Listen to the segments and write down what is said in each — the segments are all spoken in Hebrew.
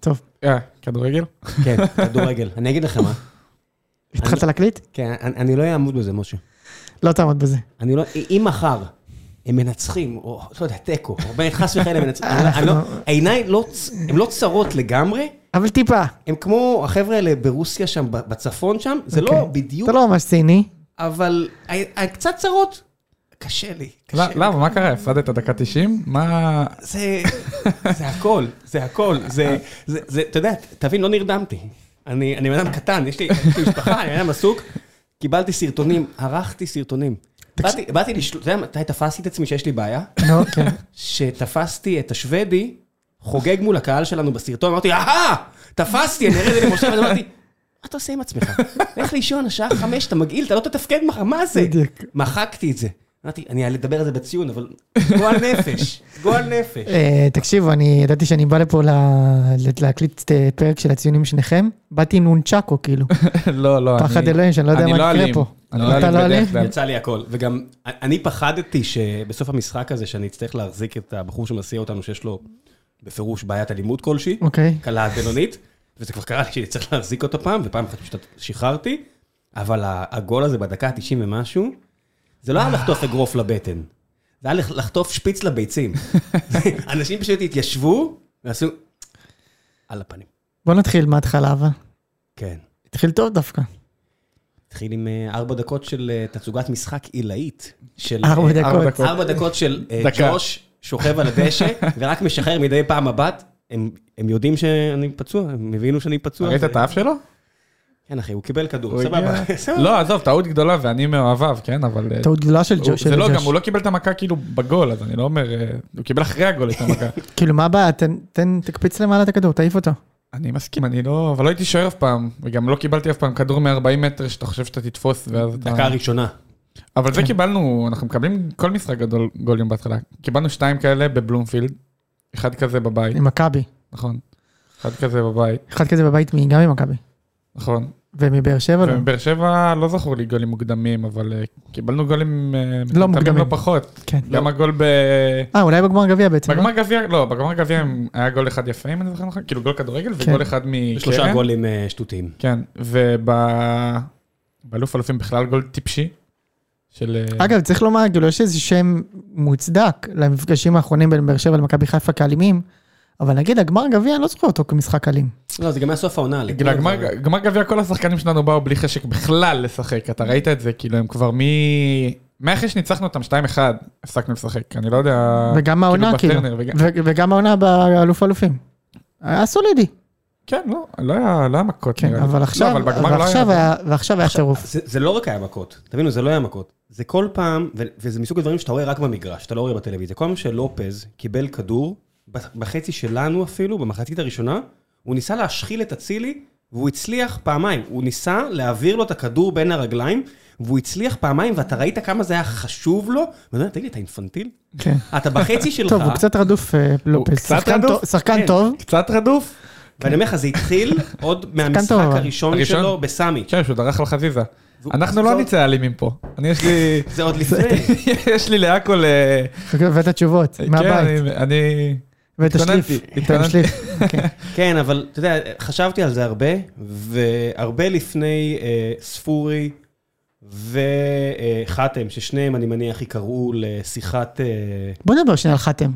טוב. אה, כדורגל? כן, כדורגל. אני אגיד לך מה. התחלת להקליט? כן, אני אני לא אעמוד בזה, משה. לא תעמוד בזה. אני לא... אם מחר הם מנצחים, או לא יודע, תיקו, או בין- חס וחלילה הם מנצחים, אני לא- אני לא- העיניים לא... צ- הן לא צרות לגמרי, אבל טיפה. הם כמו החבר'ה האלה ברוסיה שם, ב- בצפון שם, זה לא אוקיי. בדיוק, אתה לא ממש ציני. אבל ה- ה- קצת צרות. קשה לי, קשה לא, לי. למה? מה קרה? הפסדת דקה 90? מה... זה, זה הכל, זה הכל, זה, זה, זה, אתה יודע, תבין, לא נרדמתי. אני, אני בן אדם קטן, יש לי, יש לי משפחה, אני בן אדם עסוק, קיבלתי סרטונים, ערכתי סרטונים. באתי, באתי לשלול, אתה יודע מתי תפסתי את עצמי שיש לי בעיה? נו, לא, כן. שתפסתי את השוודי, חוגג מול הקהל שלנו בסרטון, אמרתי, אהה, תפסתי, אני אראה את זה למשה, ואז אמרתי, מה אתה עושה עם עצמך? לך לישון, השעה חמש, אתה מגעיל, אתה לא תתפקד מחר, מה זה? בדיוק. מחקתי את זה. אמרתי, אני אדבר על זה בציון, אבל גועל נפש, גועל נפש. אה, תקשיבו, אני ידעתי שאני בא לפה ל- להקליט אה, פרק של הציונים שניכם. באתי עם נונצ'קו, כאילו. לא, לא, פחד אלוהים, שאני לא יודע אני מה יקרה אלים. פה. אני לא אתה לא אלים בדרך אלים? כלל. יצא לי הכל, וגם אני פחדתי שבסוף המשחק הזה, שאני אצטרך להחזיק את הבחור שמסיע אותנו, שיש לו בפירוש בעיית אלימות כלשהי, אוקיי. קלה עד בינונית, וזה כבר קרה לי שאני צריך להחזיק אותו פעם, ופעם אחת פשוט שחררתי, אבל ה- הגול הזה בדקה ה-90 ומשהו, זה אה. לא היה לחטוף אגרוף לבטן, זה היה לח- לחטוף שפיץ לביצים. אנשים פשוט התיישבו ועשו, על הפנים. בוא נתחיל מההתחלה, אבל. כן. התחיל טוב דווקא. אה, התחיל עם אה, ארבע דקות של אה, תצוגת משחק עילאית. של, ארבע אה, דקות. ארבע דקות. ארבע דקות של אה, דקה. ג'וש שוכב על הדשא ורק משחרר מדי פעם מבט. הם, הם יודעים שאני פצוע, הם הבינו שאני פצוע. ראית זה- את האף שלו? כן, אחי, הוא קיבל כדור, הוא סבבה. הגיע- סבבה. לא, עזוב, טעות גדולה ואני מאוהביו, כן? אבל... אה, טעות גדולה של הוא- ג'וש. זה של לא, גם ג'וש. הוא לא קיבל את המכה כאילו בגול, אז אני לא אומר... אה, הוא קיבל אחרי הגול את המכה. כאילו, מה הבעיה? תן- תן, תקפיץ למעלה את הכדור, תעיף אותו. אני מסכים, אני לא... אבל לא הייתי שוער אף פעם, וגם לא קיבלתי אף פעם כדור מ-40 מטר שאתה חושב שאתה תתפוס, ואז אתה... דקה ראשונה. אבל כן. זה קיבלנו, אנחנו מקבלים כל משחק גדול גולים בהתחלה. קיבלנו שתיים כאלה בבלומפילד, אחד כזה בבית, עם מכבי. נכון. אחד כזה בבית, אחד כזה בבית מ- גם ממכבי. נכון. ומבאר שבע לא. ובאר שבע לא זכור לי גולים מוקדמים, אבל אה, קיבלנו גולים אה, מטומטמים מוקדמים. לא פחות. כן. גם הגול ב... אה, אולי בגמר גביע בעצם. לא? בגמר גביע, לא, בגמר גביע הם- היה גול אחד יפה, אם אני זוכר נכון, כאילו גול כדורגל כן. וגול אחד מקרן. שלושה גולים אה, שטותיים. כן, ובאלוף אלופים בכלל גול טיפשי. של... אה, אגב, צריך לומר, כאילו, יש איזה שם מוצדק למפגשים האחרונים בין באר שבע למכבי חיפה כאלימים, אבל נגיד, הגמר גביע, אני לא זוכר אותו כמשחק אלים. לא, זה לא. גם היה סוף העונה. לי. כאילו, הגמר גמר גביע, כל השחקנים שלנו באו בלי חשק בכלל לשחק, אתה ראית את זה, כאילו, הם כבר מ... מאחרי שניצחנו אותם 2-1, הפסקנו לשחק, אני לא יודע... וגם העונה, כאילו, בטרנר, וגם- ו- וגם העונה באלוף אלופים. היה סולידי, כן, לא, לא היה, לא היה מכות, כן, נראה לי. אבל לא, עכשיו, אבל בגמר לא ועכשיו היה, ועכשיו היה טירוף. זה זה לא רק היה מכות, תבינו, זה לא היה מכות. זה כל פעם, ו- וזה מסוג הדברים שאתה רואה רק במגרש, אתה לא רואה בטלוויזיה. כל פעם שלופז קיבל כדור, בח- בחצי שלנו אפילו, במחצית הראשונה, הוא ניסה להשחיל את אצילי, והוא הצליח פעמיים. הוא ניסה להעביר לו את הכדור בין הרגליים, והוא הצליח פעמיים, ואתה ראית כמה זה היה חשוב לו? ואני אומר, תגיד לי, אתה אינפנטיל? אה, כן. אתה בחצי שלך. טוב, הוא קצת רדוף, אה, לופס. קצת שחקן רדוף? טוב- שחקן כן. טוב, קצת רדוף. ואני אומר לך, זה התחיל עוד מהמשחק טוב, אבל. הראשון הראשון? שלו בסמי. כן, שהוא דרך על חזיזה. והוא- אנחנו זה לא עוד- נצא אלימים פה. אני יש לי... זה עוד לפני. יש לי לעכו ל... הבאת תשובות, כן, מהבית, אני- אני... הבאת התכוננתי, שליף. הבאת התכוננתי. שליף, כן. כן, אבל אתה יודע, חשבתי על זה הרבה, והרבה לפני אה, ספורי וחתם, ששניהם, אני מניח, יקראו לשיחת... אה, בוא נדבר שנייה על חתם.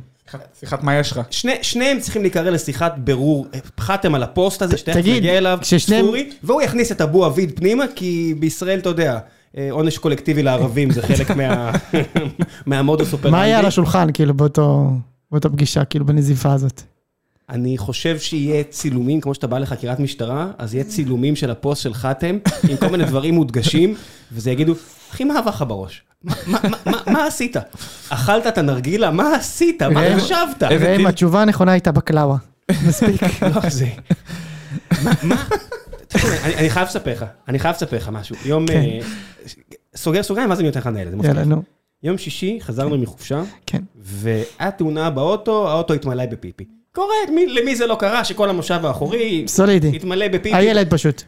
שיחת מה יש לך? שני, שניהם צריכים להיקרא לשיחת בירור. חתם על הפוסט הזה, שתכף תגיד, נגיע אליו, כששניהם- ספורי, והוא יכניס את אבו עביד פנימה, כי בישראל, אתה יודע, אה, עונש קולקטיבי לערבים זה חלק מה, מהמודוס אופרנטי. מה היה על השולחן, כאילו, באותו... באותה פגישה, כאילו, בנזיפה הזאת. אני חושב שיהיה צילומים, כמו שאתה בא לחקירת משטרה, אז יהיה צילומים של הפוסט של חתם, עם כל מיני דברים מודגשים, וזה יגידו, אחי, מה עבר לך בראש? מה- מה- מה- מה עשית? אכלת את הנרגילה? מה עשית? מה ראם- חשבת? איזה ראם, טיל. התשובה הנכונה הייתה בקלאווה. מספיק. לא, זה... מה- מה? תשמע, אני- אני חייב לספר לך, אני חייב לספר לך משהו. יום... כן. אה, סוגר סוגריים, ואז אני נותן לך לנהל את זה. יאללה, מבטיח. נו. יום שישי, חזרנו מחופשה, כן. והיה תאונה באוטו, האוטו התמלא בפיפי. קורה, מי- למי זה לא קרה? שכל המושב האחורי... סולידי. התמלא בפיפי. הילד פשוט.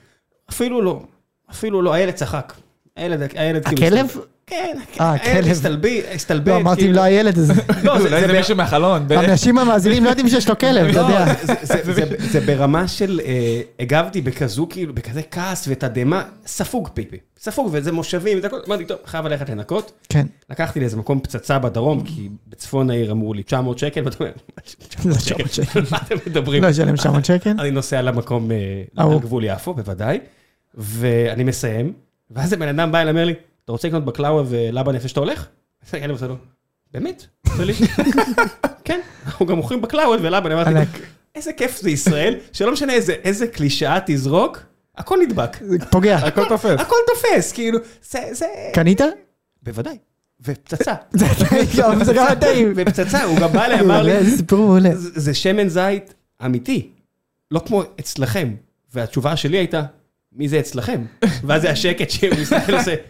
אפילו לא. אפילו לא, הילד צחק. הילד, הילד הכלב? הסתובב. כן, אה, אין, כלב. הסתלבי- הסתלבט. לא, אמרתי אם כאילו. לא הילד הזה. לא, זה- אולי זה זה ב- מישהו מהחלון. ב- האנשים המאזינים לא יודעים שיש לו כלב, אתה לא, יודע. זה- זה- זה- זה ברמה של, אה, הגבתי בכזו, כאילו, בכזה כעס ותדהמה, ספוג פיפי. ספוג, וזה מושבים, וזה הכל. אמרתי, טוב, חייב ללכת לנקות. כן. לקחתי לאיזה מקום פצצה בדרום, כי בצפון העיר אמרו לי 900 שקל, ואתה אומר, לא 900 900 שקל, מה אתם מדברים? לא ישלם 900 שקל. אני נוסע למקום, אה, אהוב. על גבול יפו, בוודאי, ואני מסיים, ואז הבן אדם בא אליי, אומר לי, אתה רוצה לקנות בקלאווה ולבה נפש שאתה הולך? אז אני עושה לו, באמת? עושה לי, כן, אנחנו גם מוכרים בקלאווה ולבה, אני אמרתי, ענק. איזה כיף זה ישראל, שלא משנה איזה- איזה קלישאה תזרוק, הכל נדבק. זה פוגע. הכל תופס. הכל תופס, כאילו, זה, זה... קנית? בוודאי. ופצצה. זה טעים, זה גם היה טעים. ופצצה, הוא גם בא אליי, אמר לי, זה סיפור מעולה. זה זה שמן זית אמיתי, לא כמו אצלכם. והתשובה שלי הייתה, מי זה אצלכם? ואז זה השקט שהוא מסתכל עושה, כן.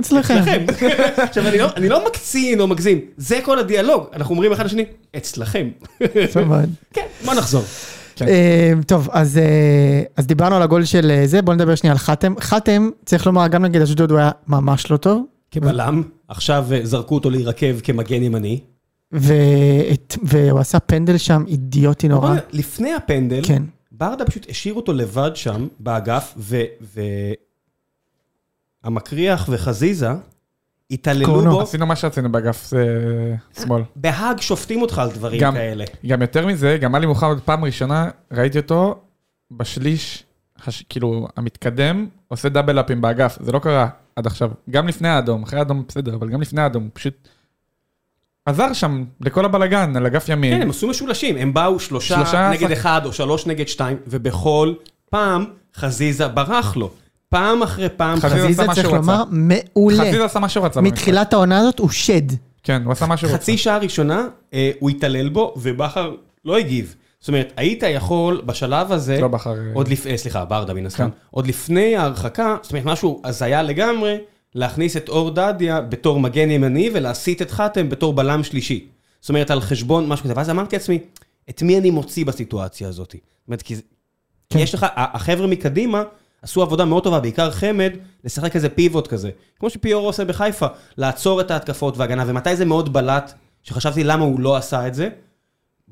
אצלכם. אצלכם. עכשיו, אני לא- אני לא מקצין או מגזים, זה כל הדיאלוג. אנחנו אומרים אחד לשני, אצלכם. יפה מאוד. כן, בוא נחזור. כן. אה, טוב, אז אה, אז דיברנו על הגול של אה, זה, בואו נדבר שנייה על חתם. חתם, צריך לומר, גם נגד אשדוד הוא היה ממש לא טוב. כבלם, עכשיו אה, זרקו אותו להירקב כמגן ימני. ואת- והוא עשה פנדל שם אידיוטי נורא. אבל לפני הפנדל, כן. ברדה פשוט השאיר אותו לבד שם, באגף, ו... ו- המקריח וחזיזה התעללו קורנו. בו. עשינו מה שעשינו באגף זה שמאל. בהאג שופטים אותך על דברים גם- כן. כאלה. גם יותר מזה, גם עלי מוחמד פעם ראשונה, ראיתי אותו בשליש, הש- כאילו, המתקדם, עושה דאבל אפים באגף, זה לא קרה עד עכשיו. גם לפני האדום, אחרי האדום בסדר, אבל גם לפני האדום, הוא פשוט עזר שם לכל הבלגן, על אגף כן, ימין. הם עשו משולשים, הם באו שלושה, שלושה נגד שחק- אחד או שלוש נגד שתיים, ובכל פעם חזיזה ברח לו. פעם אחרי פעם חזיזה- חזיזה, חזיזה, עשה מה צריך שהוא לומר, רצה. מעולה. חזיזה עשה מה שהוא רצה. במשחק. מתחילת העונה הזאת הוא שד. כן, הוא עשה מה שהוא רצה. חצי שעה ראשונה אה, הוא התעלל בו, ובכר לא הגיב. זאת אומרת, היית יכול בשלב הזה, לא בחר... עוד לפ... אה, סליחה, ברדה מן הסתם, כן. עוד לפני ההרחקה, זאת אומרת, משהו הזיה לגמרי, להכניס את אור דדיה בתור מגן ימני ולהסיט את חתם בתור בלם שלישי. זאת אומרת, על חשבון משהו כזה. ואז אמרתי לעצמי, את מי אני מוציא בסיטואציה הזאת? זאת אומרת, כי, זה- כן. כי יש לך, ה- החבר'ה מקדימה עשו עבודה מאוד טובה, בעיקר חמד, לשחק איזה פיבוט כזה. כמו שפיור עושה בחיפה, לעצור את ההתקפות וההגנה, ומתי זה מאוד בלט, שחשבתי למה הוא לא עשה את זה,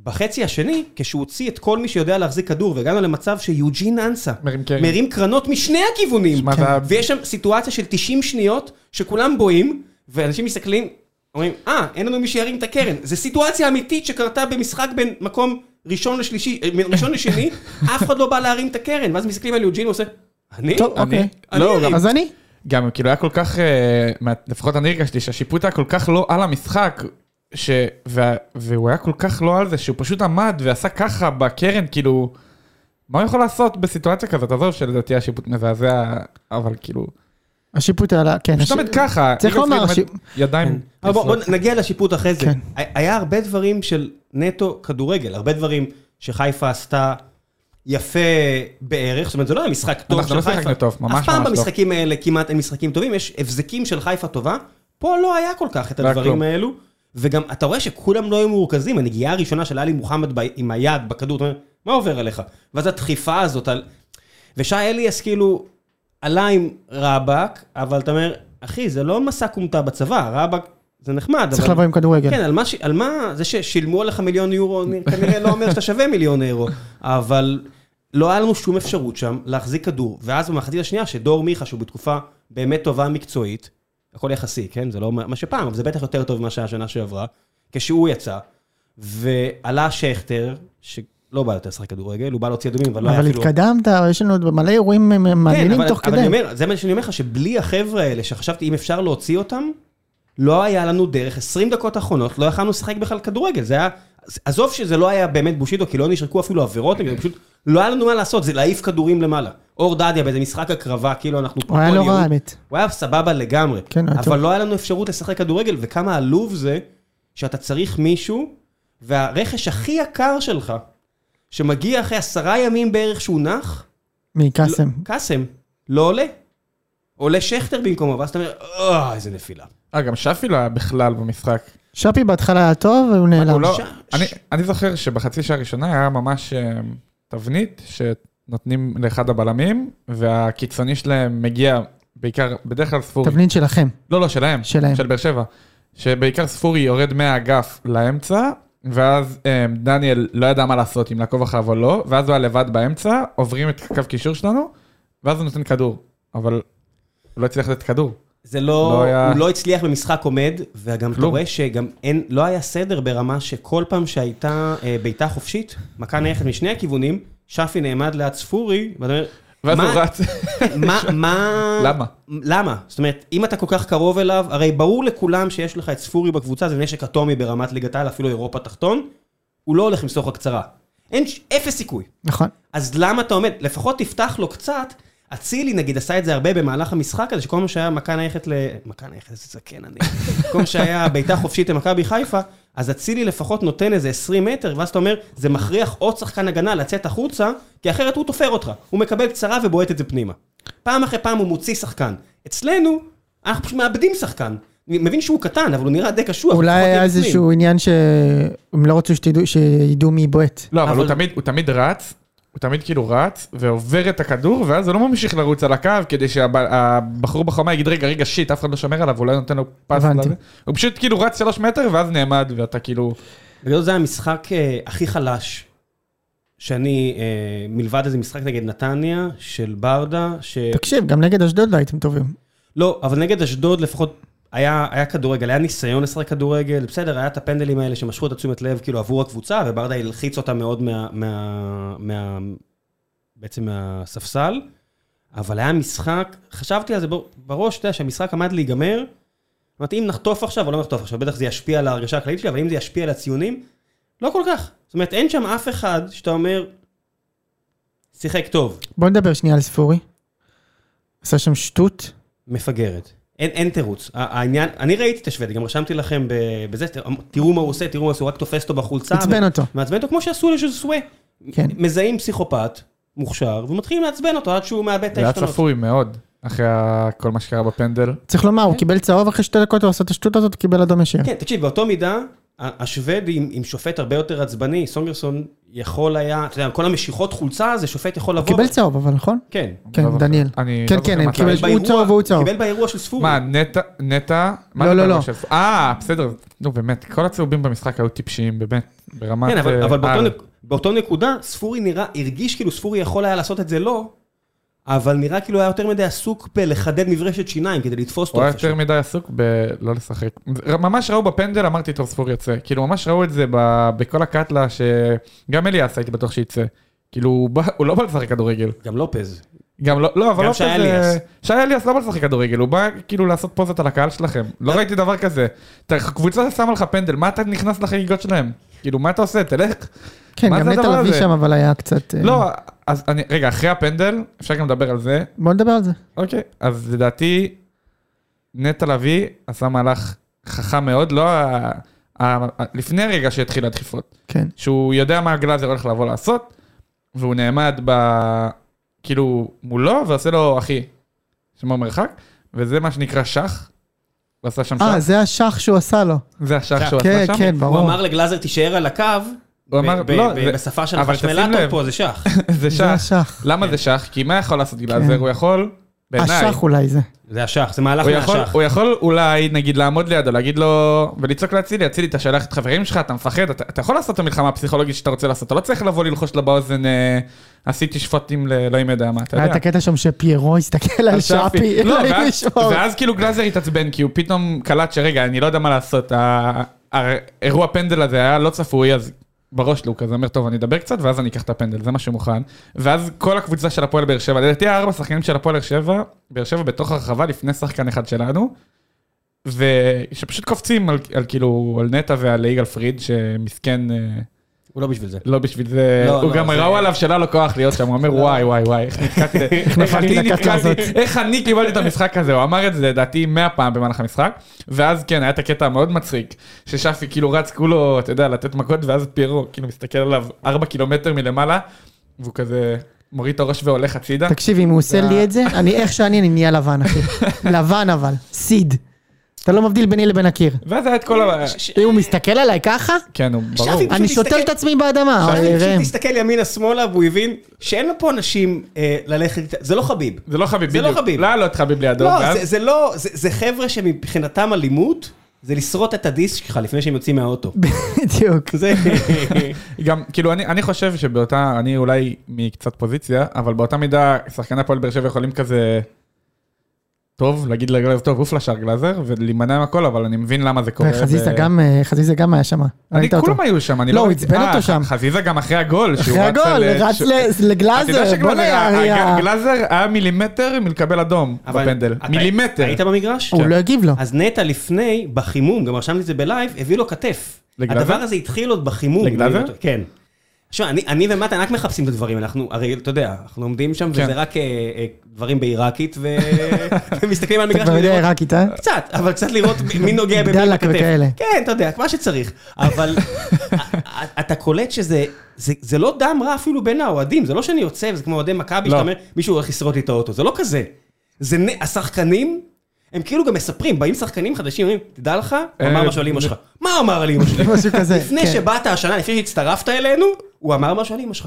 בחצי השני, כשהוא הוציא את כל מי שיודע להחזיק כדור, והגענו למצב שיוג'ין אנסה מרים קרן. מרים קרנות משני הכיוונים. כן. שמע, זה היה- ויש שם סיטואציה של 90 שניות, שכולם בואים, ואנשים מסתכלים, אומרים, אה, אין לנו מי שירים את הקרן. זו סיטואציה אמיתית שקרתה במשחק בין מקום ראשון לשלישי, אה, מ- ראשון לשני, אף אחד לא בא להרים את הקרן, ואז מסתכלים על יוג'ין, הוא עושה, אני? טוב, אני- אוקיי. אני לא, ארים. אז אני? גם כאילו היה כל כך, אה, מה- לפחות אני הרגשתי שהשיפוט היה כל כך לא על המשחק, ש... וה... והוא היה כל כך לא על זה, שהוא פשוט עמד ועשה ככה בקרן, כאילו, מה הוא יכול לעשות בסיטואציה כזאת? עזוב שלדעתי השיפוט מזעזע, אבל כאילו, השיפוט עלה, כן. פשוט הש- עומד ככה, צריך יגאל לומר פרידמן, ידיים, אבל בוא, בוא עשרות. נגיע לשיפוט אחרי זה. כן. ה- היה הרבה דברים של נטו כדורגל, הרבה דברים שחיפה עשתה יפה בערך, זאת אומרת זה לא היה משחק טוב אנחנו של לא חיפה. שיחקנו טוב, ממש אף פעם ממש לא. במשחקים האלה כמעט אין משחקים טובים, יש הבזקים של חיפה טובה, פה לא היה כל כך את לא היה הדברים כלום. האלו, וגם אתה רואה שכולם לא היו מורכזים, הנגיעה הראשונה של עלי מוחמד ב- עם היד בכדור, אתה אומר, מה עובר עליך? ואז הדחיפה הזאת על... ושי אליאס כאילו עלה עם רבאק, אבל אתה אומר, אחי, זה לא מסע כומתה בצבא, רבאק זה נחמד. צריך אבל- לבוא עם כדורגל. כן, על מה, ש... על מה, זה ששילמו עליך מיליון יורו, אני- כנראה לא אומר שאתה שווה מיליון אירו, אבל לא היה לנו שום אפשרות שם להחזיק כדור. ואז במחצית השנייה, שדור מיכה, שהוא בתקופה באמת טובה מקצועית, הכל יחסי, כן? זה לא מה מה שפעם, אבל זה בטח יותר טוב ממה שהיה השנה שעברה, כשהוא יצא, ועלה שכטר, שלא בא יותר לשחק כדורגל, הוא בא להוציא אדומים, אבל לא היה אבל אפילו... התקדמת, יש לנו עוד מלא אירועים אה, כן, מעניינים כן, אבל- תוך אבל אני כדי. אומר, זה מה שאני אומר לך, שבלי החבר'ה האלה, שחשבתי אם אפשר להוציא אותם, לא היה לנו דרך, 20 דקות אחרונות, לא יכלנו לשחק בכלל כדורגל, זה היה... עזוב שזה לא היה באמת בושידו, כי לא נשרקו אפילו עבירות, נגד, פשוט לא היה לנו מה לעשות, זה להעיף כדורים למעלה. אור דדיה באיזה משחק הקרבה, כאילו אנחנו פה הוא היה כל לא יום. רע, האמת. הוא היה סבבה לגמרי. כן, היה אבל טוב. לא היה לנו אפשרות לשחק כדורגל, וכמה עלוב זה שאתה צריך מישהו, והרכש הכי יקר שלך, שמגיע אחרי עשרה ימים בערך שהוא נח, מקאסם. לא- קאסם, לא עולה. עולה שכטר במקומו, ואז אתה אומר, אה, איזה נפילה. אה, גם שפי לא היה בכלל במשחק. שפי בהתחלה היה טוב, והוא הוא נעלם. לא- ש- אני- ש- אני זוכר שבחצי שעה הראשונה היה ממש אה, תבנית שנותנים לאחד הבלמים והקיצוני שלהם מגיע בעיקר, בדרך כלל ספורי. תבנית שלכם. לא, לא, שלהם. כן. שלהם. של באר שבע. שבעיקר ספורי יורד מהאגף לאמצע, ואז אה, דניאל לא ידע מה לעשות, אם לעקוב אחריו או לא, ואז הוא היה לבד באמצע, עוברים את קו קישור שלנו, ואז הוא נותן כדור. אבל הוא לא הצליח לתת כדור. זה לא, לא היה- הוא לא הצליח במשחק עומד, וגם אתה כלום. רואה שגם אין, לא היה סדר ברמה שכל פעם שהייתה אה, בעיטה חופשית, מכה נערכת משני הכיוונים, שפי נעמד ליד ספורי, ואתה אומר, ואז הוא מה- רץ. מה, מה... למה? למה? זאת אומרת, אם אתה כל כך קרוב אליו, הרי ברור לכולם שיש לך את ספורי בקבוצה, זה נשק אטומי ברמת ליגת העל, אפילו אירופה תחתון, הוא לא הולך למסור לך קצרה. אין, ש- אפס סיכוי. נכון. אז למה אתה עומד? לפחות תפתח לו קצת. אצילי נגיד עשה את זה הרבה במהלך המשחק הזה, שכל מה שהיה מכה נייחת ל... מכה נייחת, איזה זקן אני. כל מה שהיה בעיטה חופשית למכבי חיפה, אז אצילי לפחות נותן איזה 20 מטר, ואז אתה אומר, זה מכריח עוד שחקן הגנה לצאת החוצה, כי אחרת הוא תופר אותך. הוא מקבל קצרה ובועט את זה פנימה. פעם אחרי פעם הוא מוציא שחקן. אצלנו, אנחנו פשוט מאבדים שחקן. אני מבין שהוא קטן, אבל הוא נראה די לא, קשוח. אולי לפחות היה יהיה בפנים. איזשהו עניין שהם לא רצו שתדעו- שידעו מי בועט. לא, אבל אבל- הוא תמיד- הוא תמיד רץ. הוא תמיד כאילו רץ ועובר את הכדור ואז הוא לא ממשיך לרוץ על הקו כדי שהבחור בחומה יגיד רגע רגע שיט אף אחד לא שומר עליו הוא לא נותן לו פס. הבנתי. לזה." הוא פשוט כאילו רץ שלוש מטר ואז נעמד ואתה כאילו בגדול זה המשחק אה, הכי חלש שאני, אה, מלבד איזה משחק נגד נתניה, של ברדה, ש... תקשיב, גם נגד אשדוד לא הייתם טובים. לא, אבל נגד אשדוד לפחות היה, היה כדורגל, היה ניסיון לשחק כדורגל, בסדר, היה את הפנדלים האלה שמשכו את התשומת לב כאילו עבור הקבוצה, וברדה הלחיץ אותה מאוד מה... מה, מה בעצם מהספסל, אבל היה משחק, חשבתי על זה בר- בראש, אתה יודע, שהמשחק עמד להיגמר, אמרתי, אם נחטוף עכשיו או לא נחטוף עכשיו, בטח זה ישפיע על ההרגשה הכללית שלי, אבל אם זה ישפיע על הציונים, לא כל כך. זאת אומרת, אין שם אף אחד שאתה אומר, שיחק טוב, בוא נדבר שנייה על ספורי. עשה שם שטות. מפגרת. אין, אין תירוץ. ה- העניין, אני ראיתי את השוודי, גם רשמתי לכם ב- בזה, ת- תראו מה הוא עושה, תראו מה הוא עושה, הוא רק תופס אותו בחולצה. עצבן אותו. מעצבן אותו כמו שעשו לז'וסווה. כן. מזהים פסיכופת, מוכשר, ומתחילים לעצבן אותו עד שהוא מאבד את זה היה העשתונות. צפוי מאוד אחרי ה- כל מה שקרה בפנדל. צריך לומר, כן. הוא קיבל צהוב אחרי שתי דקות, הוא עשה את השטות הזאת, הוא קיבל אדום ישיר. כן, תקשיב, באותו מידה, ה- השוודי עם, עם שופט הרבה יותר עצבני, סונגרסון יכול היה, אתה יודע, כל המשיכות חולצה הזה, שופט יכול לבוא. קיבל צהוב, אבל נכון? כן. כן, לא זוכר. דניאל. אני כן, לא זוכר כן, הם מתי. קיבל- באירוע- הוא צהוב, הוא צהוב. קיבל באירוע של ספורי. מה, נטע, נטע? מה לא, זה לא, לא. של- אה, בסדר, נו באמת, כל הצהובים במשחק היו טיפשיים, באמת, ברמת... כן, אבל, אה, אבל באותו, על. נק, באותו נקודה, ספורי נראה, הרגיש כאילו ספורי יכול היה לעשות את זה לא, אבל נראה כאילו היה יותר מדי עסוק בלחדד מברשת שיניים כדי לתפוס הוא אותו. היה איפשהו. יותר מדי עסוק בלא לשחק. ממש ראו בפנדל, אמרתי טוב ספורי יוצא. כאילו, ממש ראו את זה ב- בכל הקאטלה, שגם אליאס הייתי בטוח שיצא. כאילו, הוא בא- הוא לא בא לשחק כדורגל. גם לופז. גם לא, לא, אבל גם לא שי כזה... אליאס. שי אליאס לא בא לשחק כדורגל, הוא בא כאילו לעשות פוזות על הקהל שלכם. לא אה. ראיתי דבר כזה. אתה- קבוצה ששמה לך פנדל, מה אתה נכנס לחגיגות שלהם? כאילו, מה אתה עושה? תלך. כן, מה גם זה נטע הדבר לביא הזה? שם, אבל היה קצת... אה, לא, אז אני, רגע, אחרי הפנדל, אפשר גם לדבר על זה. בוא נדבר על זה. אוקיי, אז לדעתי, נטע לביא עשה מהלך חכם מאוד, לא ה... ה... ה... לפני הרגע שהתחיל הדחיפות. כן. שהוא יודע מה הגלאזר הולך לבוא לעשות, והוא נעמד ב... כאילו מולו, ועושה לו, אחי, שמור מרחק, וזה מה שנקרא שח. הוא עשה שם אה, שח, זה השח שהוא עשה לו. זה השח שהוא כן, עשה שם. כן, הוא ברור. אמר לגלאזר תישאר על הקו, הוא אמר, לא, זה- בשפה של אבל תשים החשמלטור לב. פה זה שח. זה זה שח. השח. כן. למה זה שח? כי מה יכול לעשות גלאזר? הוא יכול, בעיניי, השח אולי זה. זה השח, זה מהלך הוא יכול, מהשח. הוא יכול אולי, נגיד, לעמוד לידו, להגיד לו, ולצעוק לאצילי, אצילי, אתה שולח את חברים שלך, אתה מפחד, אתה, אתה יכול לעשות את המלחמה הפסיכולוגית שאתה רוצה לעשות, אתה לא צריך לבוא ללחוש לה באוזן, אה, עשיתי שפוטים לאלוהים יודע מה, אתה היה יודע. את הקטע שם שפיירו הסתכל על על שפי. לא, אלוהים ואז- ישמור. ואז כאילו גלאזר התעצבן, כי הוא פתאום קלט שרגע, אני לא יודע מה לעשות, ה- האירוע פנדל הזה היה לא צפוי, אז בראש לו, הוא כזה אומר, טוב, אני אדבר קצת, ואז אני אקח את הפנדל, זה מה שמוכן. ואז כל הקבוצה של הפועל באר שבע, לדעתי הארבע שחקנים של הפועל באר שבע, באר שבע בתוך הרחבה לפני שחקן אחד שלנו, ושפשוט קופצים על, על כאילו, על נטע ועל יגאל פריד, שמסכן, אה, הוא לא בשביל זה. לא בשביל זה, לא, הוא לא, גם זה- לא. ראו עליו שהיה לו כוח להיות שם, הוא אומר, וואי, וואי, וואי, איך נתקעתי, איך נפלתי אני לקרקע נתקעתי, הזאת. איך אני קיבלתי את המשחק הזה, הוא אמר את זה לדעתי 100 פעם במהלך המשחק, ואז כן, היה את הקטע המאוד מצחיק, ששפי כאילו רץ כולו, אתה יודע, לתת מכות, ואז פיירו כאילו מסתכל עליו 4 קילומטר מלמעלה, והוא כזה מוריד את הראש והולך הצידה. תקשיב, אם הוא עושה לי את זה, אני איך שאני, אני נהיה לבן, אחי. לבן אבל, סיד. אתה לא מבדיל ביני לבין הקיר. ואז היה את כל ה... אם הוא מסתכל עליי ככה, כן, הוא שבי, ברור. אני תסתכל- שותל את עצמי באדמה. לא, עכשיו, אה, ראם. פשוט הסתכל ימינה-שמאלה, והוא הבין שאין לו פה אנשים אה, ללכת איתם. זה לא חביב. זה לא חביב, זה בדיוק. לא חביב. לא, לא את חביב לידו. לא, ואז- זה- זה לא, זה זה חבר'ה שמבחינתם אלימות, זה לשרוט את הדיסק שלך לפני שהם יוצאים מהאוטו. בדיוק. זה... גם, כאילו, אני, אני חושב שבאותה, אני אולי מקצת פוזיציה, אבל באותה מידה, שחקני הפועל באר שבע יכולים כזה... טוב, להגיד לגלזר טוב, עוף לשער גלזר, ולהימנע מהכל, אבל אני מבין למה זה קורה. חזיזה ו- גם, אה, חזיזה גם היה שם. אני, ראית אותו. כולם היו שם, אני לא, הוא ראיתי- עצבן אה, אותו שם. חזיזה גם אחרי הגול, שהוא אחרי הגול, על- אה, רץ ש- ל- אתה יודע לגלאזר, שגלזר- בואנה יריה. ה- גלאזר היה מילימטר מלקבל אדום אבל בפנדל. אתה- מילימטר. כן. היית במגרש? הוא לא הגיב לו. אז נטע לפני, בחימום, גם רשמתי את זה בלייב, הביא לו כתף. לגלאזר? הדבר הזה התחיל עוד בחימום. לגלאזר? כן. תשמע, אני, אני ומתן רק מחפשים את הדברים, אנחנו, הרי, אתה יודע, אנחנו עומדים שם, כן. וזה רק אה, אה, דברים בעיראקית, ו... ומסתכלים על אתה המגרש. כבר יודע ולראות- לא- עיראקית, אה? קצת, אבל קצת לראות מ- מי נוגע במי דלק בכתף. וכאלה. כן, אתה יודע, מה שצריך. אבל א- א- אתה קולט שזה, זה- זה לא דם רע אפילו בין האוהדים, זה לא שאני יוצא, וזה כמו אוהדי מכבי, לא. שאתה אומר, מישהו הולך לשרוט לי את האוטו, זה לא כזה. זה נ- השחקנים, הם כאילו גם מספרים, באים שחקנים חדשים, אומרים, תדע לך, הוא אמר אה, משהו על אמא שלך. מה אמר על אמא שלי? משהו כזה, לפני כן. שבאת השנה, לפני שהצטרפת אלינו, הוא אמר משהו על אמא שלך.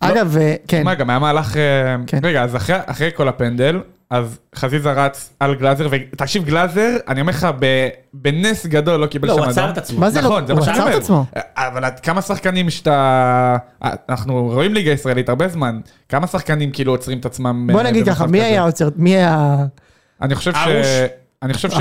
אגב, אה, כן. מה, גם היה מהלך... אה, כן. רגע, אז אחרי- אחרי כל הפנדל, אז חזיזה רץ על גלאזר, ותקשיב, גלאזר, אני אומר לך, ב- בנס גדול לא קיבל לא, שם הוא אדום. עצר את עצמו. מה זה לא- נכון, זה הוא מה שאני עצר את אומר. אה, עצמו. אבל עד כמה שחקנים שאתה... אה, אנחנו רואים ליגה ישראלית הרבה זמן, כמה שחקנים כאילו עוצרים את עצמם... בוא אה, נגיד במצב ככה, מי כזה? היה עוצר? מי היה... אני חושב ש... ארוש? אני חושב ש...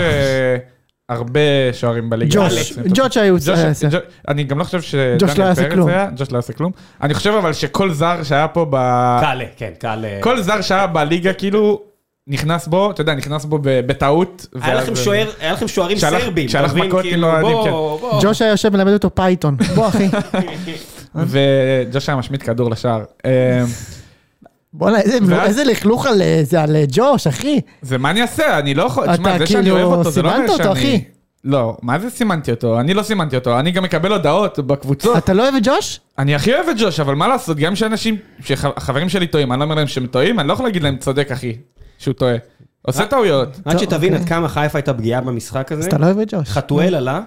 הרבה שוערים בליגה. ג'וש. עושים את זה. ג'וש היה עוצר. אה, ג'וש, ג'וש- אני גם לא חושב ג'וש לא שדניאל יעשה פרץ כלום. היה, ג'וש לא יעשה כלום. אני חושב אבל שכל זר שהיה פה ב... קל, כן, קל. כל זר שהיה בליגה כאילו נכנס בו, אתה יודע, נכנס בו ב- בטעות. היה ואז- לכם שוער, היה לכם שוערים שהלך- סרבים. שהלך אתה מבין? מכות כן. עם כאילו, האוהדים, בוא, בוא. ג'וש היה יושב מלמד אותו פייתון. בוא אחי. וג'וש היה משמיט כדור לשער. אה, בואנה, איזה- ואז- איזה לכלוך על אה, זה, על אה, ג'וש, אחי. זה מה אני אעשה? אני לא יכול... תשמע, אתה זה שאני כאילו אוהב אותו, זה לא אומר סימנת אותו, שאני... אחי. לא, מה זה סימנתי אותו? אני לא סימנתי אותו, אני גם מקבל הודעות בקבוצות. אתה לא אוהב את ג'וש? אני הכי אוהב את ג'וש, אבל מה לעשות, גם שאנשים, שהחברים שלי טועים, אני לא אומר להם שהם טועים, אני לא יכול להגיד להם, צודק אחי, שהוא טועה. עושה טעויות. רק טוב, שתבין אוקיי. עד כמה חיפה הייתה פגיעה במשחק הזה. אז אתה לא אוהב את ג'וש. חתואל עלה,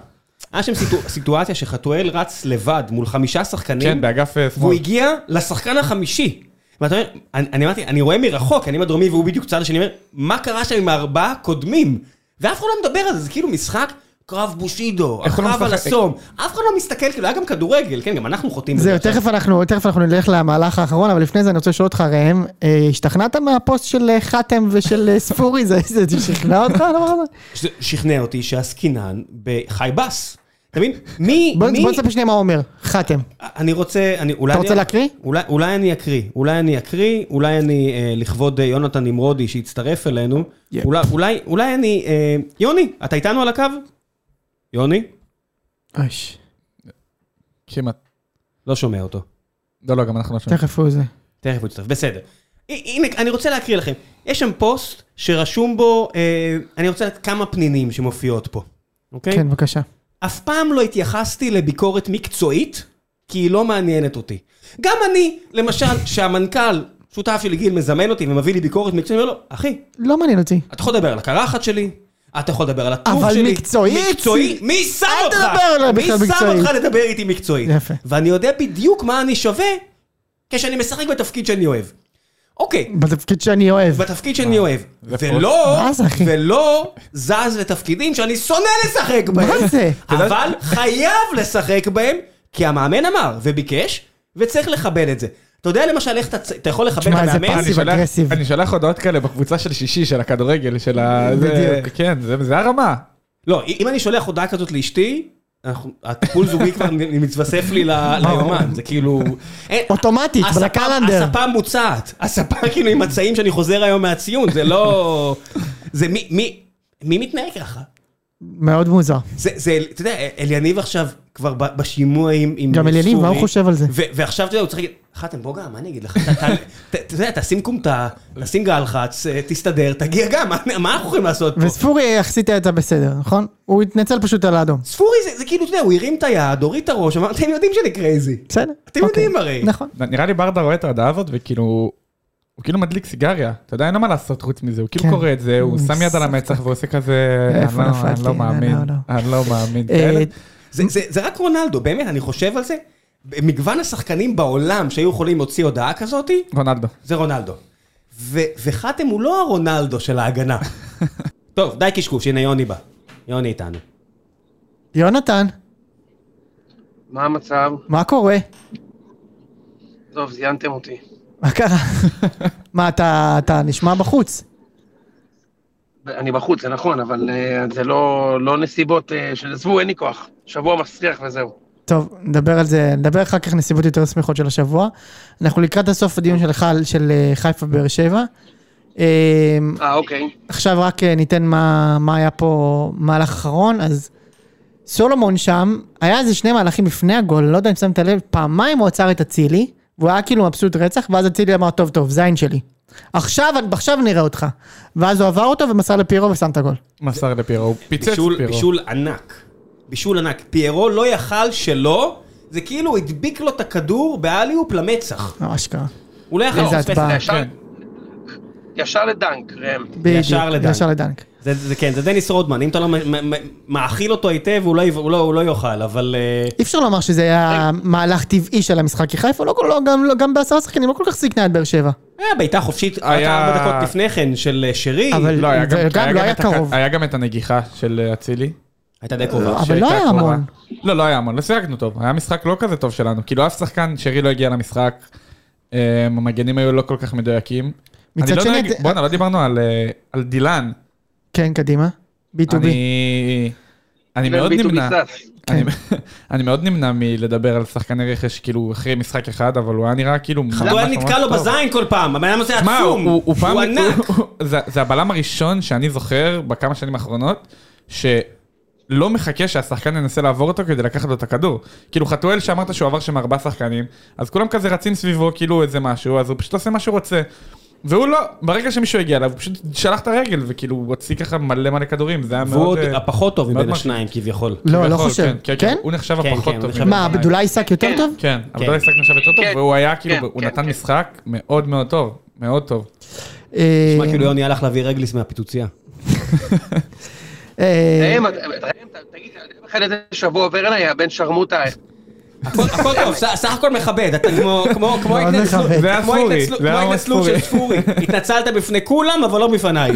היה שם סיטו- סיטואציה שחתואל רץ לבד מול חמישה כן, שחקנים, באגף אה, והוא שמאל. הגיע לשחקן החמישי. ואתה אומר, אני אני אמרתי, אני רואה מרחוק, אני בדרומי והוא בדיוק צד השני, אני אומר, מה קרה שם עם הארבעה הקודמים? ואף אחד לא מדבר על זה, זה כאילו משחק קרב בושידו, איך הוא לא הקרב על משחק? הסום, אף אחד לא מסתכל, כאילו היה גם כדורגל, כן, גם אנחנו חוטאים. בזה זהו, עכשיו. תכף אנחנו, תכף אנחנו נלך למהלך האחרון, אבל לפני זה אני רוצה לשאול אותך, ראם, אה, השתכנעת מהפוסט של אה, חתם ושל אה, ספורי? זה זה שכנע אותך הדבר הזה? שזה שכנע אותי שהעסקינן בחי בס. אתה מבין? מי, בוא מי... בוא נספר שנייה מה הוא אומר, חתם. אני רוצה, אני, אולי אתה אני, רוצה להקריא? אולי, אולי אני אקריא, אולי אני אקריא, אולי אני אה, לכבוד אה, יונתן נמרודי שהצטרף אלינו, Yeah. אולי, אולי, אולי אני, אה, יוני, אתה איתנו על הקו? יוני? אויש, כמעט. לא שומע אותו. לא, לא, גם אנחנו לא שומעים. תכף הוא זה. תכף הוא יצטרף, בסדר. ה- הנה, אני רוצה להקריא לכם. יש שם פוסט שרשום בו, אה, אני רוצה לדעת כמה פנינים שמופיעות פה, אוקיי? כן, בבקשה. אף פעם לא התייחסתי לביקורת מקצועית, כי היא לא מעניינת אותי. גם אני, למשל, שהמנכ"ל, שותף שלי גיל, מזמן אותי ומביא לי ביקורת מקצועית, אני אומר לו, אחי, לא מעניין אותי. אתה יכול לדבר על הקרחת שלי, אתה יכול לדבר על הטוף אבל שלי. מקצועית? מקצועי? מי שם אל אותך? תדבר עליי מי בכלל שם מקצועית. אותך לדבר איתי מקצועית? יפה. ואני יודע בדיוק מה אני שווה כשאני משחק בתפקיד שאני אוהב. אוקיי, בתפקיד שאני אוהב. בתפקיד שאני אוהב. זה ולא, מה זה, אחי? ולא זז לתפקידים שאני שונא לשחק בהם. מה זה? אבל חייב לשחק בהם, כי המאמן אמר וביקש, וצריך לכבד את זה. אתה יודע למשל איך אתה צ- אתה יכול לכבד תשמע, זה מאמן? פאסיב אה, אני שולח- אגרסיב. אני שולח הודעות כאלה בקבוצה של שישי, של הכדורגל, של ה... זה- בדיוק. כן, זה זה הרמה. לא, אם אני שולח הודעה כזאת לאשתי, אנחנו- הטיפול זוגי כבר נ- מתווסף לי ל- ליומן, זה כאילו... אין- אוטומטית, הספה- בקלנדר. הספה מוצעת, הספה כאילו עם מצעים שאני חוזר היום מהציון, זה לא... זה מי- מי... מי מתנהג ככה? מאוד מוזר. זה, זה, אתה יודע, אליניב עכשיו כבר ב- בשימוע עם עם גם אליניב, מה הוא חושב על זה? ו- ועכשיו, אתה יודע, הוא צריך להגיד, חתם בוגה, מה אני אגיד לך? אתה- אתה- ת- אתה יודע, תשים כומתה, תשים גלחץ, אה, תסתדר, תגיע גם, מה- מה אנחנו יכולים לעשות פה? וספורי יחסית הייתה בסדר, נכון? הוא התנצל פשוט על האדום. ספורי זה- זה כאילו, אתה יודע, הוא הרים את היד, הוריד את הראש, אמר, אתם יודעים שאני קרייזי. בסדר. אתם אוקיי. יודעים הרי. נכון. נראה לי ברדה רואה את ההודעה הזאת, וכאילו... הוא כאילו מדליק סיגריה, אתה יודע, אין לו מה לעשות חוץ מזה, הוא כאילו כן. קורא את זה, הוא הוא שם יד על נשרף. המצח ועושה כזה, איפה "אני לא- אני נפלתי? לא לא, מאמין, לא, לא." אני לא מאמין, אה, אוקיי. כאלה. זה, זה, זה רק רונלדו, באמת, אני חושב על זה. מגוון השחקנים בעולם שהיו יכולים להוציא הודעה כזאתי, רונלדו. זה רונלדו. ו- וחתם הוא לא הרונלדו של ההגנה. טוב, די קשקוש, הנה יוני בא. יוני איתנו. יונתן, מה המצב? מה קורה? טוב, זיינתם אותי. מה קרה? מה, אתה אתה נשמע בחוץ? אני בחוץ, זה נכון, אבל אה, זה לא, לא נסיבות אה, של עזבו, אין לי כוח. שבוע מסריח וזהו. טוב, נדבר על זה, נדבר אחר כך נסיבות יותר שמחות של השבוע. אנחנו לקראת הסוף הדיון של, חל, של אה, חיפה באר שבע. אה, אה, אוקיי. עכשיו רק אה, ניתן מה, מה היה פה מהלך אחרון, אז סולומון שם, היה איזה שני מהלכים לפני הגול, לא יודע אם שמת לב, פעמיים הוא עצר את אצילי, והוא היה כאילו מבסוט רצח, ואז אצילי אמר, טוב, טוב, זין שלי. עכשיו, עכשיו נראה אותך. ואז הוא עבר אותו ומסר לפירו ושם את הגול. מסר לפירו, הוא פיצץ בישול, פירו. בישול ענק. בישול ענק. פיירו לא יכל שלא, זה כאילו הדביק לו את הכדור באליופ למצח. ממש קרה. הוא לא יכל איזה לפספס את הטבעה. זה. ישר, כן. ישר לדנק, ראם. בדיוק, לדנק. ישר לדנק. זה, זה כן, זה דניס רודמן, אם אתה לא מ- מ- מ- מאכיל אותו היטב, הוא לא, יב- הוא לא, הוא לא יאכל, אבל... אה, אי אפשר לומר שזה היה מהלך טבעי של המשחק, כי חיפה לא, כל- לא, גם, לא, גם בעשרה שחקנים לא כל כך סיכנה את באר שבע. היה אה, בעיטה חופשית רק היה- ארבע דקות לפני כן של אה, שרי, אבל- לא, היה גם- זה גם היה לא גם היה את הכ- קרוב. היה גם את הנגיחה של אה, אצילי. הייתה די קרובה. אבל שהייתה לא היה קרובה. המון. לא, לא היה המון, לא שיחקנו טוב. היה משחק לא כזה טוב שלנו. כאילו אף שחקן, שרי לא הגיע למשחק. אה, המגנים היו לא כל כך מדויקים. מצד אני לא שני, נוהג- את- בואנה, לא דיברנו על, אה, על דילן. כן, קדימה. B2B. אני... אני ראם מאוד ביטון נמנע. ניצץ. כן. אני- אני מאוד נמנע מלדבר על שחקני רכש, כאילו, אחרי משחק אחד, אבל הוא היה נראה כאילו... הוא היה ממש נתקע ממש לו טוב. בזין כל פעם, הבן אדם הזה שמע, עצום, הוא, הוא, פעם, הוא ענק. זה, זה הבלם הראשון שאני זוכר בכמה שנים האחרונות, שלא מחכה שהשחקן ינסה לעבור אותו כדי לקחת לו את הכדור. כאילו חתואל שאמרת שהוא עבר שם ארבעה שחקנים, אז כולם כזה רצים סביבו כאילו איזה משהו, אז הוא פשוט עושה מה שהוא רוצה. והוא לא, ברגע שמישהו הגיע אליו, הוא פשוט שלח את הרגל, וכאילו הוא הוציא ככה מלא מלא כדורים, זה היה והוא מאוד... עוד אה, הפחות טוב מאוד מבין מרשים. השניים כביכול. לא, לא כביכול, חושב. כן, כן, כן, הוא נחשב כן, הפחות כן, טוב. הוא נחשב מבין מה, השניים. בדולאי שק יותר כן. טוב? כן, אבל כן. דולאי שחק נחשב יותר טוב, כן, והוא היה כן, כאילו, הוא כן, נתן כן. משחק מאוד מאוד טוב, מאוד טוב. אה, נשמע כאילו יוני הלך להביא רגליס מהפיצוצייה. אה, ראם, אתה- ראם, ת- תגיד, אתה יודע בכלל איזה שבוע עובר עליי, הבן שרמוטה. הכל הכל טוב, ס- סך הכל מכבד, אתה כמו- כמו כמו מאוד ההתנצלות- מכבד. זה היה כמו ספורי, ההתנצלות- זה היה כמו ממש ההתנצלות ספורי. של ספורי. התנצלת בפני כולם, אבל לא בפניי.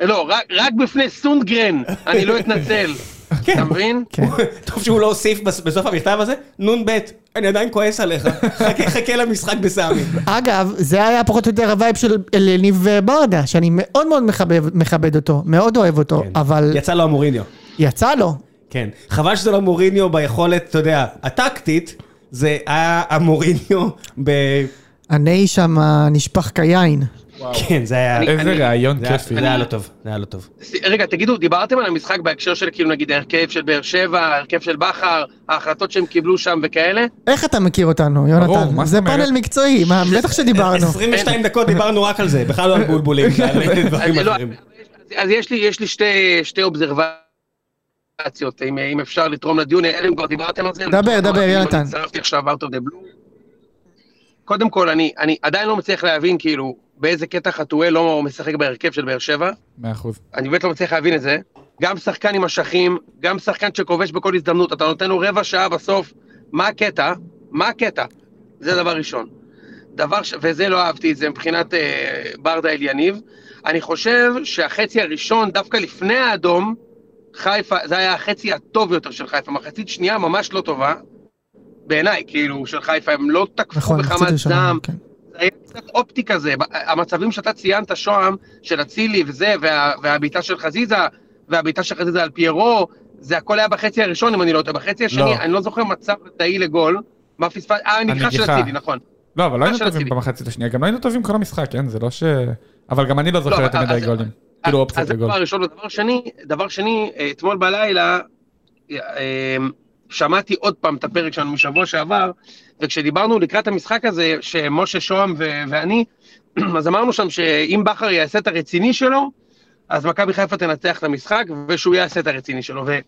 לא, רק- רק בפני סונגרן, אני לא אתנצל. כן. אתה מבין? כן. טוב שהוא לא הוסיף בס- בסוף המכתב הזה, נ"ב, אני עדיין כועס עליך, חכה- חכה למשחק בסמי. אגב, זה היה פחות או יותר הווייב של אלניב ברדה, שאני מאוד מאוד מחבב- מכבד אותו, מאוד אוהב אותו, כן. אבל כן. יצא לו המוריניו. יצא לו. כן. חבל שזה לא מוריניו ביכולת, אתה יודע, הטקטית, זה היה המוריניו ב... הני שם נשפך כיין. כן, זה היה... איזה אני- רעיון זה היה- כיפי. זה היה לא טוב, זה היה לא טוב. רגע, תגידו, דיברתם על המשחק בהקשר של כאילו נגיד ההרכב של באר שבע, ההרכב של בכר, ההחלטות שהם קיבלו שם וכאלה? איך אתה מכיר אותנו, ברור, יונתן? מה זה זאת אומרת? פאנל מקצועי, מה, בטח שדיברנו. 22 דקות דיברנו רק על זה, בכלל לא על בולבולים, ועל דברים אז לא, אחרים. אז- אז יש לי, יש לי שתי, שתי אובזרבציות, אם, אם אפשר לתרום לדיון, אלא אם כבר דיברתם על זה. דבר, אני- דבר, אני יונתן. הצטרפתי עכשיו out of the blue. קודם כל, אני, אני עדיין לא מצליח להבין, כאילו, באיזה קטע חתואל לא משחק בהרכב של באר שבע. מאה אחוז. אני באמת לא מצליח להבין את זה. גם שחקן עם אשכים, גם שחקן שכובש בכל הזדמנות, אתה נותן לו רבע שעה בסוף, מה הקטע? מה הקטע? זה דבר ראשון. דבר ש... וזה לא אהבתי את זה מבחינת אה, ברדה אל יניב. אני חושב שהחצי הראשון, דווקא לפני האדום, חיפה, זה היה החצי הטוב יותר של חיפה. מחצית שנייה ממש לא טובה, בעיניי, כאילו, של חיפה. הם לא תקפו נכון, בחמת מחצית ראשונה, דם, כן. זה היה קצת אופטי כזה, ב- המצבים שאתה ציינת, שוהם, של אצילי וזה, וה, והבעיטה של חזיזה, והבעיטה של חזיזה על פיירו, זה הכל היה בחצי הראשון, אם אני לא טועה. בחצי השני, לא. אני לא זוכר מצב ודאי לגול. מה פספס... אה, הנגיחה של הנגיחה. אצילי, נכון. לא, אבל לא היינו של טובים אצילי. במחצית השנייה, גם לא היינו טובים כל המשחק, כן? זה לא ש... אבל גם אני לא זוכר לא, יותר מדי אז- גולים. כאילו אז אופציות זה לגול. דבר ראשון. ודבר שני, דבר שני, אה, אתמול בלילה, אה, אה, שמעתי עוד פעם את הפרק שלנו משבוע שעבר, וכשדיברנו לקראת המשחק הזה, שמשה שוהם ו- ואני, אז אמרנו שם שאם בכר יעשה את הרציני שלו, אז מכבי חיפה תנצח את המשחק, ושהוא יעשה את הרציני שלו. ו...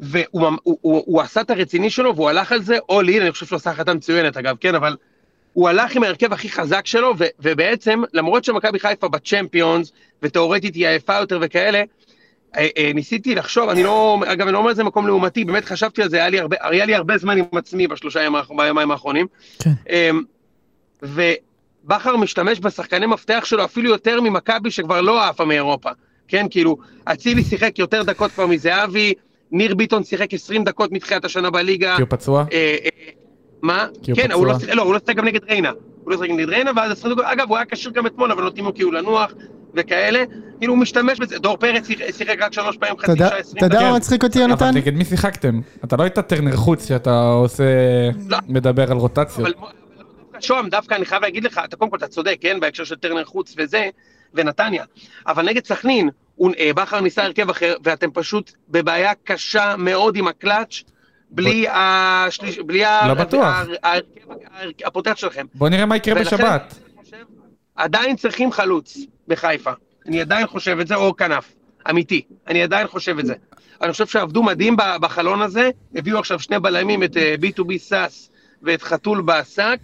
והוא ממ- הוא, הוא, הוא עשה את הרציני שלו והוא הלך על זה, אול אין, אני חושב שהוא עשה החלטה מצוינת אגב, כן, אבל הוא הלך עם ההרכב הכי חזק שלו, ו- ובעצם, למרות שמכבי חיפה בצ'מפיונס, ותאורטית היא עייפה יותר וכאלה, אה, אה, ניסיתי לחשוב, אני לא, אגב, אני לא אומר את זה מקום לעומתי, באמת חשבתי על זה, היה לי הרבה, היה לי הרבה זמן עם עצמי בשלושה ימים, האח- ביומיים האחרונים. כן. אמ, ובכר משתמש בשחקני מפתח שלו אפילו יותר ממכבי שכבר לא עפה מאירופה. כן, כאילו, אצילי שיחק יותר דקות כבר מזהבי, ניר ביטון שיחק 20 דקות מתחילת השנה בליגה. כי הוא פצוע? אה, אה, מה? כי הוא כן, פצוע. הוא לא שיחק- לא, הוא לא שיחק גם נגד ריינה. הוא לא שיחק נגד ריינה, ואז 20 דקות, אגב, הוא היה כשיר גם אתמול, אבל נותנים לו כאילו לנוח וכאלה. כאילו, הוא משתמש בזה. דור פרץ שיח- שיחק רק שלוש פעמים אתה חצי יודע- שעה, 20 אתה יודע כן. מה מצחיק אותי, אבל יונתן? נגד מי שיחקתם? אתה לא היית טרנר חוץ שאתה עושה... לא. מדבר על רוטציות. אבל אבל דווקא שוהם, דווקא אני חייב להגיד לך, אתה קודם כל, אתה צודק, כן, בהקשר של טרנר חוץ וזה, ונתניה. אבל נגד סכנין, הוא- אה, בכר ניסה הרכב אחר, ואתם פשוט בבעיה קשה מאוד עם הקלאץ', בלי השליש... בלי ה- לא בטוח. ה- ההרכב ההרכב הפותח שלכם. בוא נראה מה יקרה ולכן בשבת. אני חושב, עדיין צריכים חלוץ בחיפה. אני עדיין חושב את זה, או כנף. אמיתי. אני עדיין חושב את זה. אני חושב שעבדו מדהים ב- בחלון הזה, הביאו עכשיו שני בלמים, את אה, B2B סאס ואת חתול בעסק,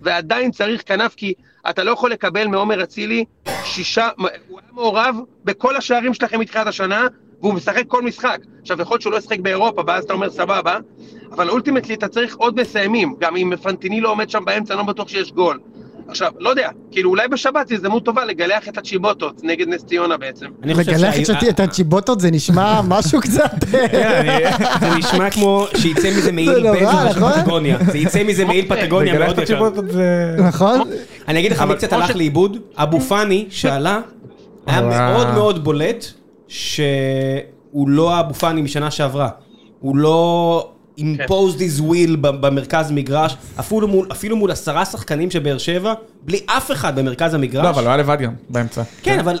ועדיין צריך כנף, כי אתה לא יכול לקבל מעומר אצילי שישה, הוא היה מעורב בכל השערים שלכם מתחילת השנה, והוא משחק כל משחק. עכשיו, יכול להיות שהוא לא ישחק באירופה, ואז אתה אומר סבבה, אבל אולטימטלי אתה צריך עוד מסיימים, גם אם פנטיני לא עומד שם באמצע, אני לא בטוח שיש גול. עכשיו, לא יודע, כאילו אולי בשבת זו הזדמנות טובה לגלח את הצ'יבוטות נגד נס ציונה בעצם. אני חושב לגלח שהי- את שתי- את הצ'יבוטות זה נשמע משהו קצת... אה, כן, אני- זה נשמע כמו שיצא מזה זה מעיל נורא, בנזו נכון? של פטגוניה. זה יצא מזה מעיל אוקיי. פטגוניה לגלח מאוד את יקר. התשובות אה, זה... נכון? אני אגיד לך מי קצת הלך לאיבוד, אבו פאני שעלה, היה וואו. מאוד מאוד בולט שהוא לא האבו פאני משנה שעברה. הוא לא imposed his will ב- במרכז מגרש, אפילו מול- אפילו מול עשרה שחקנים של באר שבע, בלי אף אחד במרכז המגרש. לא, אבל הוא היה לבד גם, באמצע. כן, אבל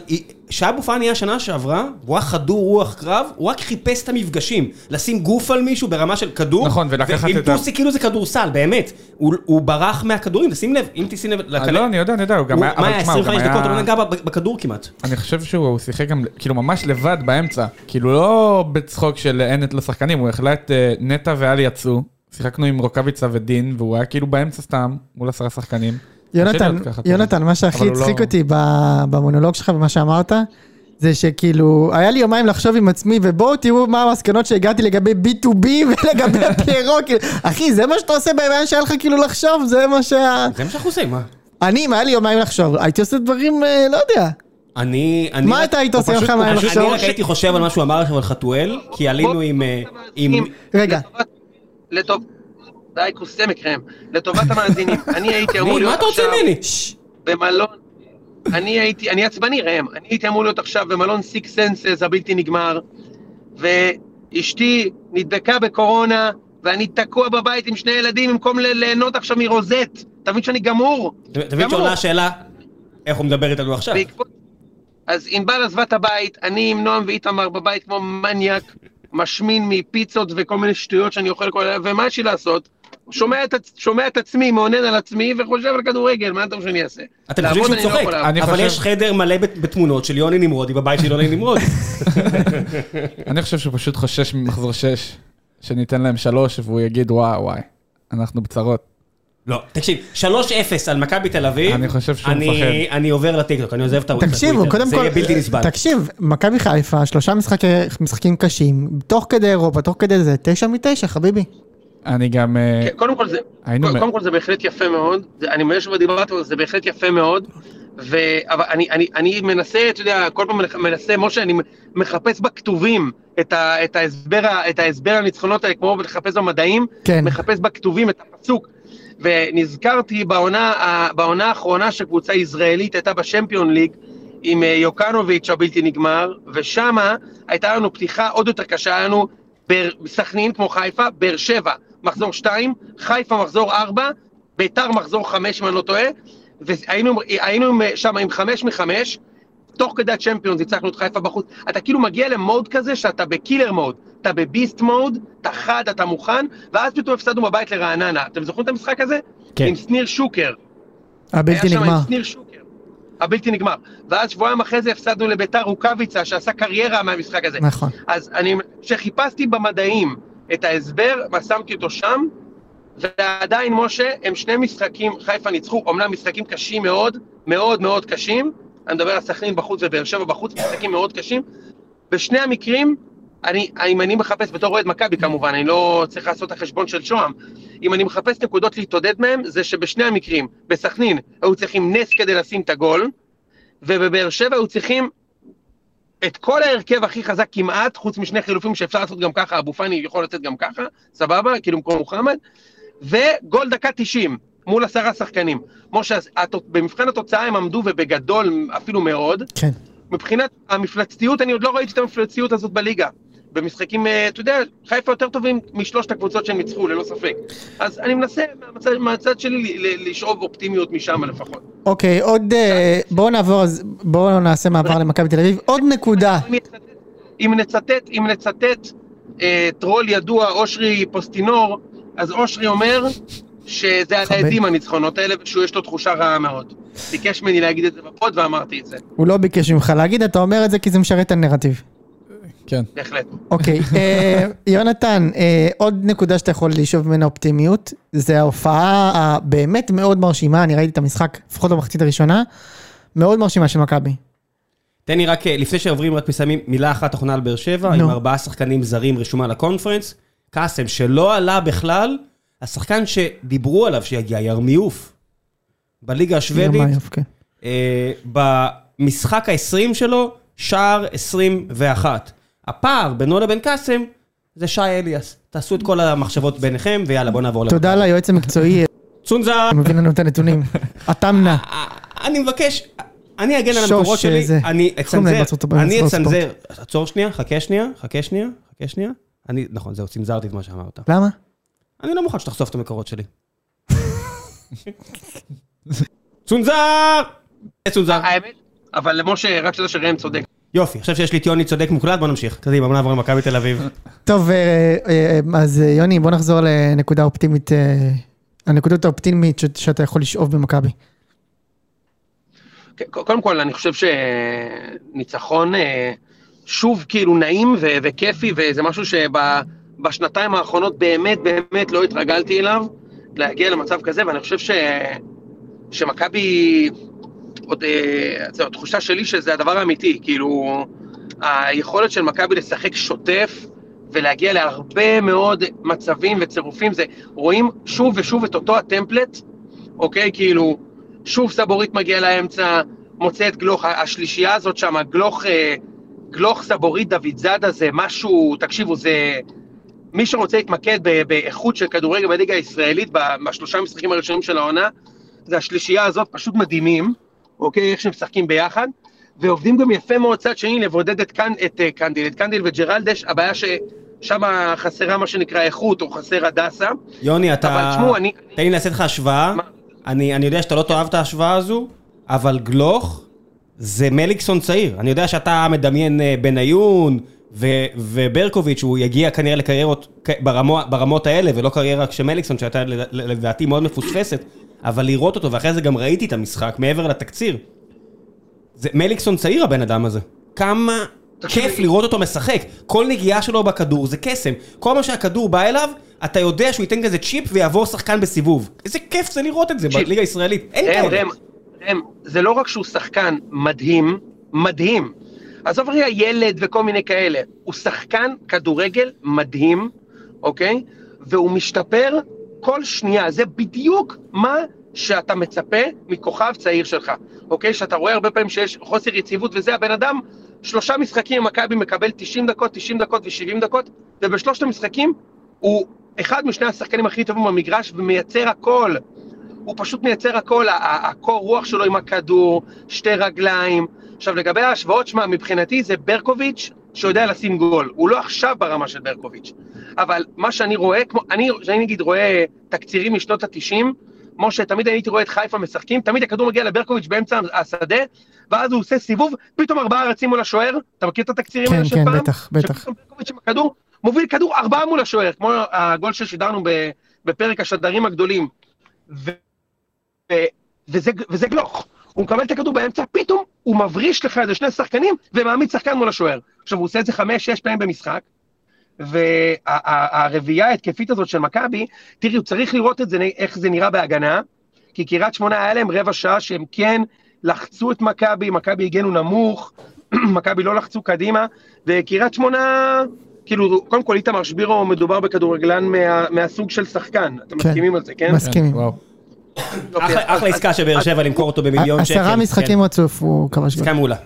כשאבו פאני היה שנה שעברה, הוא היה חדור רוח קרב, הוא רק חיפש את המפגשים. לשים גוף על מישהו ברמה של כדור. נכון, ולקחת ועם את ה- טוסי כאילו זה כדורסל, באמת. הוא הוא ברח מהכדורים, תשים לב, אם תשים לב אה, לא, אני יודע, אני יודע, הוא גם הוא- היה... מה אבל היה, תשמע, הוא גם 25 היה- דקות, הוא לא נגע ב- בכדור כמעט. אני חושב שהוא שיחק גם, כאילו, ממש לבד באמצע. כאילו, לא בצחוק של אין את לשחקנים, הוא החלט אה, נטע ואלי יצאו, שיחקנו עם רוקאביצה ודין, והוא היה כאילו באמצע סתם, מול עשרה שחקנים. קשה יונתן, להיות ככה, אתה יודע. יונתן, מה אבל שהכי הוא לא- הצחיק אותי ב- במונולוג שלך ומה שאמרת, זה שכאילו, היה לי יומיים לחשוב עם עצמי, ובואו תראו מה המסקנות שהגעתי לגבי B2B ולגבי פיירו, כאילו, אחי, זה מה שאתה עושה ביומיים שהיה לך כאילו לחשוב, זה מה שה... זה מה שאנחנו עושים, מה? אני, אם היה לי יומיים לחשוב, הייתי עושה דברים, אה, לא יודע. אני... אני מה רק- אתה היית הוא עושה פשוט- לך מה היה הוא פשוט- לחשוב? אני רק הייתי חושב על מה שהוא אמר עכשיו על חתואל, כי עלינו עם... אה, עם... רגע. לטובת- לטוב... די, כוסי מקרם. לטובת המאזינים, אני הייתי אמור אני- מה להיות אתה רוצה עכשיו ממני? במלון... אני הייתי, אני עצבני ראם, אני הייתי אמור להיות עכשיו במלון סיקס סנסס הבלתי נגמר, ואשתי נדבקה בקורונה, ואני תקוע בבית עם שני ילדים במקום ל- ליהנות עכשיו מרוזט. אתה מבין שאני גמור? אתה מבין שעולה השאלה, איך הוא מדבר איתנו עכשיו? בעקבות... אז ענבל עזבה את הבית, אני עם נועם ואיתמר בבית כמו מניאק, משמין מפיצות וכל מיני שטויות שאני אוכל כל היום, ומה יש לי לעשות? שומע את, עצ- שומע את עצמי, מעונן על עצמי וחושב על כדורגל, מה אתה רוצה שאני אעשה? אתם חושבים לעבוד שהוא אני לא צוחק, יכול לעבוד. אני אבל חושב- יש חדר מלא בת- בתמונות של יוני נמרודי בבית של יוני נמרודי. אני חושב שהוא פשוט חושש ממחזור 6, שניתן להם 3, והוא יגיד, וואי, וואי, אנחנו בצרות. לא, תקשיב, 3-0 על מכבי תל אביב. אני חושב שהוא אני- מפחד. אני עובר לטיקטוק, אני עוזב את הטוויטר. תקשיבו, קודם כל, זה יהיה בלתי נסבל. תקשיב, מכבי חיפה, שלושה משחקי- משחקים קשים, תוך כדי אירופה, תוך כדי זה, תשע מתשע, חביבי. אני גם... אה, כן, קודם כל זה, היינו קודם, מ- קודם כל זה בהחלט יפה מאוד, זה, אני מבין שכבר דיברתם על זה, זה בהחלט יפה מאוד, ו, אבל אני, אני, אני מנסה, אתה יודע, כל פעם מנ- מנסה, משה, אני מחפש בכתובים את, ה, את, ההסבר, ה- את ההסבר הניצחונות האלה, כמו לחפש במדעים, כן. מחפש בכתובים את הפסוק. ונזכרתי בעונה, ה- בעונה האחרונה שקבוצה ישראלית הייתה בשמפיון ליג עם אה, יוקנוביץ' הבלתי נגמר, ושמה הייתה לנו פתיחה עוד יותר קשה, היה לנו באר- סכנין כמו חיפה, באר שבע מחזור 2, חיפה מחזור 4, ביתר מחזור 5 אם אני לא טועה, והיינו היינו עם, אה, שם עם 5 מ-5, תוך כדי הצ'מפיונס הצלחנו את חיפה בחוץ. אתה כאילו מגיע למוד כזה שאתה בקילר מוד, אתה בביסט מוד, אתה חד, אתה מוכן, ואז פתאום הפסדנו בבית לרעננה. אתם זוכרים את המשחק הזה? כן. עם שניר שוקר. הבלתי היה שם נגמר. עם שניר שוקר. הבלתי נגמר. ואז שבועיים אחרי זה הפסדנו לביתר רוקאביצה, שעשה קריירה מהמשחק הזה. נכון. אז אני, כשחיפשתי במדעים את ההסבר, ושמתי אותו שם, ועדיין, משה, הם שני משחקים, חיפה ניצחו, אמנם משחקים קשים מאוד, מאוד מאוד קשים, אני מדבר על סכנין בחוץ ובאר שבע בחוץ, משחקים מאוד קשים. בשני המקרים, אני, אם אני מחפש בתור אוהד מכבי כמובן, אני לא צריך לעשות את החשבון של שוהם, אם אני מחפש נקודות להתעודד מהם, זה שבשני המקרים, בסכנין היו צריכים נס כדי לשים את הגול, ובבאר שבע היו צריכים את כל ההרכב הכי חזק כמעט, חוץ משני חילופים שאפשר לעשות גם ככה, אבו פאני יכול לצאת גם ככה, סבבה, כאילו במקום מוחמד, וגול דקה 90 מול עשרה שחקנים. משה, אז הת- במבחן התוצאה הם עמדו ובגדול אפילו מאוד. כן. מבחינת המפלצתיות, אני עוד לא ראיתי את המפלצתיות הזאת בליגה. במשחקים, אה, אתה יודע, חיפה יותר טובים משלושת הקבוצות שהם ניצחו, ללא ספק. אז אני מנסה מהצד, מהצד שלי ל- ל- לשאוב אופטימיות משם לפחות. אוקיי, עוד... אה, בואו נעבור, אז בואו נעשה מעבר למכבי תל אביב. עוד נקודה. אם נצטט- אם נצטט, אם נצטט אה, טרול ידוע, אושרי פוסטינור, אז אושרי אומר שזה על מכבד. העדים הניצחונות האלה, ושהוא יש לו תחושה רעה מאוד. ביקש ממני להגיד את זה בפוד ואמרתי את זה, הוא לא ביקש ממך להגיד, אתה אומר את זה כי זה משרת את הנרטיב. כן. בהחלט. אוקיי, אה, יונתן, אה, עוד נקודה שאתה יכול לשאוב ממנה אופטימיות, זה ההופעה הבאמת מאוד מרשימה, אני ראיתי את המשחק, לפחות במחצית הראשונה, מאוד מרשימה של מכבי. תן לי רק, אה, לפני שעוברים רק מסיימים, מילה אחת אחרונה על באר שבע, נו. עם ארבעה שחקנים זרים רשומה לקונפרנס. קאסם, שלא עלה בכלל, השחקן שדיברו עליו שיגיע, ירמיוף. בליגה השוודית, ירמיוף, כן. אה, במשחק ה-20 שלו, שער 21. הפער בינו לבין קאסם זה שי אליאס. תעשו את כל המחשבות ביניכם, ויאללה, בואו נעבור תודה ליועץ המקצועי, צונזה, שמביא לנו את הנתונים. התמנה. אני מבקש, אני אגן על שוש, אה, המקורות שלי, זה. אני איך קוראים להם אצנזר, בארצות הברית? אני בארצות אצנזר. עצור שנייה, חכה שנייה, חכה שנייה, חכה שנייה. אני, נכון, זהו, צנזרתי את מה שאמרת. למה? אני לא מוכן שתחשוף את המקורות שלי. צונזר! צונזר. האמת, אבל משה, רק שתדע שראם צודק. יופי, עכשיו שיש לי את יוני צודק מוקלט, בוא נמשיך. קדימה, בוא נעבור למכבי תל אביב. טוב, אה, אה, אז אה, יוני, בוא נחזור לנקודה אופטימית, אה, הנקודות האופטימית ש- שאתה יכול לשאוב במכבי. כן, ק- קודם כל, אני חושב שניצחון אה, שוב כאילו נעים ו- וכיפי, וזה משהו שבשנתיים האחרונות באמת באמת לא התרגלתי אליו, להגיע למצב כזה, ואני חושב ש... שמכבי, עוד, אה, זו התחושה שלי שזה הדבר האמיתי, כאילו, היכולת של מכבי לשחק שוטף ולהגיע להרבה מאוד מצבים וצירופים, זה, רואים שוב ושוב את אותו הטמפלט, אוקיי? כאילו, שוב סבורית מגיע לאמצע, מוצא את גלוך, השלישייה הזאת שם, גלוך, אה, גלוך סבורית דוד זאדה זה משהו, תקשיבו, זה... מי שרוצה להתמקד ב- באיכות של כדורגל בליגה הישראלית, ב- בשלושה המשחקים הראשונים של העונה, זה השלישייה הזאת, פשוט מדהימים, אוקיי? איך שהם משחקים ביחד, ועובדים גם יפה מאוד צד שני לבודד את, קנ, את אה, קנדיל, את קנדיל וג'רלדש, הבעיה ששם חסרה מה שנקרא איכות, או חסר הדסה. יוני, אבל אתה... תשמעו, אני... תן לי לעשות לך השוואה. מה? אני אני יודע שאתה לא תאהב את ההשוואה הזו, אבל גלוך זה מליקסון צעיר. אני יודע שאתה מדמיין אה, בניון ו- וברקוביץ', שהוא יגיע כנראה לקריירות כ- ברמו- ברמות האלה, ולא קריירה כשמליקסון, שהייתה ל- ל- לדעתי מאוד מפוספסת, אבל לראות אותו, ואחרי זה גם ראיתי את המשחק, מעבר לתקציר. זה מליקסון צעיר הבן אדם הזה. כמה תקשיב, כיף לראות אותו משחק. כל נגיעה שלו בכדור זה קסם. כל מה שהכדור בא אליו, אתה יודע שהוא ייתן כזה צ'יפ ויעבור שחקן בסיבוב. איזה כיף זה לראות את זה תקשיב, בליגה הישראלית. אין ראם, כאלה. ראם, ראם, זה לא רק שהוא שחקן מדהים, מדהים. עזוב רגע ילד וכל מיני כאלה, הוא שחקן כדורגל מדהים, אוקיי? והוא משתפר כל שנייה, זה בדיוק מה שאתה מצפה מכוכב צעיר שלך, אוקיי? שאתה רואה הרבה פעמים שיש חוסר יציבות וזה, הבן אדם, שלושה משחקים עם מכבי מקבל 90 דקות, 90 דקות ו-70 דקות, ובשלושת המשחקים הוא אחד משני השחקנים הכי טובים במגרש ומייצר הכל. הוא פשוט מייצר הכל, ה- ה- הקור רוח שלו עם הכדור, שתי רגליים. עכשיו לגבי ההשוואות, שמע, מבחינתי זה ברקוביץ' שיודע לשים גול. הוא לא עכשיו ברמה של ברקוביץ', אבל מה שאני רואה, כמו, אני, שאני נגיד רואה תקצירים משנות התשעים, משה, תמיד הייתי רואה את חיפה משחקים, תמיד הכדור מגיע לברקוביץ' באמצע השדה, ואז הוא עושה סיבוב, פתאום ארבעה רצים מול השוער, אתה מכיר את התקצירים כן, האלה של כן, פעם? בטח, בטח. שפתאום ברקוביץ' עם הכדור, מוביל כדור ארבעה מול השוער, כמו הגול ששידרנו ב- בפרק השדרים הגדולים. ו- ו- וזה, וזה גלוך. הוא מקבל את הכדור באמצע, פתאום הוא מבריש לך איזה שני שחקנים ומעמיד שחקן מול השוער. עכשיו, הוא עושה את זה חמש, שש פעמים במשחק, והרביעייה ההתקפית הזאת של מכבי, תראו, צריך לראות את זה, איך זה נראה בהגנה, כי קריית שמונה היה להם רבע שעה שהם כן לחצו את מכבי, מכבי הגנו נמוך, מכבי לא לחצו קדימה, וקריית שמונה, כאילו, קודם כל איתמר שבירו מדובר בכדורגלן מה, מהסוג של שחקן, אתם כן. מסכימים על זה, כן? מס- מסכימים. וואו. אוקיי, אחלה אחלה אז- עסקה שבאר שבע למכור אותו במיליון שקל. עשרה משחקים כן. רצוף הוא כבש גול. עסקה מעולה.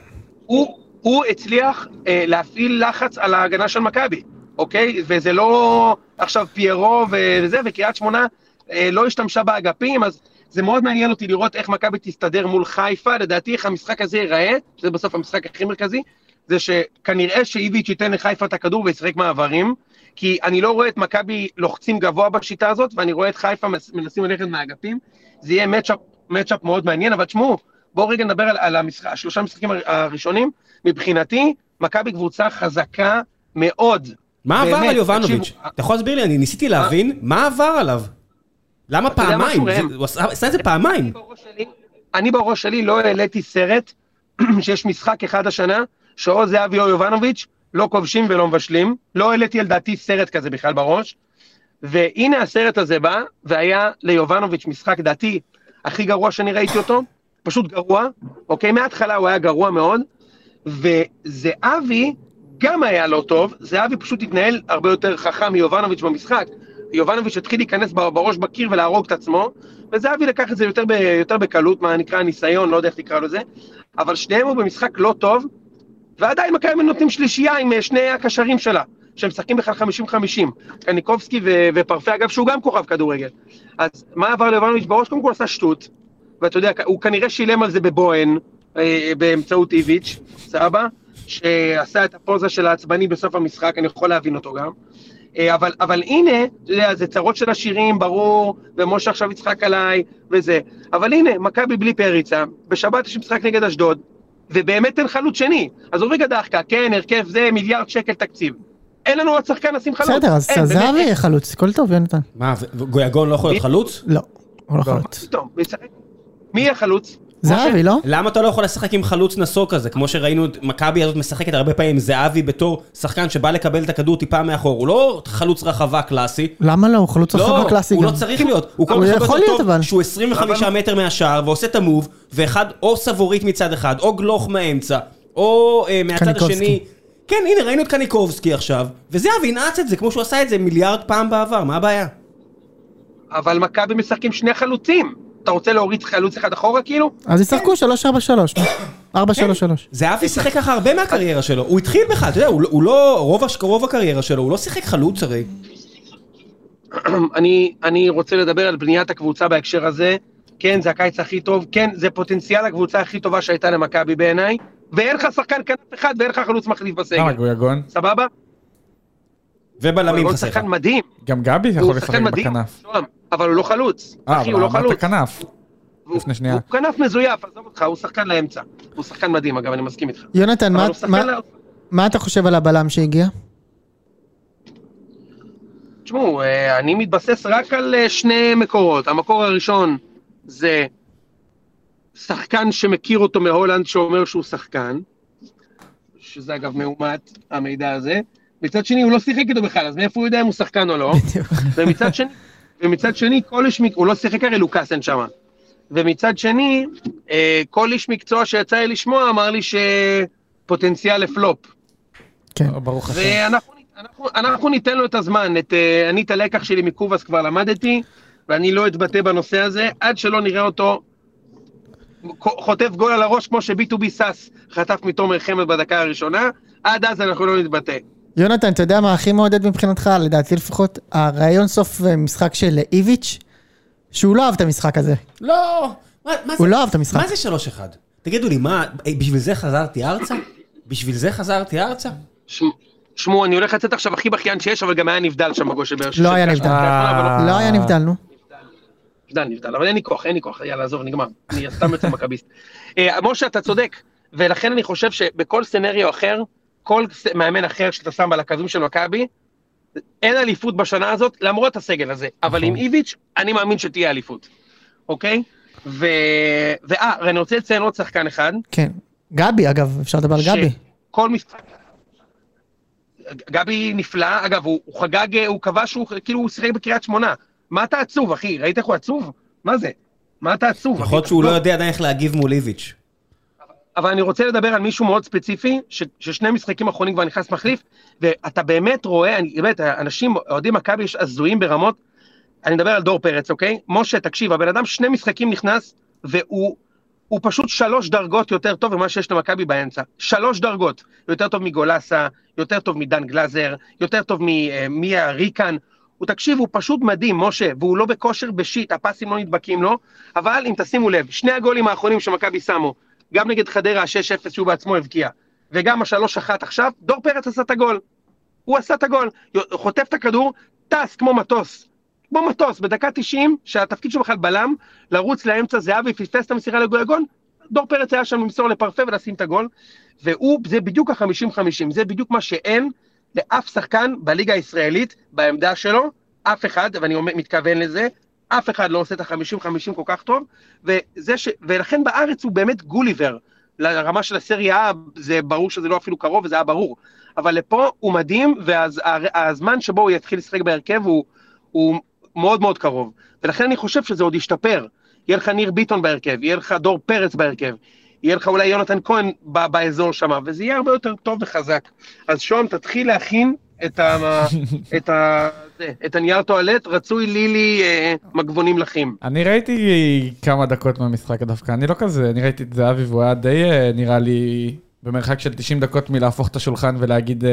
הוא, הוא הצליח אה, להפעיל לחץ על ההגנה של מכבי, אוקיי? וזה לא עכשיו פיירו ו- וזה, וקריית שמונה אה, לא השתמשה באגפים, אז זה מאוד מעניין אותי לראות איך מכבי תסתדר מול חיפה, לדעתי איך המשחק הזה ייראה, שזה בסוף המשחק הכי מרכזי, זה שכנראה שאיביץ' ייתן לחיפה את הכדור וישחק מעברים, כי אני לא רואה את מכבי לוחצים גבוה בשיטה הזאת, ואני רואה את חיפה מס- מנסים ללכת מהאגפים, זה יהיה מצ'אפ, מצ'אפ מאוד מעניין, אבל תשמעו, בואו רגע נדבר על, על המשחק, השלושה המשחקים הר- הראשונים, מבחינתי, מכבי קבוצה חזקה מאוד. מה עבר באמת, על יובנוביץ'? תקשיבו, אה? אתה יכול להסביר לי? אני ניסיתי להבין מה עבר עליו. למה אתה יודע פעמיים? משהו, ראם? זה- הוא עשה עשה את זה פעמיים. אני בראש שלי- אני בראש שלי לא העליתי סרט שיש משחק אחד השנה, שאו זהבי או יובנוביץ', לא כובשים ולא מבשלים. לא העליתי על דעתי סרט כזה בכלל בראש. והנה הסרט הזה בא, והיה ליובנוביץ' משחק דעתי הכי גרוע שאני ראיתי אותו, פשוט גרוע, אוקיי? מההתחלה הוא היה גרוע מאוד, וזהבי גם היה לא טוב, זהבי פשוט התנהל הרבה יותר חכם מיובנוביץ' במשחק. יובנוביץ' התחיל להיכנס ב- בראש בקיר ולהרוג את עצמו, וזהבי לקח את זה יותר, ב, יותר בקלות, מה נקרא ניסיון, לא יודע איך תקרא לזה, אבל שניהם הוא במשחק לא טוב, ועדיין מכבי נותנים שלישייה עם אה, שני הקשרים שלה, שהם משחקים בכלל 50-50, קניקובסקי ו- ופרפה, אגב, שהוא גם כוכב כדורגל. אז מה עבר ליובנוביץ' בראש? קודם כל עשה שטות, ואתה יודע, הוא כנראה שילם על זה בבוהן, אה, באמצעות איביץ', סבא, שעשה את הפוזה של העצבני בסוף המשחק, אני יכול להבין אותו גם. אה, אבל, אבל הנה, אתה יודע, זה צרות של עשירים, ברור, ומשה עכשיו יצחק עליי, וזה. אבל הנה, מכבי בלי פריצה, בשבת יש משחק נגד אשדוד, ובאמת אין חלוץ שני. אז הוא רגע דחקה, כן, הרכב זה, מיליארד שקל תקציב. אין לנו עוד שחקן לשים חלוץ. בסדר, אז אין, באמת, זהבי אין. יהיה חלוץ, הכל טוב יונתן. מה, ו- גויגון לא יכול להיות חלוץ? לא, הוא לא לא. חלוץ. פתאום, משחק. מי יהיה חלוץ? זהבי, לא? למה אתה לא יכול לשחק עם חלוץ נסוג כזה? כמו שראינו את מכבי הזאת משחקת הרבה פעמים, זהבי בתור שחקן שבא לקבל את הכדור טיפה מאחור. הוא לא חלוץ רחבה קלאסי. למה לא? הוא חלוץ לא, רחבה קלאסי הוא לא גם. צריך להיות. הוא הוא כל כך הרבה יכול יותר להיות, טוב אבל. שהוא 25 מטר מהשער ועושה את המוב, ואחד או סבורית מצד אחד, או גלוך מהאמצע, או אה, מהצד קניקובסקי. השני. כן, הנה, ראינו את קניקובסקי עכשיו, וזהבי ינעץ את זה כמו שהוא עשה את זה מיליארד פעם בעבר, מה הבעיה? אבל מכבי משחקים שני חלוצים. אתה רוצה להוריד חלוץ אחד אחורה כאילו? אז ישחקו 3-4-3. 4-3-3. זהבי שיחק ככה הרבה מהקריירה שלו, הוא התחיל בכלל, אתה יודע, הוא לא- הוא לא, רוב הש- רוב הקריירה שלו, הוא לא שיחק חלוץ הרי. אני, אני רוצה לדבר על בניית הקבוצה בהקשר הזה. כן, זה הקיץ הכי טוב, כן, זה פוטנציאל הקבוצה הכי טובה שהייתה למכבי בעיניי, ואין לך שחקן כנף אחד ואין לך חלוץ מחליף למה לא? בסגל, גויגון? סבבה? ובלמים הוא לא חסר לך. שחקן מדהים, גם גבי הוא יכול לשחק שחקן מדהים, בכנף. שוהם, אבל הוא לא חלוץ, אה, אחי, הוא אבל לא אמרת חלוץ, כנף. הוא לפני שנייה. הוא כנף מזויף, עזוב אותך, הוא שחקן לאמצע, הוא שחקן מדהים אגב, אני מסכים איתך, יונתן, כן. אבל מה- הוא שחקן מה- לא- מה אתה חושב על הבלם שהגיע? תשמעו, אה, אני מתבסס רק על אה, שני מקורות. המקור הראשון זה שחקן שמכיר אותו מהולנד שאומר שהוא שחקן, שזה אגב מאומת, המידע הזה. מצד שני, הוא לא שיחק איתו בכלל, אז מאיפה הוא יודע אם הוא שחקן או לא? ומצד שני, ומצד שני, כל איש מקצוע, הוא לא שיחק הרי לוקאסן שם. ומצד שני, אה, כל איש מקצוע שיצא לי לשמוע אמר לי שפוטנציאל לפלופ. כן. ברוך השם. ואנחנו אנחנו- אנחנו ניתן לו את הזמן, את, אה, אני את הלקח שלי מקובאס כבר למדתי, ואני לא אתבטא בנושא הזה, עד שלא נראה אותו חוטף גול על הראש כמו שביטובי סאס חטף מתומר חמד בדקה הראשונה, עד אז אנחנו לא נתבטא. יונתן, אתה יודע מה הכי מעודד מבחינתך, לדעתי לפחות, הרעיון סוף אה, משחק של איביץ', שהוא לא אהב את המשחק הזה. לא! מה, מה הוא זה, לא אהב את המשחק. מה זה שלוש אחד? תגידו לי, מה, אה, בשביל זה חזרתי ארצה? בשביל זה חזרתי ארצה? ש- שמעו, אני הולך לצאת עכשיו הכי בכיין שיש, אבל גם היה נבדל שם בגול של באר שבע. לא אה, היה נבדל. אבל לא היה נבדל, נו. נבדל, נבדל, אבל אין לי כוח, אין לי כוח, יאללה, עזוב, נגמר. אני סתם יוצא מכביסט. אה, משה, אתה צודק, ולכן אני חושב שבכל סצנריו אחר, כל ס- מאמן אחר שאתה שם על הקווים של מכבי, אין אליפות בשנה הזאת, למרות הסגל הזה, אבל עם איביץ', אני מאמין שתהיה אליפות, אוקיי? ו... ואה, ואני רוצה לציין עוד שחקן אחד, כן. גבי, אגב, אפשר לדבר על גבי. שכל משחק... גבי נפלא, אגב, הוא, הוא חגג, הוא קבע שהוא כאילו הוא שיחק בקריית שמונה. מה אתה עצוב, אחי? ראית איך הוא עצוב? מה זה? מה אתה עצוב? יכול להיות אחי? שהוא לא לא, יודע עדיין איך להגיב מול איביץ'. אבל אני רוצה לדבר על מישהו מאוד ספציפי, ש, ששני משחקים אחרונים כבר נכנס מחליף, ואתה באמת רואה, אני, באמת, אנשים, אוהדים מכבי יש הזויים ברמות, אני מדבר על דור פרץ, אוקיי? משה, תקשיב, הבן אדם שני משחקים נכנס, והוא הוא פשוט שלוש דרגות יותר טוב ממה שיש למכבי באמצע. שלוש דרגות. יותר טוב מגולסה, יותר טוב מדן גלאזר, יותר טוב ממיה ריקן. הוא תקשיב, הוא פשוט מדהים, משה, והוא לא בכושר בשיט, הפסים לא נדבקים לו, אבל אם תשימו לב, שני הגולים האחרונים שמכבי שמו, גם נגד חדרה ה-6-0 שהוא בעצמו הבקיע, וגם ה-3-1 עכשיו, דור פרץ עשה את הגול. הוא עשה את הגול, יו- חוטף את הכדור, טס כמו מטוס. כמו מטוס, בדקה 90, שהתפקיד שלו בכלל בלם, לרוץ לאמצע זהבי, פספס את המסירה לגויגון, דור פרץ היה שם למסור לפרפה ולשים את הגול, והוא, זה בדיוק ה-50-50, זה בדיוק מה שאין לאף שחקן בליגה הישראלית, בעמדה שלו, אף אחד, ואני אומר, מתכוון לזה, אף אחד לא עושה את ה-50-50 כל כך טוב, וזה ש... ולכן בארץ הוא באמת גוליבר. לרמה של הסריה A, זה ברור שזה לא אפילו קרוב, וזה היה ברור. אבל לפה הוא מדהים, והזמן שבו הוא יתחיל לשחק בהרכב הוא, הוא מאוד מאוד קרוב. ולכן אני חושב שזה עוד ישתפר. יהיה לך ניר ביטון בהרכב, יהיה לך דור פרץ בהרכב, יהיה לך אולי יונתן כהן ב- באזור שם, וזה יהיה הרבה יותר טוב וחזק. אז שוהם, תתחיל להכין את, ה- את, ה- זה, את הנייר טואלט, רצוי לילי אה, מגבונים לחים. אני ראיתי כמה דקות מהמשחק דווקא, אני לא כזה, אני ראיתי את זהבי והוא היה די, אה, נראה לי, במרחק של 90 דקות מלהפוך את השולחן ולהגיד, אה,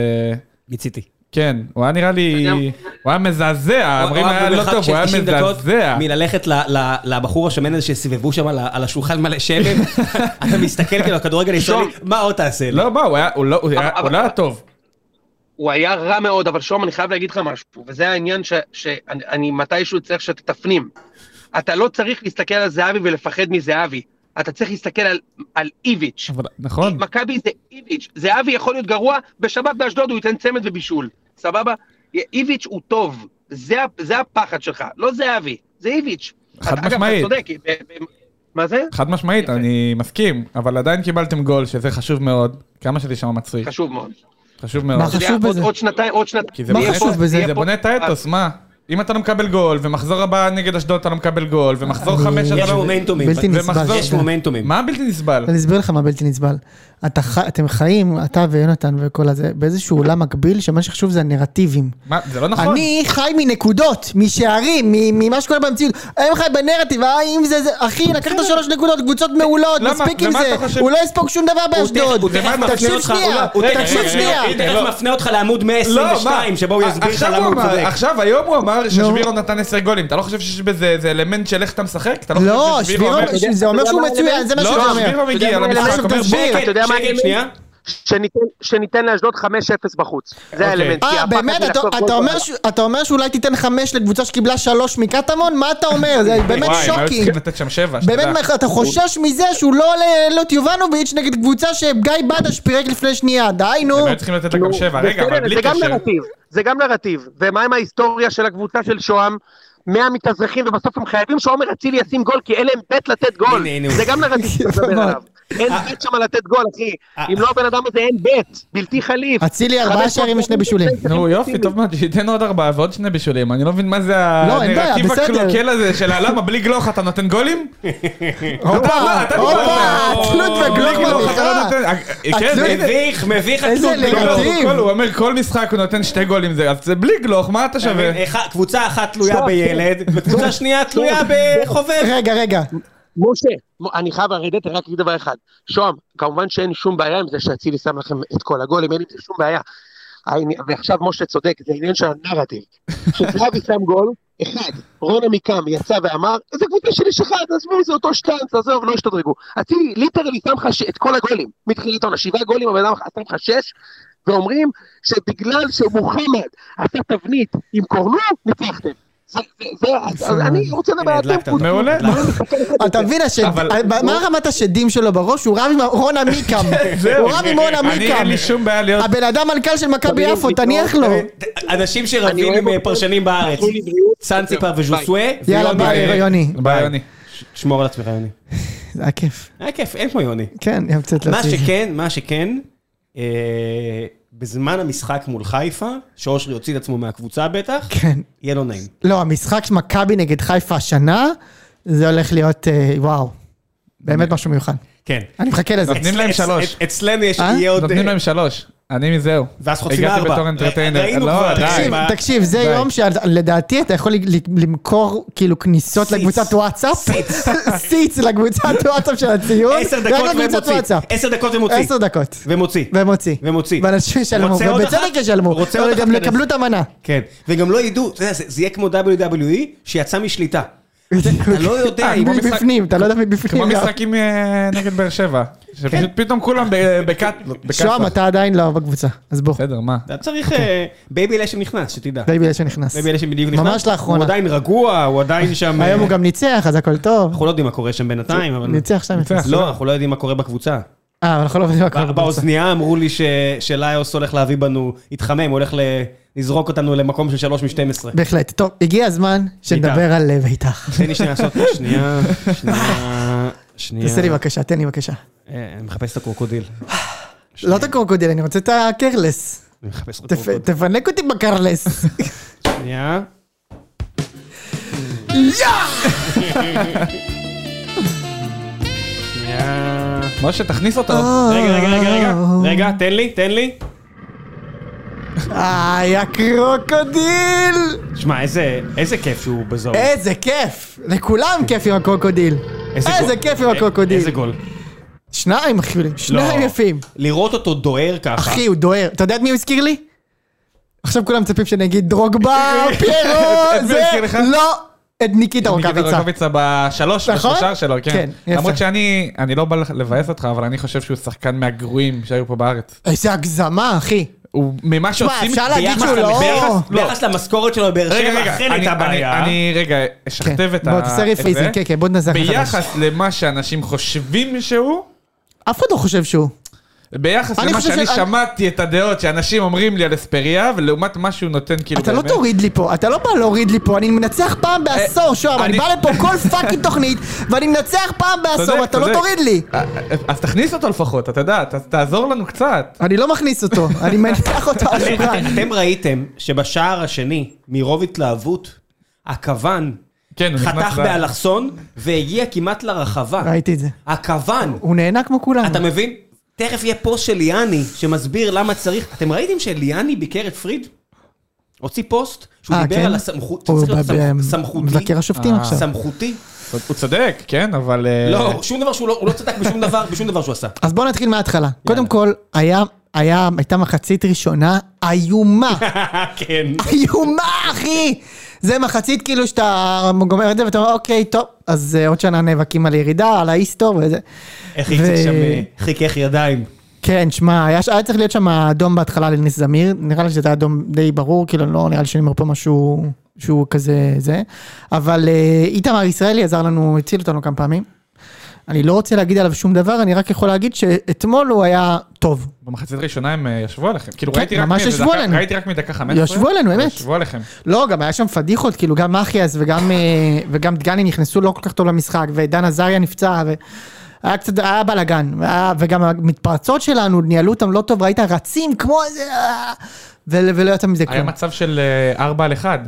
מיציתי. כן, הוא היה נראה לי, וגם- הוא היה מזעזע, אומרים היה לא טוב, הוא היה מזעזע. מללכת ל- ל- לבחור השמן הזה שסיבבו שם על ה- על השולחן מלא שמן, אתה מסתכל כאילו, הכדורגל הישראלי, מה עוד תעשה לי? לא, מה, הוא היה, הוא לא, הוא היה- אבל- הוא לא היה טוב. הוא היה רע מאוד, אבל שום, אני חייב להגיד לך משהו, וזה העניין ש- שאני אני מתישהו צריך שאתה תפנים. אתה לא צריך להסתכל על זהבי ולפחד מזהבי, אתה צריך להסתכל על, על איביץ'. אבל- נכון, מכבי זה איביץ', זהבי יכול להיות גרוע, בשבת באשדוד הוא ייתן צמד ובישול, סבבה? איביץ' הוא טוב, זה, ה- זה הפחד שלך, לא זהבי, זה איביץ'. חד אתה- אגב, משמעית. אתה צודק, ב- ב- מה זה? חד משמעית, יפה. אני מסכים, אבל עדיין קיבלתם גול, שזה חשוב מאוד, כמה שזה שם מצחיק, חשוב מאוד. חשוב מאוד. מה חשוב אתה יודע, עוד- בזה? עוד שנתיים, עוד שנתיים. כי זה מה בונה- חשוב בזה? יהיה זה פה- בונה את האתוס, מה? אם אתה לא מקבל גול, ומחזור הבא נגד אשדוד אתה לא מקבל גול, ומחזור אני- חמש יש אתה לא... מומנטומים. בלתי נסבל. ומחזור- יש מומנטומים. מה בלתי נסבל? אני אסביר לך מה בלתי נסבל. אתה חי- אתם חיים, אתה ויונתן וכל הזה, באיזשהו עולם מקביל, שמה שחשוב זה הנרטיבים. מה, זה לא נכון. אני חי מנקודות, משערים, מ- ממה שקורה במציאות. הם חי בנרטיב, אה, אם זה זה... אחי, לקחת שלוש נקודות, קבוצות מעולות, למה? מספיק עם ומה זה. אתה חושב? אוקיי. הוא לא יספוג שום דבר הוא באשדוד. תכף מפנה תקשיב אותך, הוא שנייה, לא- הוא תקשיב תקשיב רגע, שנייה. הוא תכף מפנה אותך לעמוד לא, מה? 122, שבו הוא יסביר לך עכשיו למה הוא הוא אמר- צודק. עכשיו, היום הוא אמר ששבירו נתן 10 גולים. אתה לא חושב שיש בזה איזה אלמנט של איך אתה משחק? אתה לא לא, חושב שבירו, אומר- זה אומר שהוא מצוין, זה מה שזה לא, אומר. שבירו מגיע יודע מה למשחק, האלמנט? אומר תסביר. בוא, אתה יודע שקט, מה האלמנט? כן, שנייה. שניתן, שניתן לאשדוד 5-0 בחוץ. אוקיי. זה האלמנט. כי אה, הפחד באמת? אתה- מלחטוף גול אתה אומר בבית. ש- אתה אומר שאולי תיתן חמש לקבוצה שקיבלה שלוש מקטמון? מה אתה אומר? זה באמת וואי, הם היו שוקינג. צריכים לתת שם שבע, באמת, שתדע. מה- אתה חושש מזה שהוא לא עולה לעלות יובנוביץ' נגד קבוצה שגיא בדש פירק לפני שנייה, די נו. הם היו צריכים לתת לה גם שבע, רגע, אבל בסדר, בלי זה גם קשר. נרטיב, זה גם נרטיב. ומה עם ההיסטוריה של הקבוצה של שוהם? מהמתאזרחים, ובסוף הם חייבים שעומר אצילי ישים גול, כי אין להם בית לתת גול. הנה, הנה הוא. זה גם נרטיב שאתה מדבר עליו. אין אה, בית שם לתת גול, אחי. אם לא הבן אדם הזה, אין בית. בלתי חליף. אצילי ארבעה לא שערים ושני בישולים. נו יופי, טוב מאוד, שייתן עוד ארבעה ועוד שני בישולים. אני לא מבין מה זה לא, אין בעיה, הנרטיב בסדר. הקלוקל הזה של הלמה בלי גלוך אתה נותן גולים? הופה, אתה הופה, דיברת. תלות וגלוך בלי גלוך אתה בבריכה. לא נותן... אה, כן, התלות- הנה, מביך, מביך לא איזה עצוב. אלגנטי. גלוך הוא מדהים. כל- הוא אומר כל משחק הוא נותן שתי גולים זה, אז זה בלי גלוך, מה אתה שווה? אה, אחד- אה, קבוצה אחת תלויה בילד, וקבוצה שנייה תלויה בחובב. רגע, רגע. משה, מ- אני חייב לרדת רק להגיד דבר אחד. שוהם, כמובן שאין שום בעיה עם זה שאצילי שם לכם את כל הגולים, אין עם זה שום בעיה. העני- ועכשיו משה צודק, זה עניין של הנרטיב. כשזהבי שם גול, אחד, רון עמיקם יצא ואמר, איזה קבוצה שלי שלך, תעזבו, זה אותו שטאנץ, עזוב, לא ישתדרגו. אצילי ליטרלי שם לך ש- את כל הגולים, מתחילת העונה, שבעה גולים, הבן אדם שם לך שש, ואומרים שבגלל שמוחמד עשה תבנית עם קורנו, ניצחתם. זה, זה, זה, אז אני רוצה לדבר הנה, על אה, הדלקת אתם, אותנו. מעולה. אתה מבין, השד- אבל- מה רמת השדים שלו בראש? הוא רב עם רון עמיקם. זהו. אה, הוא רב עם רון אני עמיקם. אין לי שום בעיה להיות... הבן אדם מנכ"ל של מכבי יפו, תניח אה? לו. אנשים אני שרבים אוהב עם אה, אותו. פרשנים בארץ. תנו לי בריאות. סנציפר ביי. וז'וסווה. יאללה, לא ביי, יוני. ביי יוני. אה, שמור על עצמך, יוני. זה היה כיף. היה כיף, אין כמו יוני. כן, ים קצת מה להוציא. שכן, מה שכן, אה, בזמן המשחק מול חיפה, שאושרי הוציא את עצמו מהקבוצה בטח, כן. יהיה לא נעים. לא, המשחק של מכבי נגד חיפה השנה, זה הולך להיות, אה, וואו, באמת משהו מיוחד. כן. אני מחכה לזה. נותנים להם שלוש. אצלנו יש, אה? יהיה עוד... נותנים להם שלוש. אני מזהו. ואז חוטפים הגעתי ארבע. בתור אנטרטיינר. ראינו לא, כבר, די. תקשיב, תקשיב, מה- תקשיב, זה די. יום שלדעתי אתה יכול ל- למכור כאילו כניסות סיץ. לקבוצת וואטסאפ. סיץ. סיץ לקבוצת וואטסאפ של הציון. עשר רק דקות לקבוצת ומוציא. וואטסאפ. עשר דקות ומוציא. עשר דקות. ומוציא. ומוציא. ומוציא. ואנשים ישלמו, רוצה עוד ובצדק אחת? ישלמו. רוצה אבל עוד גם אחת? יקבלו את המנה. כן. וגם לא ידעו, אתה יודע, זה זה יהיה כמו WWE שיצא משליטה. אתה לא יודע אם... כמו משחק- מבפנים, אתה לא יודע מבפנים. כמו גם. משחקים אה, נגד באר שבע. שפשוט פתאום כולם ב- בקאט... בקאט- כן. שוהם, אתה עדיין לא בקבוצה, אז בוא. בסדר, מה? אתה צריך... אה, בייבי לשם נכנס, שתדע. די בגלל שנכנס. בייבי לשם בדיוק נכנס. ממש לאחרונה. הוא עדיין רגוע, הוא עדיין שם... היום הוא אה, גם ניצח, אז הכל טוב. אנחנו לא יודעים מה קורה שם בינתיים, אבל... ניצח שם. ניצח. לא, אנחנו לא יודעים מה קורה בקבוצה. אה, אבל אנחנו לא מבינים מה קורה. בא- באוזנייה אמרו לי ש- שליוס הולך להביא בנו, התחמם, הוא הולך ל- לזרוק אותנו למקום של 3 מ-12. בהחלט. טוב, הגיע הזמן שנדבר על אה, בית"ר. תן לי שנייה לעשות, שנייה, שנייה, שנייה. תעשה לי בבקשה, תן לי בבקשה. אה, אני מחפש את הקרוקודיל. לא את הקרוקודיל, אני רוצה את הקרלס. אני מחפש את תפ- הקרוקודיל. תפנק אותי בקרלס. שנייה. שנייה. משה, תכניס אותו. אה. רגע, רגע, רגע, רגע, רגע, תן לי, תן לי. איי, הקרוקודיל! שמע, איזה, איזה כיף שהוא בזול. איזה כיף! לכולם כיף עם הקרוקודיל. איזה גול. כיף עם אה, הקרוקודיל. איזה גול. שניים אפילו, שניים לא. יפים. לראות אותו דוהר ככה. אחי, הוא דוהר. אתה יודע את מי הוא הזכיר לי? עכשיו כולם מצפים שאני אגיד דרוגבה, את פיירו, מי זה... הזכיר לך? לא, את ניקיטה ניקיטה רוקאביצה. רוקאביצה בשלוש, נכון? בשלושה שלו, כן, כן. יפה. למרות שאני, אני לא בא לך- לבאס אותך, אבל אני חושב שהוא שחקן מהגרועים שהיו פה בארץ. איזה הגזמה, אחי. הוא, ממה שעושים... אפשר להגיד ביחס שהוא לא- ביחס- ביחס למשכורת שלו בבאר רגע, שבע, רגע, אכן אני- הייתה אני- בעיה. אני רגע אשכתב כן, את ה... בוא, תעשה את rephrasing, זה. כן, כן, בוא ננסח מחדש. ביחס למה שאנשים חושבים שהוא, אף אחד לא חושב שהוא. ביחס אני למה חושב שאני שאני- שמעתי את הדעות שאנשים אומרים לי על אספריה, ולעומת מה שהוא נותן כאילו אתה לא באמת. אה, תוריד לי פה, אתה לא בא להוריד לי פה, אני מנצח פעם בעשור, שוהם, אני אני- בא לפה כל פאקינג תוכנית, ואני מנצח פעם בעשור, צודק, ואתה לא צודק. תוריד לי. אה, אז תכניס אותו לפחות, אתה יודע, ת- תעזור לנו קצת. אני לא מכניס אותו, אני מניח אותו על השולחן. אתם ראיתם שבשער השני, מרוב התלהבות, הכוון כן, הוא נכנס חתך ל- באלכסון והגיע כמעט לרחבה. ראיתי את זה. הכוון, הוא נהנה כמו כולם. אתה מבין? תכף יהיה פוסט של ליאני שמסביר למה צריך... אתם ראיתם שליאני ביקר את פריד? הוציא פוסט שהוא אה, דיבר כן? על הסמכות, הוא שצריך להיות ב- ב- סמכ- סמכותי, מבקר השופטים עכשיו. סמכותי. הוא צודק, כן, אבל... אה, לא, שום דבר שהוא לא, הוא לא צדק בשום דבר, בשום דבר שהוא עשה. אז בואו נתחיל מההתחלה. קודם כל, היה, היה, הייתה מחצית ראשונה איומה. כן. איומה, אחי! זה מחצית כאילו שאתה גומר את זה ואתה אומר, אוקיי, טוב, אז אה, עוד שנה נאבקים על ירידה, על האיסטור וזה. איך ו- איציק שם אה, חיכך ידיים. כן, שמע, היה, היה צריך להיות שם אדום בהתחלה לניס זמיר, נראה לי שזה היה אדום די ברור, כאילו לא נראה לי שאני אומר פה משהו שהוא כזה זה, אבל אה, איתמר ישראלי עזר לנו, הציל אותנו כמה פעמים. אני לא רוצה להגיד עליו שום דבר, אני רק יכול להגיד שאתמול הוא היה טוב. במחצית הראשונה הם אה, ישבו עליכם. כאילו כן, ראיתי רק ממש מאיזה ישבו דקה- עלינו. ראיתי רק מדקה 15. ישבו עלינו, אמת. ישבו עליכם. לא, גם היה שם פדיחות, כאילו גם מחיאס וגם, אה, וגם דגני נכנסו לא כל כך טוב למשחק, ודן עזריה נפצע, ו... היה קצת, היה בלאגן, והיה- וגם המתפרצות שלנו, ניהלו אותם לא טוב, ראית רצים כמו איזה... אה, ו- ולא יצא מזה היה כלום. מצב של 4 על 1,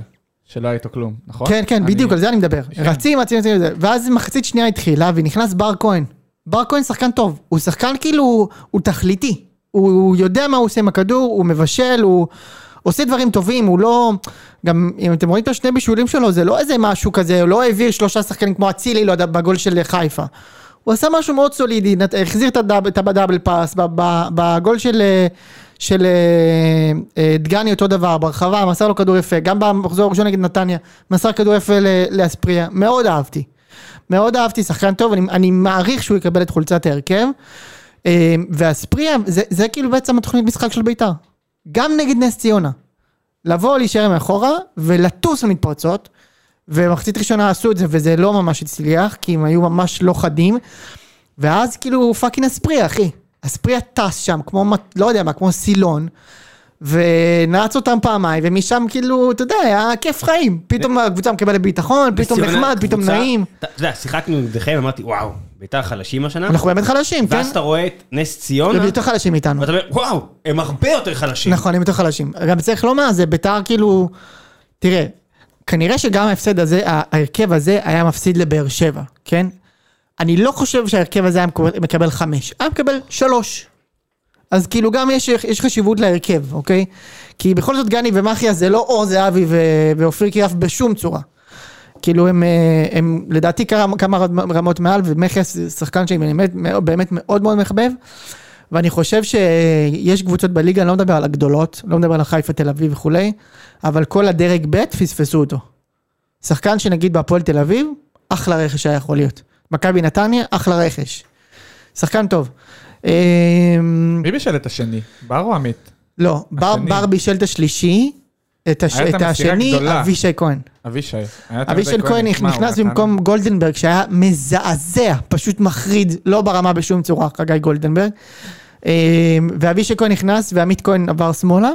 שלא היה איתו כלום, נכון? כן, כן, אני- כן. בדיוק, על זה אני מדבר. רצים, רצים, רצים, רצים, ואז מחצית שנייה התחילה, ונכנס בר כהן. בר כהן שחקן טוב, הוא שחקן כאילו, הוא תכליתי. הוא, הוא יודע מה הוא עושה עם הכדור, הוא מבשל, הוא עושה דברים טובים, הוא לא... גם אם אתם רואים את השני בישולים שלו, זה לא איזה משהו כזה, הוא לא העביר שלושה שחקנים כמו אצילי, לא יודע, בגול של חיפה. הוא עשה משהו מאוד סולידי, נת- החזיר את הדאב- את הדאבל פאס, ב- ב- בגול של, אה, של אה, אה, דגני אותו דבר, ברחבה, מסר לו כדור יפה, גם במחזור הראשון נגד נתניה, מסר כדור יפה ל- לאספריה, מאוד אהבתי. מאוד אהבתי, שחקן טוב, אני, אני מעריך שהוא יקבל את חולצת ההרכב. אה, ואספריה, זה, זה כאילו בעצם התוכנית משחק של בית"ר. גם נגד נס ציונה. לבוא, להישאר מאחורה, ולטוס למתפרצות. ומחצית ראשונה עשו את זה, וזה לא ממש הצליח, כי הם היו ממש לא חדים. ואז כאילו פאקינג אספריה, אחי. אספריה טס שם, כמו, מט- לא יודע מה, כמו סילון. ונעץ אותם פעמיים, ומשם כאילו, אתה יודע, היה כיף חיים. פתאום הקבוצה מקבלת ביטחון, פתאום בסיונה, נחמד, פתאום קבוצה- נעים. אתה אתה יודע, שיחקנו נגדכם, אמרתי, וואו, ביתר חלשים השנה. אנחנו באמת חלשים, כן? ואז אתה רואה את נס ציונה, הם יותר חלשים מאיתנו. ואתה אומר, וואו, הם הרבה יותר חלשים. נכון, הם יותר חלשים. גם צריך לומר, זה ביתר כאילו... תראה, כנראה שגם ההפסד הזה, ה- ההרכב הזה היה מפסיד לבאר שבע, כן? אני לא חושב שההרכב הזה היה מקבל- מקבל חמש, היה מקבל שלוש. אז כאילו גם יש, יש חשיבות להרכב, אוקיי? כי בכל זאת גני ומחיה זה לא אור זהבי ו- ואופיר קריאף בשום צורה. כאילו הם, אה, הם לדעתי כמה, כמה רמ- רמות מעל, ומכס זה שחקן שאני באמת, באמת מאוד מאוד מחבב. ואני חושב שיש קבוצות בליגה, אני לא מדבר על הגדולות, לא מדבר על חיפה, תל אביב וכולי, אבל כל הדרג ב' פספסו אותו. שחקן שנגיד בהפועל תל אביב, אחלה רכש היה יכול להיות. מכבי נתניה, אחלה רכש. שחקן טוב. אה, אמ, מי בישל את השני? בר או עמית? לא, בר, השני. בר בישל את השלישי, את, הש... היה את את המסירה השני, הגדולה. אבישי כהן. אבישי. היה את אבישי יהודה כהן תשמע, הוא נכנס נתן- במקום גולדנברג שהיה מזעזע, פשוט מחריד, לא ברמה בשום צורה, חגי גולדנברג. אה, ואבישי כהן נכנס ועמית כהן עבר שמאלה,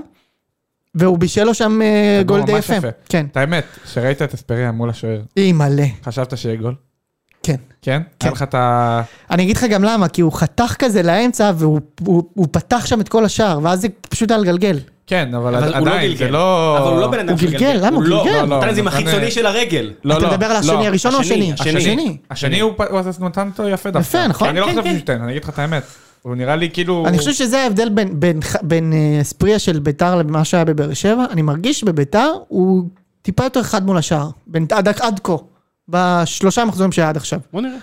והוא בישל לו שם אה, הוא גול די ממש יפה. כן, את האמת, שראית את אספריה מול השוער, אי מלא, חשבת שיהיה גול? כן. כן? כן. היה לך את ה... אני אגיד לך גם למה, כי הוא חתך כזה לאמצע והוא הוא, הוא פתח שם את כל השער, ואז זה פשוט היה לגלגל. כן, אבל אבל הוא לא עדיין, זה גלגל. לא... אבל הוא לא בן אדם הוא גלגל, למה? הוא לא, גלגל. הוא נתן את זה עם הוא נתן- החיצוני של הרגל. לא, אתה לא, מדבר על לא. השני הראשון או השני? השני, השני. השני הוא פ- הוא עשה- נתן אותו יפה דווקא. נכון? אני לא כן, חושב כן. שהוא ייתן, אני אגיד לך את האמת. הוא נראה לי כאילו... אני חושב שזה ההבדל בין, בין, ח- בין אה, ספריה של ביתר למה שהיה בבאר שבע. אני מרגיש שבביתר הוא טיפה יותר חד מול השאר. בין, עד, עד כה. בשלושה מחזורים שהיה עד עכשיו. בוא נראה.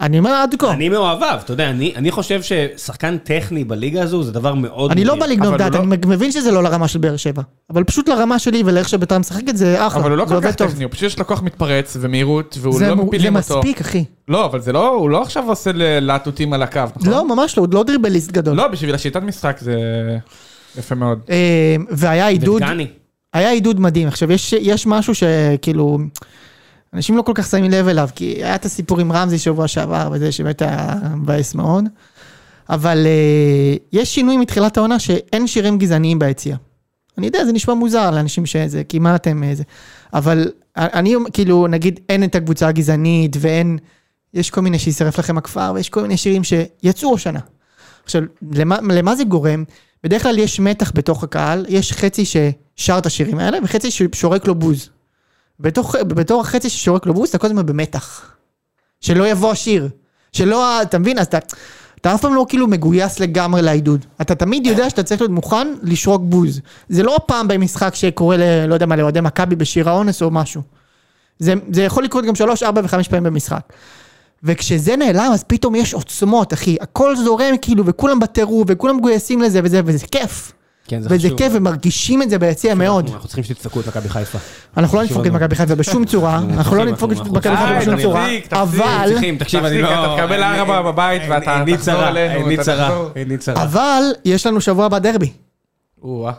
אני אומר עד כה. אני, אני מאוהביו, אתה יודע, אני אני חושב ששחקן טכני בליגה הזו זה דבר מאוד... לא בא מדהים. לגנוב אבל הוא דעת, לא- אני מבין שזה לא לרמה של באר שבע. אבל פשוט לרמה שלי ולאיך שביתר משחקת זה אחלה. אבל הוא לא זה כל עובד כך טוב. טכני, הוא פשוט יש לו כוח מתפרץ ומהירות, והוא זה לא מו- זה מפילים אותו. מספיק, אחי. לא, אבל זה לא, הוא לא עכשיו עושה ל- להטוטים על הקו, נכון? לא, ממש לא, הוא לא דריבליסט גדול. לא, בשביל השיטת משחק זה יפה מאוד. אה, והיה עידוד, דגני. היה עידוד מדהים. עכשיו, יש, יש משהו שכאילו, אנשים לא כל כך שמים לב אליו, כי היה את הסיפור עם רמזי שבוע שעבר, וזה שבאמת היה מבאס מאוד, אבל אה, יש שינוי מתחילת העונה שאין שירים גזעניים ביציע. אני יודע, זה נשמע מוזר לאנשים שזה, כי מה אתם אה, זה, אבל אני אומר, כאילו, נגיד, אין את הקבוצה הגזענית, ואין, יש כל מיני שישרף לכם הכפר, ויש כל מיני שירים שיצאו השנה. עכשיו, למה, למה זה גורם? בדרך כלל יש מתח בתוך הקהל, יש חצי ששר את השירים האלה וחצי ששורק לו בוז. בתוך, בתור החצי ששורק לו בוז, אתה כל הזמן במתח. שלא יבוא השיר. שלא, ה- אתה מבין? אז אתה, אתה אף פעם לא כאילו מגויס לגמרי לעידוד. אתה תמיד יודע שאתה צריך להיות מוכן לשרוק בוז. זה לא הפעם במשחק שקורה, ל, לא יודע מה, לאוהדי מכבי בשיר האונס או משהו. זה, זה יכול לקרות גם שלוש, ארבע וחמש פעמים במשחק. וכשזה נעלם, אז פתאום יש עוצמות, אחי. הכל זורם, כאילו, וכולם בטירוף, וכולם מגויסים לזה וזה, וזה כיף. כן, זה וזה חשוב. כיף, ומרגישים את זה ביציע מאוד. אנחנו צריכים שתדפקו את מכבי חיפה. אנחנו לא נדפוק את מאוד. מכבי חיפה בשום צורה, אנחנו לא אנחנו- נדפוק את אנחנו- מכבי חיפה די, בשום אה, תפסיק, צורה, תפסיק, אבל, צריכים, תקשיב, אני תפסיק, לא... אתה תקבל אני- ארבע בבית אני- ואתה עיני תחזור צרה, אלינו, עיני אתה צרה, תחזור. עיני צרה. אבל יש לנו שבוע הבא דרבי. או-אה.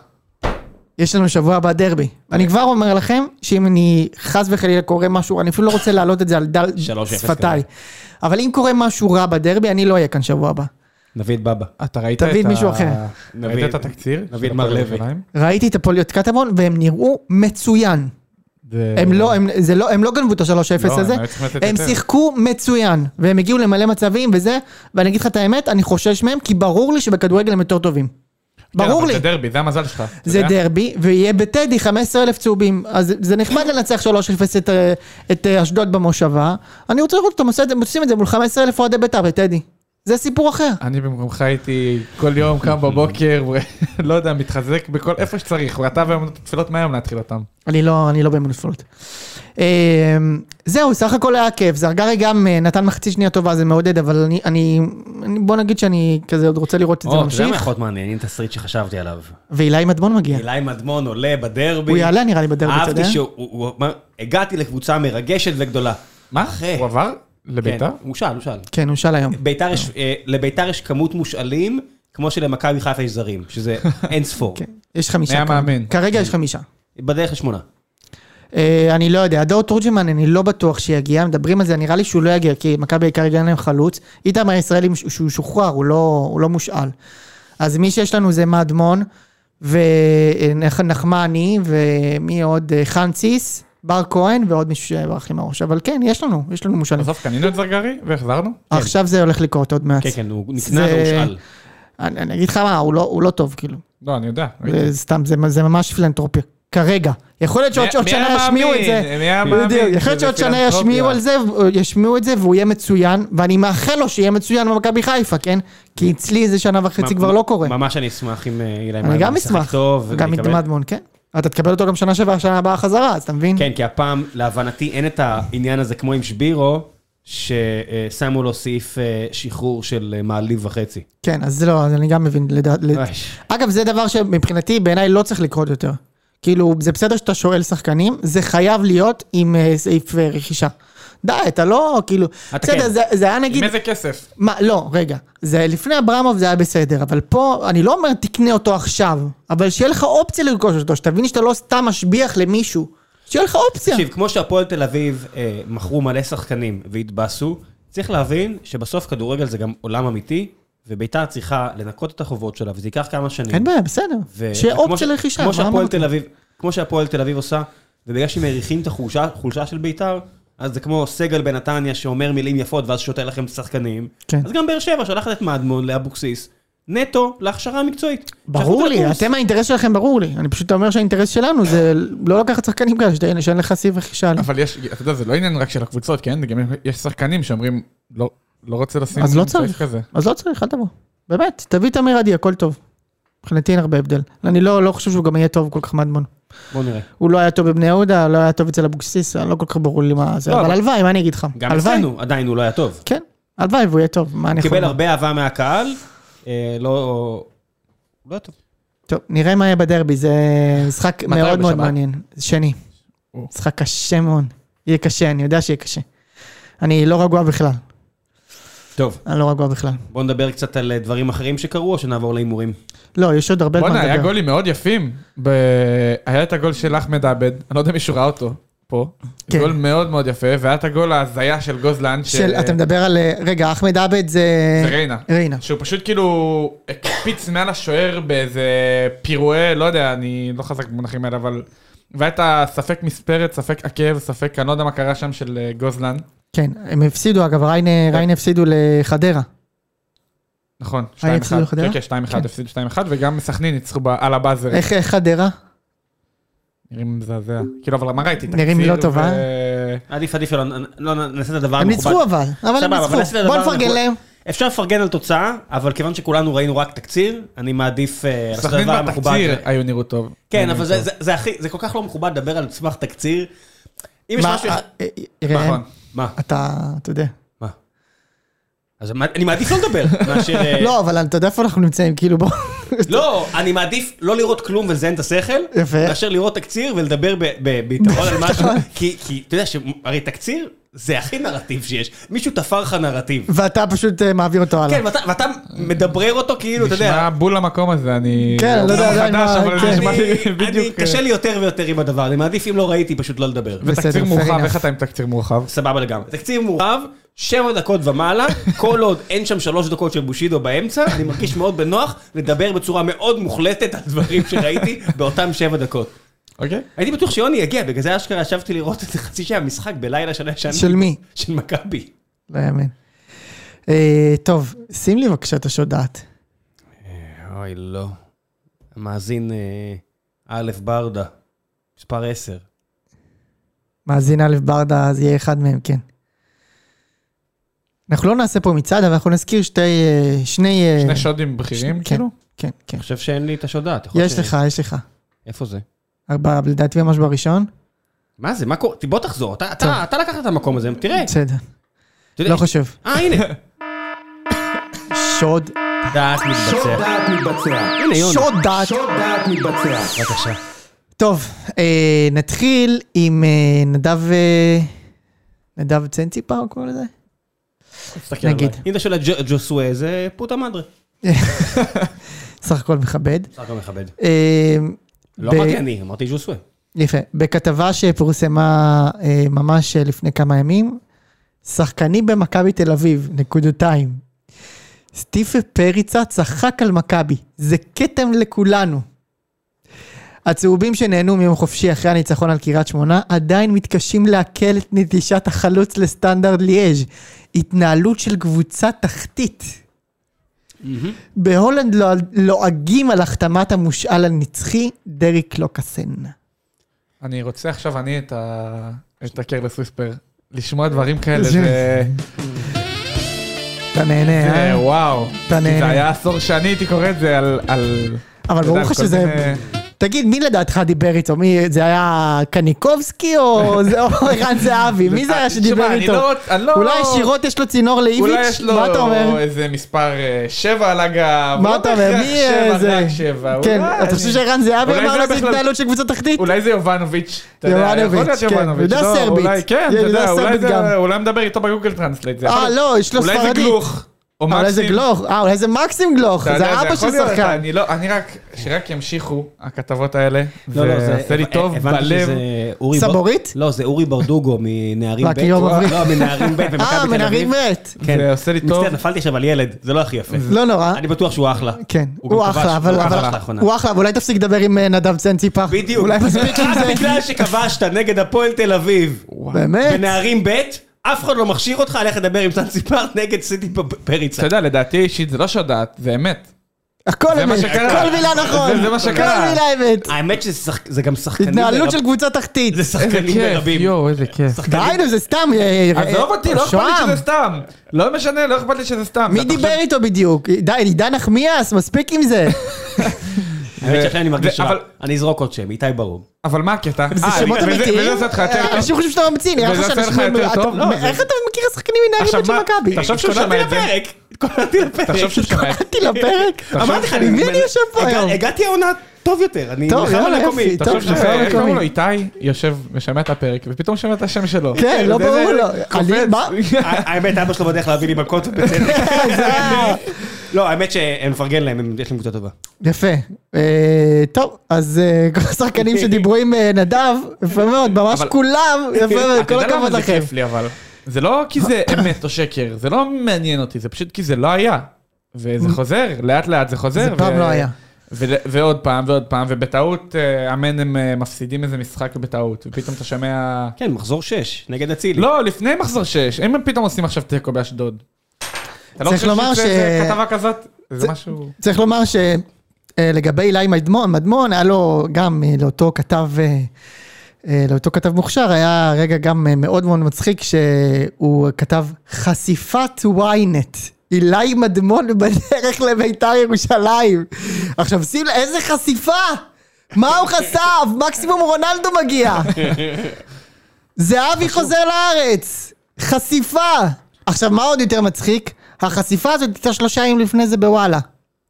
יש לנו שבוע הבא דרבי. אני כבר אומר לכם, שאם אני חס וחלילה קורה משהו, אני אפילו לא רוצה להעלות את זה על דל 3-0 שפתיי. אבל אם קורה משהו רע בדרבי, אני לא אהיה כאן שבוע הבא. נביא את בבא. אתה ראית תביא את מישהו ה- אחר. ראית את התקציר? נביא את מר לוי. ראיתי את הפועל קטמון, והם נראו מצוין. הם לא, הם, זה לא, הם לא גנבו את ה-3-0 אה, לא, הזה, הם היו צריכים לתת הם יותר. שיחקו מצוין, והם הגיעו למלא מצבים וזה, ואני אגיד לך את האמת, אני חושש מהם, כי ברור לי שבכדורגל הם יותר טובים. ברור לי, כן, זה דרבי, זה המזל שלך. אתה זה יודע? דרבי, ויהיה בטדי 15,000 צהובים, אז זה נחמד לנצח 3-0 את, אה, את אה, אשדוד במושבה, אני רוצה לראות אותם עושה את זה- עושים את זה מול 15,000 אוהדי בית"ר בטדי. זה סיפור אחר. אני במקומך הייתי כל יום קם בבוקר, ו- לא יודע, מתחזק בכל איפה שצריך, ואתה ואמנות התפילות מהיום להתחיל אותם. אני לא, אני לא במונפלות. אמ, זהו, סך הכל היה כיף. זרגרי גם אה, נתן מחצית שנייה טובה, זה מעודד, אבל אני, אני, אני- בוא נגיד שאני כזה עוד רוצה לראות את זה או, אתה יודע מה ממשיך. יכול להיות מעניין? הנה תסריט שחשבתי עליו. ואילי מדמון מגיע. אילי מדמון עולה בדרבי. כן. הוא יעלה נראה לי בדרבי, אתה יודע? אהבתי שהוא... הוא- הוא- מה- הגעתי לקבוצה מרגשת וגדולה. מה? אחי. הוא עבר לביתר? כן, הוא שאל, הוא שאל. כן, הוא שאל היום. ביתר יש, אה, לביתר יש כמות מושאלים, כמו שלמכבי חיפה יש זרים, שזה אין ספור. כן, יש חמישה. מי כרגע. המאמן? כרגע כן. יש חמישה. בדרך לשמונה. אה, אני לא יודע, הדור תורג'מן אני לא בטוח שיגיע, מדברים על זה, נראה לי שהוא לא יגיע, כי מכבי כרגע אין להם חלוץ. איתמר ישראלי מש- שהוא שוחרר, הוא לא, הוא לא מושאל. אז מי שיש לנו זה מדמון, ונחמני, ומי עוד? אה, חנציס, בר כהן, ועוד מישהו שברח לי מהראש. אבל כן, יש לנו, יש לנו מושאלים. בסוף קנינו את זרגרי והחזרנו? עכשיו זה הולך לקרות עוד מעט. כן, כן, הוא זה- נקנה והושאל. אני אני אגיד לך מה, הוא לא- הוא לא טוב, כאילו. לא, אני יודע. זה סתם, זה- זה ממש פילנטרופיה. כרגע. יכול להיות שעוד מי- שעוד מי שנה היה ישמיעו את מאמין? זה. מי היה בדיוק. מאמין יכול להיות שזה שעוד שנה פילנטרופיה? ישמיעו על זה, ישמיעו את זה והוא יהיה מצוין, ואני מאחל לו שיהיה מצוין במכבי חיפה, כן? כי אצלי זה שנה וחצי ממ- כבר לא קורה. ממש אני אשמח אם אה, אילי אני מאמן גם ישחק אשמח. טוב. גם ויקבל- עם מדמון, כן. אתה תקבל אותו גם שנה שבעה, שנה הבאה חזרה, אז אתה מבין? כן, כי הפעם, להבנתי, אין את העניין הזה כמו עם שבירו, ששמו לו סעיף אה, שחרור של אה, מעליב וחצי. כן, אז זה לא, אז אני גם מבין. לדע- ל- אוי. אגב, זה דבר שמבחינתי, בעיניי לא צריך לקרות יותר. כאילו, זה בסדר שאתה שואל שחקנים, זה חייב להיות עם אה, סעיף אה, רכישה. די, אתה לא, כאילו... אתה בסדר, כן. זה- זה היה עם נגיד... איזה כסף? מה, לא, רגע. זה לפני אברמוב זה היה בסדר, אבל פה, אני לא אומר תקנה אותו עכשיו, אבל שיהיה לך אופציה לרכוש אותו, שתבין שאתה לא סתם משביח למישהו. שיהיה לך אופציה. תקשיב, כמו שהפועל תל אביב אה, מכרו מלא שחקנים והתבאסו, צריך להבין שבסוף כדורגל זה גם עולם אמיתי, וביתר צריכה לנקות את החובות שלה, וזה ייקח כמה שנים. אין בעיה, בסדר. ו- שיהיה וכמו אופציה ש- לרכישה. כמו מה שהפועל אמרת? תל אביב, כמו שהפועל תל אביב עושה, ובגלל שהם מריחים את החולשה חולשה של ביתר, אז זה כמו סגל בנתניה שאומר מילים יפות ואז שותה לכם שחקנים. כן. אז גם באר שבע שולחת את מדמון לאבוקסיס, נטו להכשרה המקצועית. ברור שלחו לי, לקורס. אתם האינטרס שלכם ברור לי. אני פשוט אומר שהאינטרס שלנו זה לא לקחת שחקנים כאלה, שאתה- שאין לך סעיף רכישה. עליהם. אבל יש, אתה יודע, זה לא עניין רק של הקבוצות, כן? גם יש שחקנים שאומרים, לא, לא רוצה לשים אז לא סעיף צריך. כזה. אז לא צריך, אל תבוא. באמת, תביא את אמיר עדי, הכל טוב. מבחינתי אין הרבה הבדל. אני לא לא חושב שהוא גם יהיה טוב כל כך מדמון. בוא נראה. הוא לא היה טוב בבני יהודה, לא היה טוב אצל אבוקסיס, לא כל כך ברור לי מה זה, לא, אבל אבל- הלוואי, מה אני אגיד לך? גם הלוואי. אצלנו עדיין הוא לא היה טוב. כן, הלוואי והוא יהיה טוב, מה אני הוא יכול... קיבל לומר? הרבה אהבה מהקהל, אה, לא... הוא לא היה טוב. טוב, נראה מה יהיה בדרבי, זה משחק מתי? מאוד מאוד בשבת? מעניין. שני. או. משחק קשה מאוד. יהיה קשה, אני יודע שיהיה קשה. אני לא רגוע בכלל, טוב, אני לא רגוע בכלל. בוא נדבר קצת על אה, דברים אחרים שקרו, או שנעבור להימורים. לא, יש עוד הרבה בואנה, זמן היה לדבר. גולים מאוד יפים. ב... היה את הגול של אחמד עבד, אני לא יודע אם מישהו ראה אותו פה. כן. גול מאוד מאוד יפה, והיה את הגול ההזיה של גוזלן, של, אתה מדבר על... אה, רגע, אחמד עבד זה... זה ריינה. ריינה. שהוא פשוט כאילו הקפיץ מעל השוער באיזה פירואה, לא יודע, אני לא חזק במונחים האלה, אבל... והיה את הספק מספרת, ספק עקב, ספק, אני לא יודע מה קרה שם של אה, גוזלן. כן, הם הפסידו, אגב, ריינה כן. ריינה הפסידו לחדרה. נכון, 2-1. היה הפסידו אה, לחדרה? כן, כן, 2-1, הפסידו 2-1, וגם סכנין ניצחו ב- על הבאזר. איך איך חדרה? אה, נראים מזעזע. כאילו, אבל מה ראיתי? נראים תקציר לא טוב, ו- אה? עדיף, עדיף שלא נ- לא נעשה את הדבר הם המכובד. ניצחו אבל, אבל הם סבבה, אבל נעשה את ניצחו. הדבר בוא נפרגן המכובד. להם. אפשר לפרגן על תוצאה, אבל כיוון שכולנו ראינו רק תקציר, אני מעדיף אה, לעשות את סכנין הדבר המכובד. בתקציר היו נראו טוב. כן, נראו אבל זה- טוב. זה- זה הכי, זה כל כך לא מכובד לדבר על סמך תקציר. אם יש מה, משהו... אה, אה, ראם, נכון. מה? אתה, אתה יודע. מה? אז מה- אני מעדיף לא לדבר, מאשר... אה, לא, אבל אתה יודע איפה אנחנו נמצאים, כאילו בוא. לא, אני מעדיף לא לראות כלום ולזיין את השכל, יפה. מאשר לראות תקציר ולדבר ב- ב- ביתרון על משהו, נכון. ביטחון. כי כי אתה יודע שהרי תקציר זה הכי נרטיב שיש, מישהו תפר לך נרטיב. ואתה פשוט אה, מעביר אותו הלאה. כן, ואתה- ואתה מדברר אותו כאילו, אתה יודע, נשמע בול למקום הזה, אני... כן, אני לא יודע הוא עדיין חדש, מה- אבל כן. נשמע לי אני, אני, בדיוק... אה, קשה לי יותר ויותר עם הדבר, אני מעדיף אם לא ראיתי פשוט לא לדבר. בסדר, ותקציר fair מורחב, enough. איך אתה עם תקציר מורחב? סבבה לגמרי. תקציב מורחב, שבע דקות ומעלה, כל עוד אין שם שלוש דקות של בושידו באמצע, אני מרגיש מאוד בנוח לדבר בצורה מאוד מוחלטת על דברים שראיתי באותם שבע דקות. אוקיי. הייתי בטוח שיוני יגיע, בגלל זה אשכרה ישבתי לראות את חצי שעה משחק בלילה של השנה. של מי? של מכבי. לא יאמן. אה, טוב, שים לי בבקשה את השודעת. אוי, לא. המאזין א' ברדה, מספר 10. מאזין א' ברדה, אז יהיה אחד מהם, כן. אנחנו לא נעשה פה מצעד, אבל אנחנו נזכיר שתי... אה, שני... אה, שני שודים בכירים, כן, כאילו? כן, כן. אני חושב שאין לי את השודעת. יכול להיות יש ש- לך, יש לך. איפה זה? ארבע, לדעתי ממש בראשון. מה זה? מה קורה? בוא תחזור, אתה- אתה- טוב. אתה לקחת את המקום הזה, תראה. בסדר, אתה יודע- לא חושב. אה, הנה. שוד. דעת מתבצע. דעת מתבצע. הנה, יוני. שודעת. שוד דעת מתבצע. בבקשה. טוב, אה, נתחיל עם אה, נדב... אה, נדב צנציפר, הוא קורא לזה? תסתכל נגיד. עליי. אם אתה שואל את ג'ו- ג'וסווה, זה פוטה מדרה. סך הכל מכבד. בסך הכל מכבד. אה, לא ב- אמרתי אני, אמרתי ג'וסווה. Mm-hmm. יפה. בכתבה שפורסמה אה, ממש אה, לפני כמה ימים, שחקנים במכבי תל אביב, נקודתיים. סטיפה פריצה צחק על מכבי, זה כתם לכולנו. הצהובים שנהנו מיום חופשי אחרי הניצחון על קריית שמונה עדיין מתקשים לעכל את נטישת החלוץ לסטנדרט ליאז'. התנהלות של קבוצה תחתית. בהולנד לוע- לועגים על החתמת המושאל הנצחי, דריק לוקאסן. אני רוצה עכשיו אני את ה... את הקרלס וויספר. לשמוע דברים כאלה זה... אתה נהנה, זה אה? וואו. אתה כי זה נהנה. היה עשור שאני הייתי קורא את זה על... על- אבל אתה יודע, ברור על לך כל שזה- מיני- תגיד, מי לדעתך דיבר איתו? מי, זה היה קניקובסקי או זה- או ערן זהבי? מי זה היה שדיבר תשמע, אני איתו? לא רוצ- אני לא- אולי ישירות יש לו צינור אולי לאיביץ'? יש לו מה אתה אומר? איזה מספר 7 על הגב. מה לא אתה אומר? בהכרח מי שבע, אה, זה? רק שבע. כן, אולי- אתה חושב שערן זהבי אולי אמר זה לו זה בכלל- התנהלות של קבוצה תחתית? אולי זה יובנוביץ'. אתה יודע, יכול יובנוביץ', להיות כן. יובנוביץ', יהודה לא, סרבית. אולי- כן, אתה יהודה יודע, אולי סרבית גם. זה- אולי מדבר איתו בגוגל טרנסלייט. זה אה, יכול- לא, יש לו אולי זה ספרדית. גלוך. או אולי זה מקסים. גלוך, אה, אולי זה מקסים גלוך, אתה יודע, זה אבא יכול של להיות, שחקן. אני לא, אני רק, שרק ימשיכו הכתבות האלה. לא, לא, זה עושה לי הבנ- טוב אה, הבנתי בלב. שזה אורי בר- סבורית? לא, זה אורי ברדוגו מנערים רק ב'. יום עברי. לא, מנערים ב' במכבי תל אה, אביב. מנהרים מת. כן. זה עושה לי טוב. מצטער, נפלתי עכשיו על ילד, זה לא הכי יפה. לא נורא. אני בטוח שהוא אחלה. כן, הוא גם הוא כבש, אחלה, אבל הוא אבל- אחלה לאחרונה. הוא אחלה, אבל אולי תפסיק לדבר עם אה, נדב צנציפה. בדיוק. אולי מספיק עם רק זה. בגלל שכבשת נגד הפועל תל אביב באמת? בנערים ב', אף אחד לא מכשיר אותך, לך לדבר עם סן ציפרט נגד סיטי פריצה. אתה יודע, לדעתי אישית זה לא שודעת, זה אמת. הכל זה מה אמת, שקרה. כל מילה נכון. זה- זה מה שקרה. כל מילה אמת. האמת שזה שחק- זה גם שחקנים התנהלות ברב- של קבוצה תחתית. זה שחקנים ברבים. יואו, איזה כיף. שחקנים- דהיינו, זה סתם... אה, אה, עזוב אותי, לא אכפת לי שוהם. שזה סתם. לא משנה, לא אכפת לי שזה סתם. מי אתה חושב- אה, דיבר איתו בדיוק? די, עידן נחמיאס, מספיק עם זה. האמת שעכשיו אני מרגיש זה- רע. אבל- אני אזרוק עוד שם, איתי ברום. אבל מה הקטע? זה אה, שמות וזה- אמיתיים? אה, וזה עושה אותך יותר אנשים טוב. חושבים שאתה ממציא, נראה וזה לך עושה לך שאנשים... יותר אתה- טוב? לא, מה, איך אתה מכיר שחקנים עכשיו מנהלים של מה, מכבי? תחשוב שהוא התכוננתי שמע את זה. לפרק, התכוננתי לפרק. כן, תחשוב שהוא שמע את זה. קראתי לפרק. אמרתי לך, עם מי אני מנ- יושב פה הגע- היום? הגעתי העונה טוב יותר, אני טוב, נלחם על יאללה, הקומי. יופי, תחשוב טוב, שזה, נכון, איך קוראים לו? מקומי. איתי יושב, משמע את הפרק, ופתאום שומע את השם שלו. כן, לא זה- ברור זה- לו. קופץ. כן. אני- מה? האמת, אבא שלו בדרך להביא לי מכות בצדק. אה. לא, האמת שאני מפרגן להם, הם- יש להם קבוצה טובה. יפה. אה, טוב, אז אה, כל השחקנים שדיברו עם אה, נדב, יפה מאוד, ממש אוקיי. אבל- אוקיי. כולם, יפה מאוד, אתה כל יודע למה הכבוד זה לכם. כיף לי אבל. זה לא כי זה אמת או שקר, זה לא מעניין אותי, זה פשוט כי זה לא היה. וזה חוזר, לאט לאט זה חוזר. זה פעם ו- לא היה. ו- ועוד פעם ועוד פעם, ובטעות, אה, אמן הם אה, מפסידים איזה משחק בטעות, ופתאום אתה שומע... כן, מחזור 6, נגד אצילי. לא, לפני מחזור 6, אם הם פתאום עושים עכשיו תיקו באשדוד. אתה לא צריך חושב לומר שזה ש- זה כתבה כזאת? זה משהו... צריך לומר שלגבי אילי מדמון, מדמון היה לו גם אה, לאותו כתב, אה, אה, לאותו כתב מוכשר, היה רגע גם אה, מאוד מאוד מצחיק שהוא כתב חשיפת ynet. אילי מדמון בדרך לביתר ירושלים. עכשיו שים לב, איזה חשיפה! מה הוא חשף? מקסימום רונלדו מגיע. זהבי חוזר לארץ! חשיפה! עכשיו, מה עוד יותר מצחיק? החשיפה הזאת הייתה שלושה ימים לפני זה בוואלה.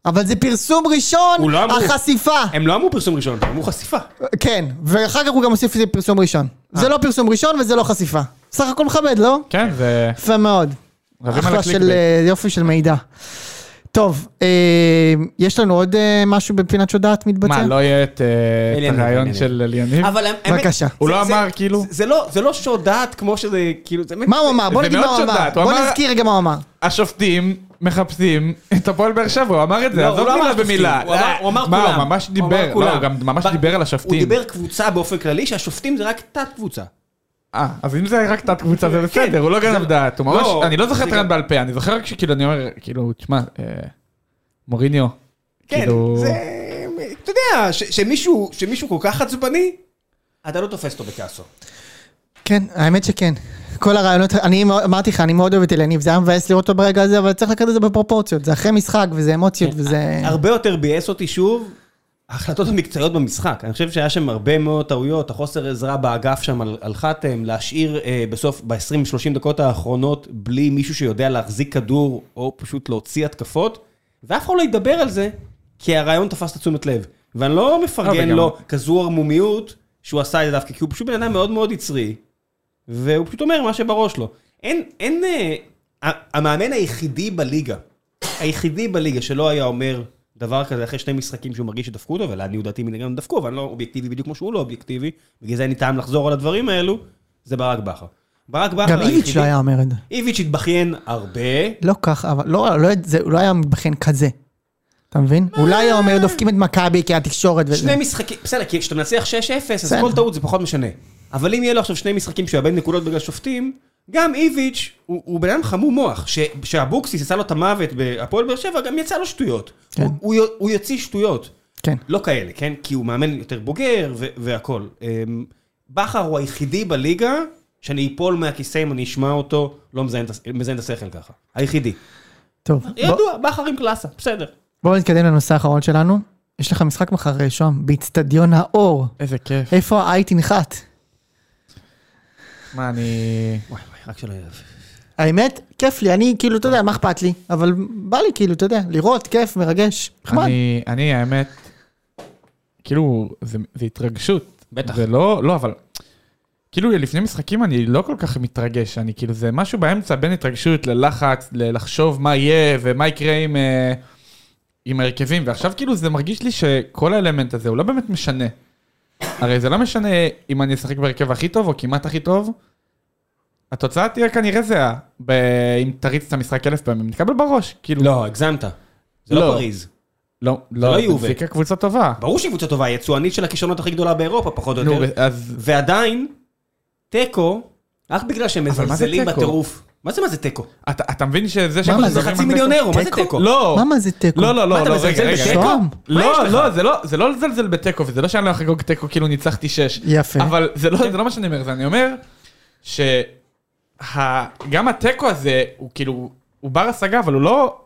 אבל זה פרסום ראשון, הוא לא אמור. החשיפה. הם לא אמרו פרסום ראשון, הם אמרו חשיפה. כן, ואחר כך הוא גם הוסיף את זה פרסום ראשון. אה. זה לא פרסום ראשון וזה לא חשיפה. סך הכל מכבד, לא? כן, זה... יפה מאוד. רבים על אחלה הקליקבייט. של אה, יופי של מידע. טוב, אה, יש לנו עוד אה, משהו בפינת שודעת מתבצע? מה, לא יהיה את אה, את אליניב, הרעיון אליניב. של אליניב? אבל האמת- בבקשה. הוא זה- לא זה- אמר, כאילו? זה- זה לא- זה לא שודעת כמו שזה, כאילו, זה באמת... מה הוא אמר? בוא זה נגיד מה מאוד הוא אמר. שודעת, הוא בוא אמר- נזכיר רגע מה הוא אמר. השופטים מחפשים את הפועל באר שבע, הוא אמר את זה, לא, עזוב הוא לא אמר מילה שופטים, במילה. הוא אמר- הוא אמר מה, כולם. הוא ממש הוא אמר דיבר, לא, כולם. הוא גם ממש ב- דיבר על הוא השופטים. דיבר קבוצה באופן כללי, שהשופטים זה רק תת קבוצה. אה, אז אם זה היה רק תת קבוצה זה בסדר, הוא לא גנב דעת, הוא ממש, כן, לא, אני לא זוכר זה את הרעיון גם- בעל פה, אני זוכר רק שכאילו, אני אומר, כאילו, תשמע, אה, מוריניו, כן, כאילו, זה... אתה יודע, ש- שמישהו שמישהו כל כך עצבני, אתה לא תופס אותו בכעסו. כן, האמת שכן. כל הרעיונות, אני מאוד- אמרתי לך, אני מאוד אוהב את אלניב, זה היה מבאס לראות אותו ברגע הזה, אבל צריך לקחת את זה בפרופורציות, זה אחרי משחק וזה אמוציות כן, וזה... אה, הרבה יותר ביאס אותי שוב, ההחלטות המקצועיות במשחק. אני חושב שהיה שם הרבה מאוד טעויות, החוסר עזרה באגף שם על, על חתם, להשאיר אה, בסוף, ב-20-30 דקות האחרונות, בלי מישהו שיודע להחזיק כדור, או פשוט להוציא התקפות, ואף אחד לא ידבר על זה, כי הרעיון תפס את תשומת לב. ואני לא מפרגן וגם- לו כזו ערמומיות שהוא עשה את זה דווקא, כי הוא פשוט בן אדם מאוד מאוד יצרי, והוא פשוט אומר מה שבראש לו. אין, אין, אה, ה- המאמן היחידי בליגה, היחידי בליגה שלא היה אומר דבר כזה אחרי שני משחקים שהוא מרגיש שדפקו אותו, ולעניות דעתי מן גם דפקו, אבל אני לא אובייקטיבי בדיוק כמו שהוא לא אובייקטיבי, בגלל זה אין לי טעם לחזור על הדברים האלו, זה ברק בכר. ברק אה, בכר גם איביץ' לא היה אומר את זה. איביץ' התבכיין הרבה, לא ככה, אבל לא, לא, זה לא היה מתבחן כזה. אתה מבין? אולי הוא אומר, דופקים את מכבי כי התקשורת וזה. שני משחקים, בסדר, כי כשאתה מנצח 6-0, אז בסדר. כל טעות זה פחות משנה. אבל אם יהיה לו עכשיו שני משחקים שהוא יאבד נקודות בגלל שופטים, גם איביץ' הוא, הוא בן אדם חמום מוח, ש- שאבוקסיס יצא לו את המוות בהפועל באר שבע, גם יצא לו שטויות. כן. הוא, הוא, יו- הוא יוציא שטויות. כן. לא כאלה, כן? כי הוא מאמן יותר בוגר ו- והכול. אמ, בכר הוא היחידי בליגה שאני אפול מהכיסא אם אני אשמע אותו, לא מזיין את הס- מזיין את השכל ככה. היחידי. טוב, בוא- ידוע, בכר עם קלאסה, בסדר. בואו נתקדם לנושא האחרון שלנו. יש לך משחק מחר אה, שוהם, באיצטדיון האור. איזה כיף. איפה העי תנחת? מה, אני... וואי, וואי, רק שלא יערב. האמת, כיף לי, אני כאילו, אתה יודע, מה אכפת לי? אבל בא לי כאילו, אתה יודע, לראות, כיף, מרגש. נחמד. אני, אני האמת, כאילו, זה, זה התרגשות. בטח. זה לא, לא, אבל... כאילו, לפני משחקים אני לא כל כך מתרגש, אני כאילו, זה משהו באמצע בין התרגשות ללחץ, ללחשוב מה יהיה ומה יקרה עם, אה, עם ההרכבים, ועכשיו כאילו זה מרגיש לי שכל האלמנט הזה הוא לא באמת משנה. הרי זה לא משנה אם אני אשחק בהרכב הכי טוב או כמעט הכי טוב, התוצאה תהיה כנראה זהה, ב- אם תריץ את המשחק אלף פעמים, נתקבל בראש, כאילו. לא, הגזמת. זה לא לא. פריז. לא, לא לא, יובה. בנפיקה קבוצה טובה. ברור שהיא קבוצה טובה, היא יצואנית של הכישרונות הכי גדולה באירופה, פחות או נו, יותר. אז ועדיין, תיקו, רק בגלל שהם אבל מה זה מזלזלים תיקו? בטירוף. מה זה מה זה תיקו? אתה אתה מבין שזה מה, שאנחנו זה מדברים חצי על מיליון תיקו- אירו, מה זה תיקו? לא, למה זה תיקו? לא, לא, מה, לא, אתה לא, מזלזל רגע, רגע. בתיקו? שוהם. לא, יש לך? לא, זה לא, זה לא לזלזל בתיקו, וזה לא שאני לא אחגוג תיקו כאילו ניצחתי שש. יפה. אבל זה לא, זה לא מה שאני אומר, זה אני אומר, שגם התיקו הזה, הוא כאילו, הוא בר השגה, אבל הוא לא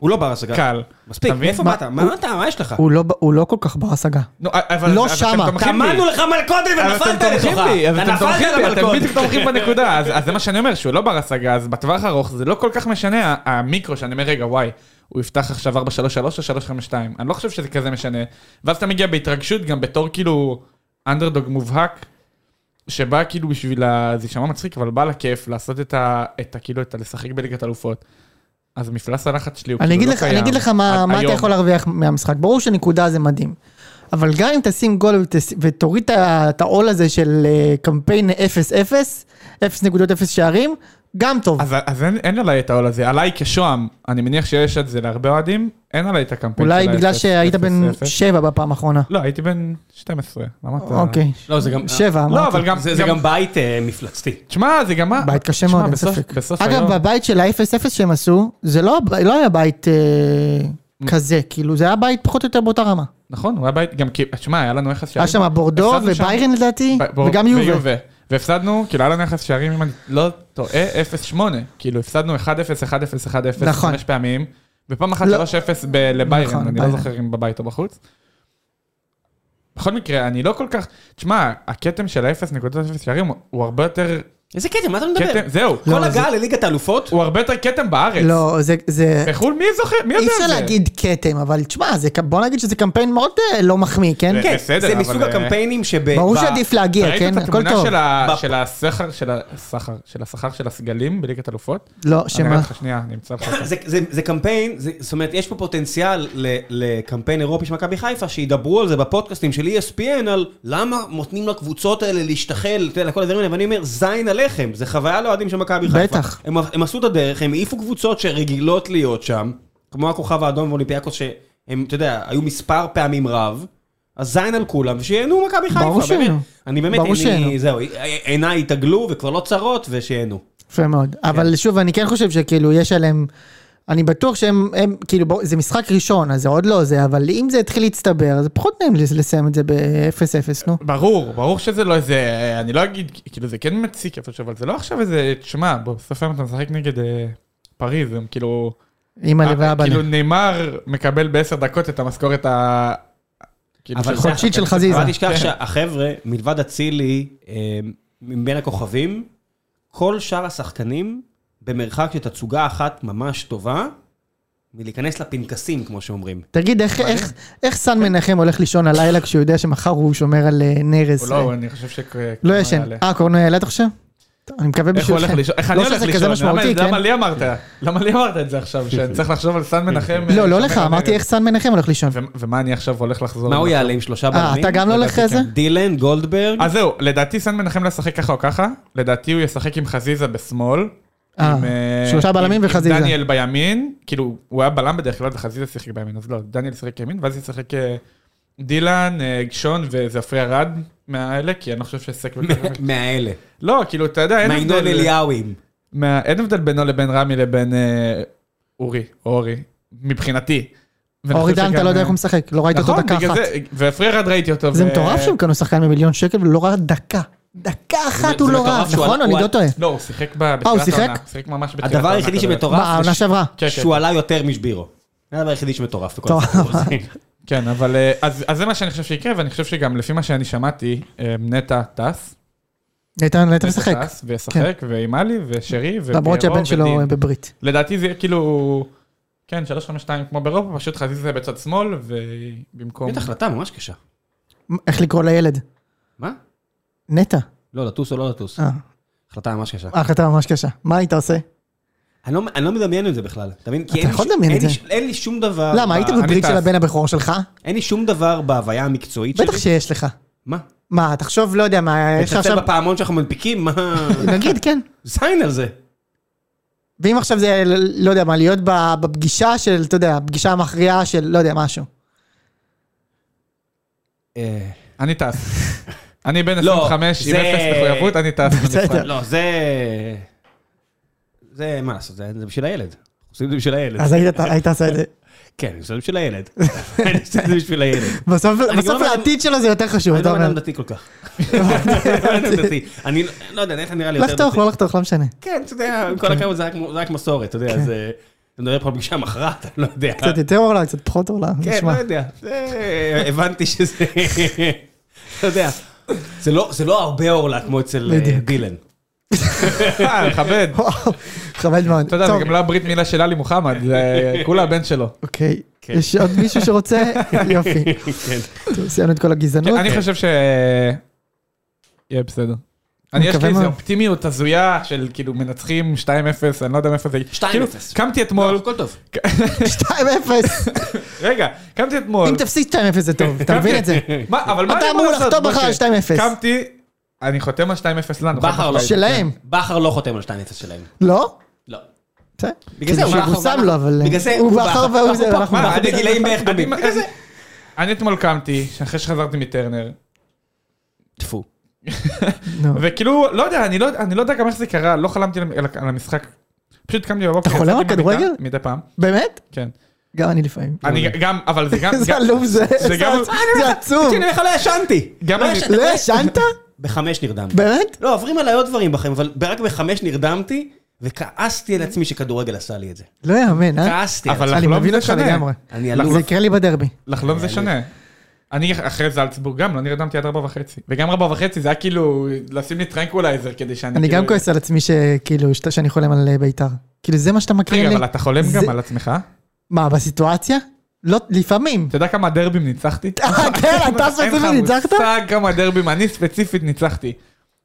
הוא לא בר השגה. קל. מספיק, כן. אתה מבין? מאיפה מה- באת? מה אתה? מה יש לך? הוא לא- הוא לא כל כך בר השגה. נו, אבל- לא אבל אתם שמה. תומכים בי. טמנו לך מלכודת אבל אתם ונפלת תומכים לתוכה. בי, אבל אתה אתם נפלת תומכים בי, אתם בדיוק למלכודת. תומכים בנקודה, אז אז זה מה שאני אומר, שהוא לא בר השגה, אז בטווח הארוך זה לא כל כך משנה, ה- המיקרו שאני אומר, רגע, וואי, הוא יפתח עכשיו 433 או 352, אני לא חושב שזה כזה משנה, ואז אתה מגיע בהתרגשות גם בתור כאילו אנדרדוג מובהק, שבא כאילו בשביל, ה- זה יישמע מצחיק, אבל בא לכיף לעשות את ה... את ה... כאילו, את ה... לשחק בליגת אלופות. אז מפלס הלחץ שלי הוא אני כאילו אגיד לא לך, קיים. אני אגיד לך מה, עד מה אתה היום. יכול להרוויח מהמשחק. ברור שנקודה זה מדהים. אבל גם אם תשים גול ותס- ותוריד את ה- את העול הזה של אה, קמפיין 0-0, 0.0 שערים, גם טוב. אז, אז אין, אין עליי את העול הזה, עליי כשוהם, אני מניח שיש את זה להרבה אוהדים, אין עליי את הקמפיין אולי של בגלל ה- שהיית אפס, בן אפס. 7 בפעם האחרונה. לא, הייתי בן 12, למה אתה... אוקיי. לא, זה גם... 7 אמרתי. לא, אבל גם... זה- זה גם בית אה, מפלצתי. תשמע, זה גם מה... בית קשה תשמע, מאוד, אין בסוף- ספק. בסוף אגב, היום... בבית של ה-0-0 שהם עשו, זה לא הב- לא היה בית אה, כזה, כאילו, זה היה בית פחות או יותר באותה רמה. נכון, הוא היה בית... גם כי... תשמע, היה לנו יחס שערים. היה שם בורדו הפסדנו שם- וביירן לדעתי, ב- בור- וגם יובל. והפסדנו, כאילו היה לנו יחס שערים, אם אני לא טועה, 0-8. כאילו, הפסדנו 1-0, 1-0, 1-0, נכון. חמש פעמים, ופעם אחת לא. 3-0 ב- לביירן, נכון, אני לא ביירן. זוכר אם בבית או בחוץ. בכל מקרה, אני לא כל כך... תשמע, הכתם של ה-0.0 שערים הוא הרבה יותר... איזה קטע, מה אתה מדבר? כתם, זהו, לא, כל זה- הגעה לליגת האלופות, כן, הוא הרבה יותר כתם בארץ. לא, זה- זה... בחו"ל מי זוכר? מי כן. יודע אי את זה? אפשר להגיד כתם, אבל תשמע, זה ק- בוא נגיד שזה קמפיין מאוד אה, לא מחמיא, כן? כן. כן, בסדר, זה אבל, מסוג אה, הקמפיינים שב... ברור ב- שעדיף להגיע, ראית כן? הכל את התמונה טוב. של ה- בפ- של הסכר, של הסכר, של הסכר של הסגלים בליגת אלופות? לא, אני אראה שמה? לך שנייה, אני אמצא לך. זה, זה, זה קמפיין, זה, זאת אומרת, יש פה פוטנציאל ל, לקמפיין אירופי של מכבי חיפה, שידברו על זה בפודקאסטים של E ESPN, על למה נותנים לקבוצות האלה להשתחל, אתה יודע, כל הדברים האלה, ואני אומר, זין עליכם, זה חוויה לאוהדים של מכבי חיפה. בטח. הם, הם עשו את הדרך, הם העיפו קבוצות שרגילות להיות שם, כמו הכוכב האדום ואולימפיאקוס, שהם, אתה יודע, היו מספר פעמים רב, אז זין על כולם, ושיהנו מכבי חיפה, ברור באמת. שיהנו. אני באמת, ברור שיהנו. אני, זהו, עיניי התעגלו וכבר לא צרות, ושיהנו. יפה מאוד. אבל שוב, אני כן חושב שכאילו יש עליהם... אני בטוח שהם, הם, כאילו, בוא, זה משחק ראשון, אז זה עוד לא זה, אבל אם זה התחיל להצטבר, אז פחות נעים לס- לסיים את זה ב-0-0, נו. ברור, ברור שזה לא איזה, אני לא אגיד, כאילו זה כן מציק איפשהו, אבל זה לא עכשיו איזה, תשמע, בוא, בסוף היום אתה משחק נגד אה, פריז, הם כאילו, אימא אה, ואבא. כאילו נאמר מקבל בעשר דקות את המשכורת ה... כאילו, אבל של- זה- חודשית של חזיזה. אבל אל תשכח כן. שהחבר'ה, מלבד אצילי, אה, מבין הכוכבים, כל שאר השחקנים במרחק של תצוגה אחת ממש טובה, מלהיכנס לפנקסים, כמו שאומרים. תגיד, איך- איך- איך סן מנחם הולך לישון הלילה כשהוא יודע שמחר הוא שומר על אה, הוא נרס? לא, אה, אני חושב ש... לא ישן. אה, קורנו יעלה, אתה חושב? אני מקווה איך הוא הולך בשבילכם. לישון? איך אני לא הולך שזה לישון? כזה למה- משמעותי, כן? למה לי אמרת? למה לי אמרת את זה עכשיו? שאני צריך לחשוב על סן מנחם? אה, לא, לא שומר לך, על אמרתי ארץ. איך סן מנחם הולך לישון. ו- ומה אני עכשיו הולך לחזור? מה הוא לנחם? יעלה עם שלושה אה, בלמים? אתה גם לא הולך לדעתי לזה? כן. דילן, גולדברג, אז זהו, לדעתי סן מנחם לא ישחק ככה או ככה, לדעתי הוא ישחק עם חזיזה בשמאל, אה, עם, אה, שלושה בלמים עם- וחזיזה. עם דניאל בימין, כאילו, הוא היה בלם בדרך כלל, וחזיזה שיחק בימין, אז לא, דניאל שיחק ימין, ואז ישחק אה, דילן, אה, גשון וזפרי ארד מהאלה, כי אני לא חושב שסק... מהאלה. לא, כאילו, אתה יודע, אין מהעידון הבדל... אליהווים. מה- אין הבדל בינו לבין רמי לבין אה, אורי, או אורי, מבחינתי. ואני אורי חושב דן, אתה שגם- לא יודע איך הוא משחק, לא ראית אותו נכון, דקה בגלל אחת. זה, ועפרי ארד ראיתי אותו. זה ו- מטורף שהם קנו שחקן במיליון שקל ולא ראה דקה. דקה אחת זה הוא לא מטורף ראה, שהוא נכון? עלה- אני הוא לא עלה- טועה. לא, הוא שיחק ב- בתחילת אה, הוא שיחק? העונה, הוא שיחק ממש בתחילת הדבר היחידי אתה יודע. שמטורף, בעונה שעברה. כן, כן. שהוא עלה יותר משבירו. זה הדבר היחידי שמטורף בכל מטורף. הסיפור הזה. כן, אבל אה, אז אז זה מה שאני חושב שיקרה, ואני חושב שגם לפי מה שאני שמעתי, אה, נטע טס. איתן נטע נטע משחק, כן. טס וישחק, ועימאלי, ושרי, ופיירו, למרות שהבן שלו ודין. בברית. לדעתי זה יהיה כאילו, כן, 352 כמו באירופה, פשוט חזיזה בצד שמאל, ובמקום... זאת לא. החלטה ממש קשה. איך לקרוא לילד? מה? נטע. לא, לטוס או לא לטוס. אה, החלטה ממש קשה. ההחלטה ממש קשה. מה היית עושה? אה, אני לא- אני לא מדמיין את זה בכלל. אתה מבין? כי אתה אין לי יכול ש- לדמיין אין את לי זה. ש- אין לי שום דבר... למה, ב- היית אני בברית טס. של הבן הבכור שלך? אין לי שום דבר בהוויה המקצועית שלי. בטח שיש לך. מה? מה, תחשוב, לא יודע מה, יש לך לצלצל עכשיו... בפעמון שאנחנו מנפיקים? מה? נגיד, כן. זין על זה. ואם עכשיו זה, לא יודע מה, להיות ב- בפגישה של, אתה יודע, הפגישה המכריעה של, לא יודע, משהו. אה, אני טס. אני בן לא, 25 עם זה- אפס מחויבות, אני טס. בסדר. לא, זה... זה, מה לעשות? זה זה בשביל הילד. עושים את זה בשביל הילד. אז היית היית עושה את זה. כן, אני עושה את זה בשביל הילד. אני עושה את זה בשביל הילד. בסוף גם בסוף לא בן- לעתיד שלו זה יותר חשוב, אני אתה לא בן אומר. אדם דתי כל כך. אני לא בן אדם דתי. אני לא יודע, איך נראה לי יותר לחתוך, דתי. לא לחתוך, לא משנה. כן, אתה יודע, עם כל הכבוד זה רק- זה רק מסורת, אתה יודע, אז... אה, אתה מדבר פה על פגישה מכרעת, אני לא יודע. כן. קצת יותר אולי, קצת פחות אולי, כן, לא נשמע. יודע. זה- הבנתי שזה... אתה יודע. זה לא- זה לא הרבה אורלה כמו אצל אה, בדיוק. דילן. אה, כבד. וואו, חבל מאוד. אתה יודע, זה טוב, גם לא הברית מילה של עלי מוחמד, זה כולה הבן שלו. אוקיי, כן. יש עוד מישהו שרוצה? יופי. טוב, סיימנו את כל הגזענות. אני חושב ש... יהיה בסדר. אני יש לי מקווה איזו מאוד. אופטימיות הזויה של כאילו מנצחים 2-0, אני לא יודע מאיפה זה... 2-0. כאילו, קמתי לא, אתמול, הכל טוב. נכון. 2-0. רגע, קמתי אתמול. אם תפסיד 2-0 זה טוב, כן. אתה מבין את זה? מה, אבל מה אתה אני אמור אמור לעשות? לחתום מחר על משה? 2-0. קמתי, אני חותם על 2-0 לנו. בכר חד משמעית. לא. שלהם, בכר לא חותם על 2-0 שלהם. לא? לא. בסדר. בגלל זה הוא כאילו בכר שיבושם ואנחנו- לו, אבל... בגלל זה הוא הוא בכר בכר. והוא אנחנו זה, פה, אנחנו... מה, בכר. אנחנו בגילאים בערך דומים. אני- אני אתמול קמתי, אחרי שחזרתי מטרנר, טפו. נו. וכאילו, לא יודע, אני לא, אני לא יודע גם איך זה קרה, לא חלמתי על, על, על המשחק. פשוט קמתי בבוקר. אתה חולם יצאתי על מהמיטה, כדורגל? מדי פעם, באמת? כן. גם אני לפעמים. אני גם, אבל זה גם... איזה גם- עלוב זה, זה איזה גם- עצוב. זה עצוב. תקשיב, איך לא ישנתי. גם לא אני- ישנתי. לא ישנת? בחמש נרדמתי. באמת? לא, עוברים עליי עוד דברים בחיים, אבל רק בחמש נרדמתי, וכעסתי על עצמי שכדורגל עשה לי את זה. לא יאמן, אה? כעסתי על אבל לא עצמי. אני לחלום מבין זה אותך שונה. לגמרי. לא, אני לא- עלוב. זה יקרה לי בדרבי. לחלום אה, זה שונה. אני אחרי זלצבורג גם לא נרדמתי עד ארבע וחצי. וגם ארבע וחצי זה היה כאילו לשים לי טרנקולייזר כדי שאני... אני כאילו- גם כועס על עצמי שכאילו, שת- שאני חולם על אה, בית"ר. כאילו, זה מה שאתה מקריא רגע, לי? אבל אתה חולם זה- גם על עצמך? מה, בסיטואציה? לא, לפעמים. אתה יודע כמה דרבים ניצחתי? אה, כן, אתה אין ספציפית לך ניצחת? מושג כמה דרבים, אני ספציפית ניצחתי.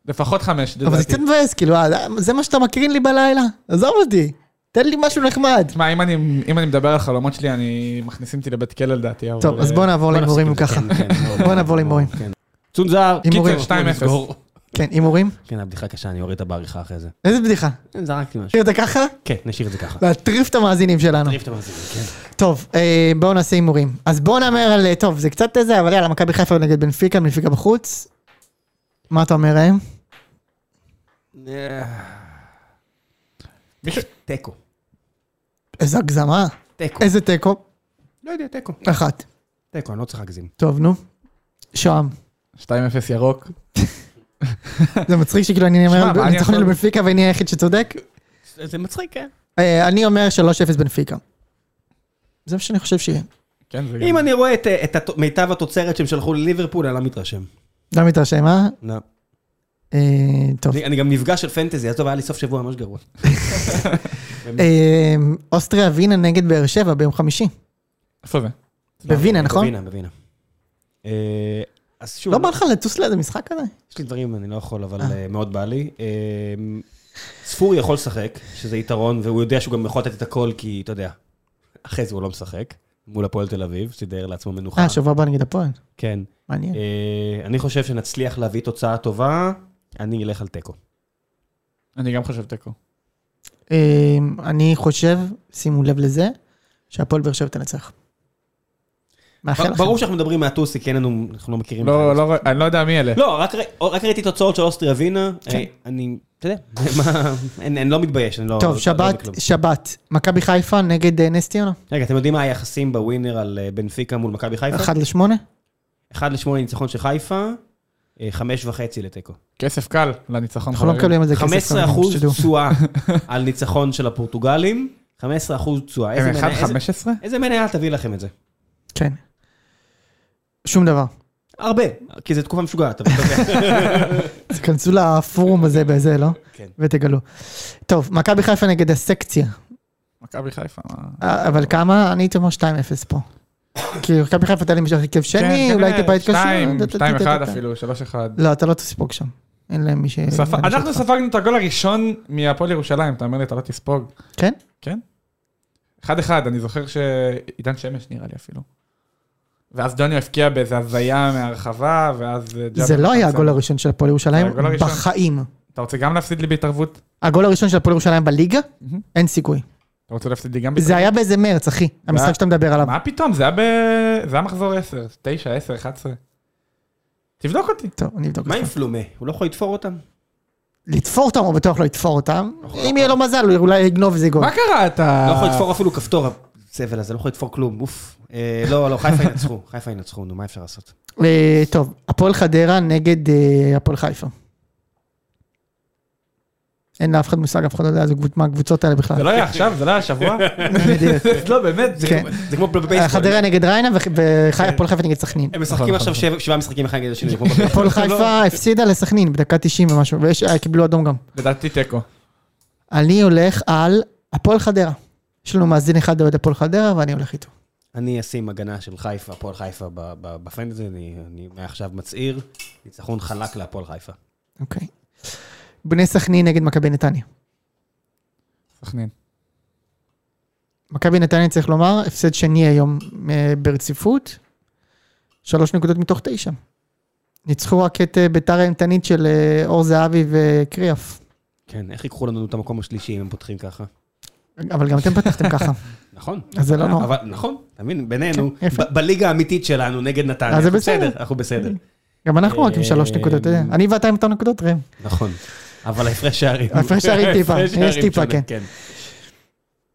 לפחות חמש, אבל זה לדעתי. קצת מבאס, כאילו, אה, זה מה שאתה מקרין לי בלילה? עזוב אותי, תן לי משהו נחמד. תשמע, אם אני, אם אני מדבר על חלומות שלי, אני מכניסים אותי לבית כלא לדעתי. אבל- טוב, אז בוא נעבור בוא להימורים אם נפסיק ככה. עם זה, כן, כן, בוא נעבור להימורים. כן. צונזר, הימורים. קיצר, 2-0. נסגור. כן, הימורים? כן, הבדיחה קשה, אני אוריד אותה בעריכה אחרי זה. איזה בדיחה. זרקתי משהו. נשאיר את זה ככה? כן, נשאיר את זה ככה. להטריף את המאזינים שלנו. תעיף את המאזינים, כן. טוב, אה, בואו נעשה הימורים. אז בואו נאמר על, אה, טוב, זה קצת זה, אבל יאללה, מכבי חיפה נגד בנפיקה, בנפיקה בחוץ. מה אתה אומר, ראם? מישהו- תיקו. איזה הגזמה. תיקו. איזה תיקו. לא יודע, תיקו. אחת. תיקו, אני לא צריך להגזים. טוב, נו. שוהם. 2-0 ירוק. זה מצחיק שכאילו אני שמע, אומר מה אני ניצחון יכול- לבנפיקה ואני היחיד שצודק. זה מצחיק, כן. אה, אני אומר 3-0 בנפיקה. זה מה שאני חושב שיהיה. כן, זה אם גם. אני רואה את, אה, את הת- מיטב התוצרת שהם שלחו לליברפול, אני לא מתרשם. לא מתרשם, אה? לא. אה, טוב. אני, אני גם נפגש של פנטזי, אז טוב, היה לי סוף שבוע ממש גרוע. אה, אוסטריה ווינה נגד באר שבע ביום חמישי. איפה זה? בווינה, נכון? לא, בווינה, בווינה. אה, אז שוב, לא בא לך לטוס לאיזה משחק כזה? יש לי דברים, אני לא יכול, אבל אה, מאוד בא לי. אה, ספורי יכול לשחק, שזה יתרון, והוא יודע שהוא גם יכול לתת את הכל, כי אתה יודע, אחרי זה הוא לא משחק, מול הפועל תל אביב, סידר לעצמו מנוחה. אה, שבוע הבא נגד הפועל. כן. מעניין. אה, אני חושב שנצליח להביא תוצאה טובה, אני אלך על תיקו. אני גם חושב תיקו. אה, אני חושב, שימו לב לזה, שהפועל באר שבע תנצח. מאחל לכם. ברור שאנחנו מדברים מהטוסי, כי אין לנו, אנחנו לא מכירים. את לא, זה. לא, אני לא יודע מי אלה. לא, רק, ר- רק ראיתי תוצאות של אוסטריה ווינה, אה, אני, אתה יודע, מה, אין- אני לא מתבייש, אני לא... טוב, לא- לא שבת, בכלום. שבת. מכבי חיפה נגד אה, נס ציונה. רגע, אתם יודעים מה היחסים בווינר על אה, בנפיקה מול מכבי חיפה? 1 ל-8. נכון, 1 ל-8 ניצחון של חיפה, 5 וחצי לתיקו. כסף קל לניצחון. אנחנו לא חברים. מקבלים על זה 15% כסף. כמובן, שתדעו. תשואה על ניצחון של הפורטוגלים, 15% תשואה. איזה הם מנה- איזה- 1.15? איזה מניה תביא לכם את זה? כן. שום דבר. הרבה, כי זו תקופה משוגעת, אבל אתה יודע. תיכנסו לפורום הזה בזה, לא? כן. ותגלו. טוב, מכבי חיפה נגד הסקציה. מכבי חיפה. מה? אה, אבל כמה? אני הייתי אומר 2-0 פה. כי מכבי חיפה תהיה לי משך הרכב שני, כן, אולי כנראה, טיפה התקשרו. שתיים, דה- דה- דה- שתיים דה- דה- אחד דה- אפילו, שלוש אחד. לא, אתה לא תספוג שם. אין להם מי ש... ספ- יעניש אנחנו אותך. ספגנו את הגול הראשון מהפועל ירושלים, אתה אומר לי, אתה לא תספוג. כן? כן? אחד אחד, אני זוכר שעידן שמש נראה לי אפילו. ואז דוניו הבקיע באיזה הזיה מהרחבה, ואז... אה, ג'אבר זה לא היה חסן. הגול הראשון של הפועל ירושלים זה הגול הראשון. בחיים. אתה רוצה גם להפסיד לי בהתערבות? הגול הראשון של הפועל ירושלים בליגה? מהמם. אין סיכוי. אתה רוצה להפסיד לי גם זה בהתערבות? היה באיזה מרץ, אחי. המשחק שאתה מדבר עליו. מה פתאום, זה היה ב... זה היה מחזור 10, 9, 10, 11. תבדוק אותי. טוב, אני אבדוק. מה עם אותך. פלומה? הוא לא יכול לתפור אותם? לתפור אותם, הוא בטוח לא יתפור אותם. אם יהיה לו מזל, הוא אולי יגנוב איזה גול. נכון, מה קרה אתה? לא יכול לתפור אפילו כפתור, הסבל הזה, לא יכול לתפור כלום, אוף. אה, לא, לא, חיפה ינצחו, חיפה ינצחו, נו, מה אפשר לעשות? אה, טוב, הפועל חדרה נגד אה, הפועל חיפה. אין לאף אחד מושג, אף אחד לא יודע איזה קבוצ- מה הקבוצות האלה בכלל. זה לא היה עכשיו, זה לא היה השבוע? לא, באמת, זה... כן. זה כמו אה, בבייסבול. חדרה נגד ריינה וח- כן. והפועל חיפה נגד סכנין. הם משחקים עכשיו שבע- שבעה משחקים אחד נגד השני, זה כמו בבייסבול. הפועל לא- חיפה הפסידה לסכנין בדקה 90 ומשהו, וקיבלו אדום גם. לדעתי תיקו. אני הולך על הפועל חדרה. יש לנו מאזין אחד אוהד הפועל חדרה, ואני הולך איתו. אני אשים הגנה של חיפה, הפועל חיפה ב- ב- בפנטזי, אני אני מעכשיו מצהיר, ניצחון חלק להפועל חיפה. אוקיי. בני סכנין נגד מכבי נתניה. סכנין. מכבי נתניה, צריך לומר, הפסד שני היום אה, ברציפות. שלוש נקודות מתוך תשע. ניצחו רק את אה, ביתר האימתנית של אה, אור זהבי וקריאף. כן, איך ייקחו לנו את המקום השלישי אם הם פותחים ככה? אבל גם אתם פתחתם ככה, נכון. אז זה לא נורא. אבל נכון, אתה מבין, בינינו, כן, יפה. ב- בליגה האמיתית שלנו נגד נתניה, אז זה אנחנו בסדר. אנחנו בסדר, גם אנחנו רק עם שלוש אה, נקודות, אתה יודע. אני ואתה עם אותן נקודות, ראם. נכון. אבל ההפרש שערים. ההפרש שערים טיפה, ההפרש יש שערים טיפה, שונה, נכון, כן.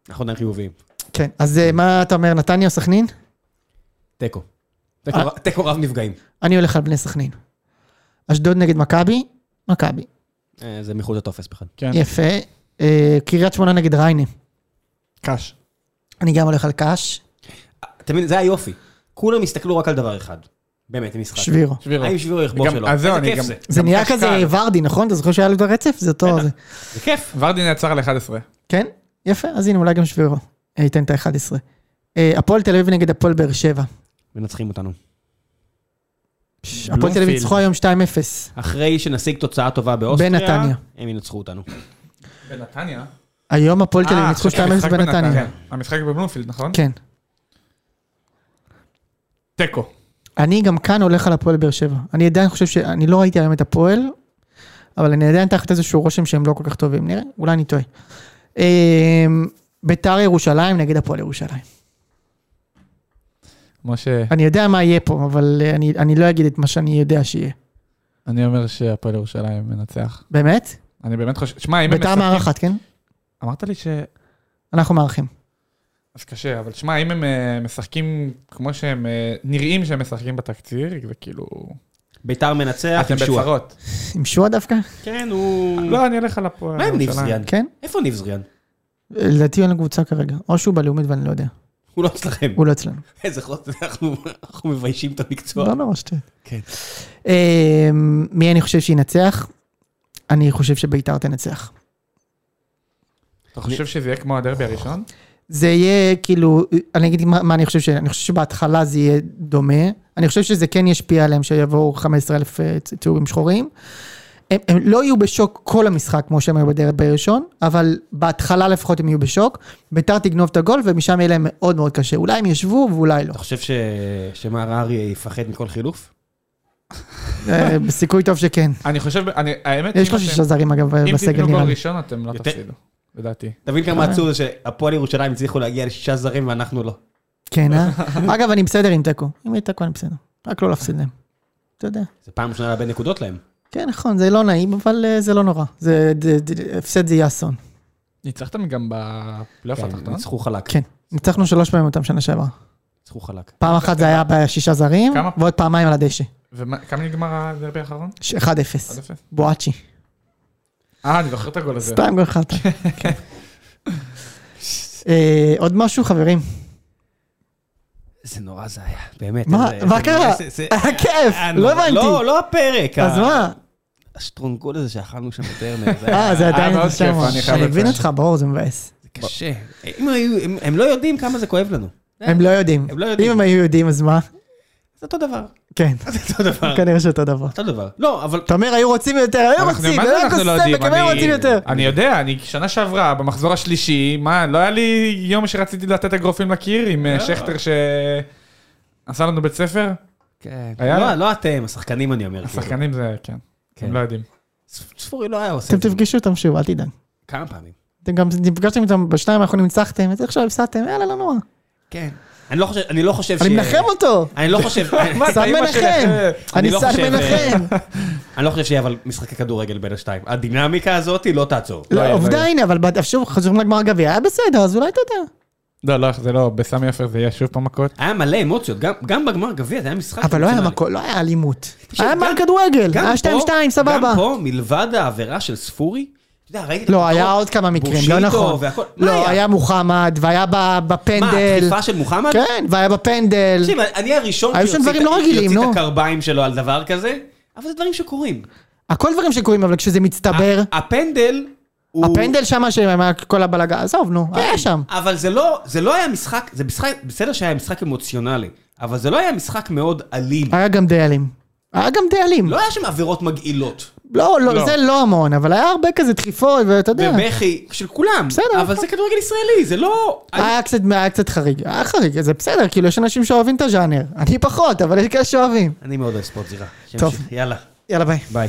אנחנו עדיין חיוביים. כן, אז אה, מה אתה אומר, נתניה או סכנין? תיקו. תיקו אה. ר- תיקו רב נפגעים. אני הולך על בני סכנין. אשדוד נגד מכבי, מכבי. אה, זה מחוץ לטופס בכלל. כן. יפה. אה, קריית שמונה נגד ריינה. קאש. אני גם הולך על קאש. אתה מבין, זה היופי. כולם הסתכלו רק על דבר אחד. באמת, עם משחק. שבירו. שבירו. האם שבירו יכבוש אה, גם- שלו? אז זהו, איזה אני כיף גם- זה. זה נהיה קאש כזה קל. ורדי, נכון? אתה זוכר שהיה לו את הרצף? זה אותו... זה- זה כיף. ורדי נעצר על 11. כן? יפה, אז הנה, אולי גם שבירו. אה, ייתן את ה-11. הפועל תל אביב נגד הפועל באר שבע. מנצחים אותנו. פש, הפועל תל אביב בלומפילד. ניצחו היום 2-0. אחרי שנשיג תוצאה טובה באוסטריה, בנתניה. הם ינצחו אותנו. בנתניה? היום הפועל אה, תל אביב ניצחו 2-0 בנתניה. המשחק אה, בבלומפילד, נכון? כן. תיקו. אני גם כאן הולך על הפועל באר שבע. אני עדיין חושב ש... אני לא ראיתי היום את הפועל, אבל אני עדיין תחת איזשהו רושם שהם לא כל כך טובים. נראה, אולי אני טועה. אה, ביתר ירושלים נגד הפועל ירושלים. משה, אני יודע מה יהיה פה, אבל אה, אני, אני לא אגיד את מה שאני יודע שיהיה. אני אומר שהפועל ירושלים מנצח. באמת? אני באמת חושב... שמע, אם הם ביתר משחקים... מארחת, כן? אמרת לי ש... אנחנו מארחים. אז קשה, אבל שמע, אם הם אה, משחקים כמו שהם אה, נראים שהם משחקים בתקציר, זה כאילו... ביתר אה, מנצח, אתם עם שועה. בצרות. עם שועה דווקא? כן, הוא... לא, אני הולך על הפועל. מה עם ניב ירושלים. זריאן? כן? איפה ניב זריאן? לדעתי אין לו קבוצה כרגע. או שהוא בלאומית ואני לא יודע. הוא לא אצלכם. הוא לא אצלנו. איזה חוסר, אנחנו אנחנו מביישים את המקצוע. לא נורא שטויות. כן. אה, מי אני חושב שינצח? אני חושב שביתר תנצח. אתה חושב שזה יהיה כמו הדרבי הראשון? זה יהיה כאילו, אני אגיד מה, מה אני חושב ש... אני חושב שבהתחלה זה יהיה דומה. אני חושב שזה כן ישפיע עליהם שיבואו 15,000 אה, צ- צהובים שחורים. הם, הם לא יהיו בשוק כל המשחק כמו שהם היו בדרבי הראשון, אבל בהתחלה לפחות הם יהיו בשוק. ביתר תגנוב את הגול ומשם יהיה להם מאוד מאוד קשה. אולי הם ישבו ואולי לא. אתה חושב ש- שמר אריה יפחד מכל חילוף? אה, בסיכוי טוב שכן. אני חושב... אני- האמת... יש אם לך אתם- שישה זרים אגב אם אה, בסגל תיתנו גול נראה לי. ראשון אתם לא יותר- תפסידו. לדעתי. אתה מבין כמה עצוב זה שהפועל ירושלים הצליחו להגיע לשישה זרים ואנחנו לא. כן, אה? אגב, אני בסדר עם תיקו. אם יהיה תיקו אני בסדר. רק לא להפסיד להם. אתה יודע. זה פעם ראשונה לאבד נקודות להם. כן, נכון, זה לא נעים, אבל אה, זה לא נורא. זה, זה, זה, הפסד זה יהיה אסון. ניצחתם גם בפלייאוף כן, התחתון? ניצחו חלק. כן. ניצחנו שלוש פעמים אותם שנה שעברה. ניצחו חלק. פעם אחת זה היה בשישה זרים, כמה? ועוד פעמיים על הדשא. וכמה נגמר הדרבי האחרון? ש- 1-0. 1-0? בואצ'י. לא אה, אני זוכר את הגול הזה. סתם גול חלטה. כן. אה, עוד משהו, חברים? זה נורא זה היה, באמת. מה- זה- מה זה- קרה? זה- אה, זה- היה כיף, אה, לא נורא. לא, הבנתי. לא הפרק. אז ה- מה? השטרונגול הזה שאכלנו שם בטרנר. זה היה- אה, זה עדיין מאוד שם. כיף, אני חייב אני מבין לציין. אותך, ברור, זה מבאס. זה קשה. אם היו- הם- הם לא יודעים כמה זה כואב לנו. הם לא יודעים. הם לא יודעים. אם הם היו יודעים, אז מה? זה אותו דבר. כן, זה אותו דבר. כנראה שאותו דבר. אותו דבר. לא, אבל... אתה אומר, היו רוצים יותר, היו אנחנו- רוצים, אה, מה זה זה היה אנחנו לא סמק, יודעים? הם היו אני- רוצים יותר. אני יודע, אני שנה שעברה, במחזור השלישי, מה, לא היה לי יום שרציתי לתת אגרופים לקיר עם אה, שכטר שעשה לנו בית ספר? כן. היה? לא, לא אתם, השחקנים אני אומר. כאילו. השחקנים זה, כן. כן. הם לא יודעים. צפורי לא היה עושה אתם את זה. תפגשו אותם שוב, אל תדאג. כמה פעמים. אתם גם נפגשתם איתם בשניים האחרונים, ניצחתם, אז עכשיו הפסדתם, יאללה, לא נורא. כן. אני לא חושב, אני לא חושב ש... אני מנחם אותו. אני לא חושב... מה, סן אתה אימא מנחם. שלך? אני אני לא סן חושב, אה, מנחם. אני לא חושב שיהיה אבל משחקי כדורגל בין השתיים. הדינמיקה הזאת היא לא תעצור. לא, היה, לא עובדה, היה. הנה, אבל בד- שוב, חזרו לגמר גביע, היה בסדר, אז אולי אתה יודע. לא, לא, זה לא, בסמי עופר זה יהיה שוב פעם מכות. היה מלא אמוציות, גם- גם בגמר גביע זה היה משחק. אבל לא היה אמוציונלי. מקו- לא היה אלימות. היה גם- מר כדורגל, גם היה פה- 2-2, סבבה. גם פה, מלבד העבירה של ספורי, אתה יודע, ראיתי... את לא, הכדור- היה עוד כמה מקרים, בושיטו לא נכון. והכל- מה לא, היה מוחמד, והיה ב- מה, בפנדל. התקיפה של מוחמד? כן, והיה בפנדל. תקשיב, אני הראשון היו שם שיוציא דברים את- לא רגילים, שיוציא נו. את הקרביים שלו על דבר כזה, אבל זה דברים שקורים. הכל דברים שקורים, אבל כשזה אה, מצטבר, הפנדל הוא... הפנדל שמה שהם, היה כל הבלגה, עזוב, כן. נו, היה שם. אבל זה לא, זה לא היה משחק, זה משחק, בסדר שהיה משחק אמוציונלי, אבל זה לא היה משחק מאוד אלים. היה גם די אלים. היה גם די אלים. לא היה שם עבירות מגעילות. לא, לא, לא. זה לא המון, אבל היה הרבה כזה דחיפות, ואתה יודע. ובכי של כולם. בסדר, אה. אבל נכון. זה כדורגל ישראלי, זה לא... היה קצת, היה קצת חריג, היה חריג, זה בסדר, כאילו יש אנשים שאוהבים את הז'אנר, אני פחות, אבל יש כאלה שאוהבים. אני מאוד אוהב ספורט זירה. טוב. שימשיך, יאללה. יאללה ביי. ביי.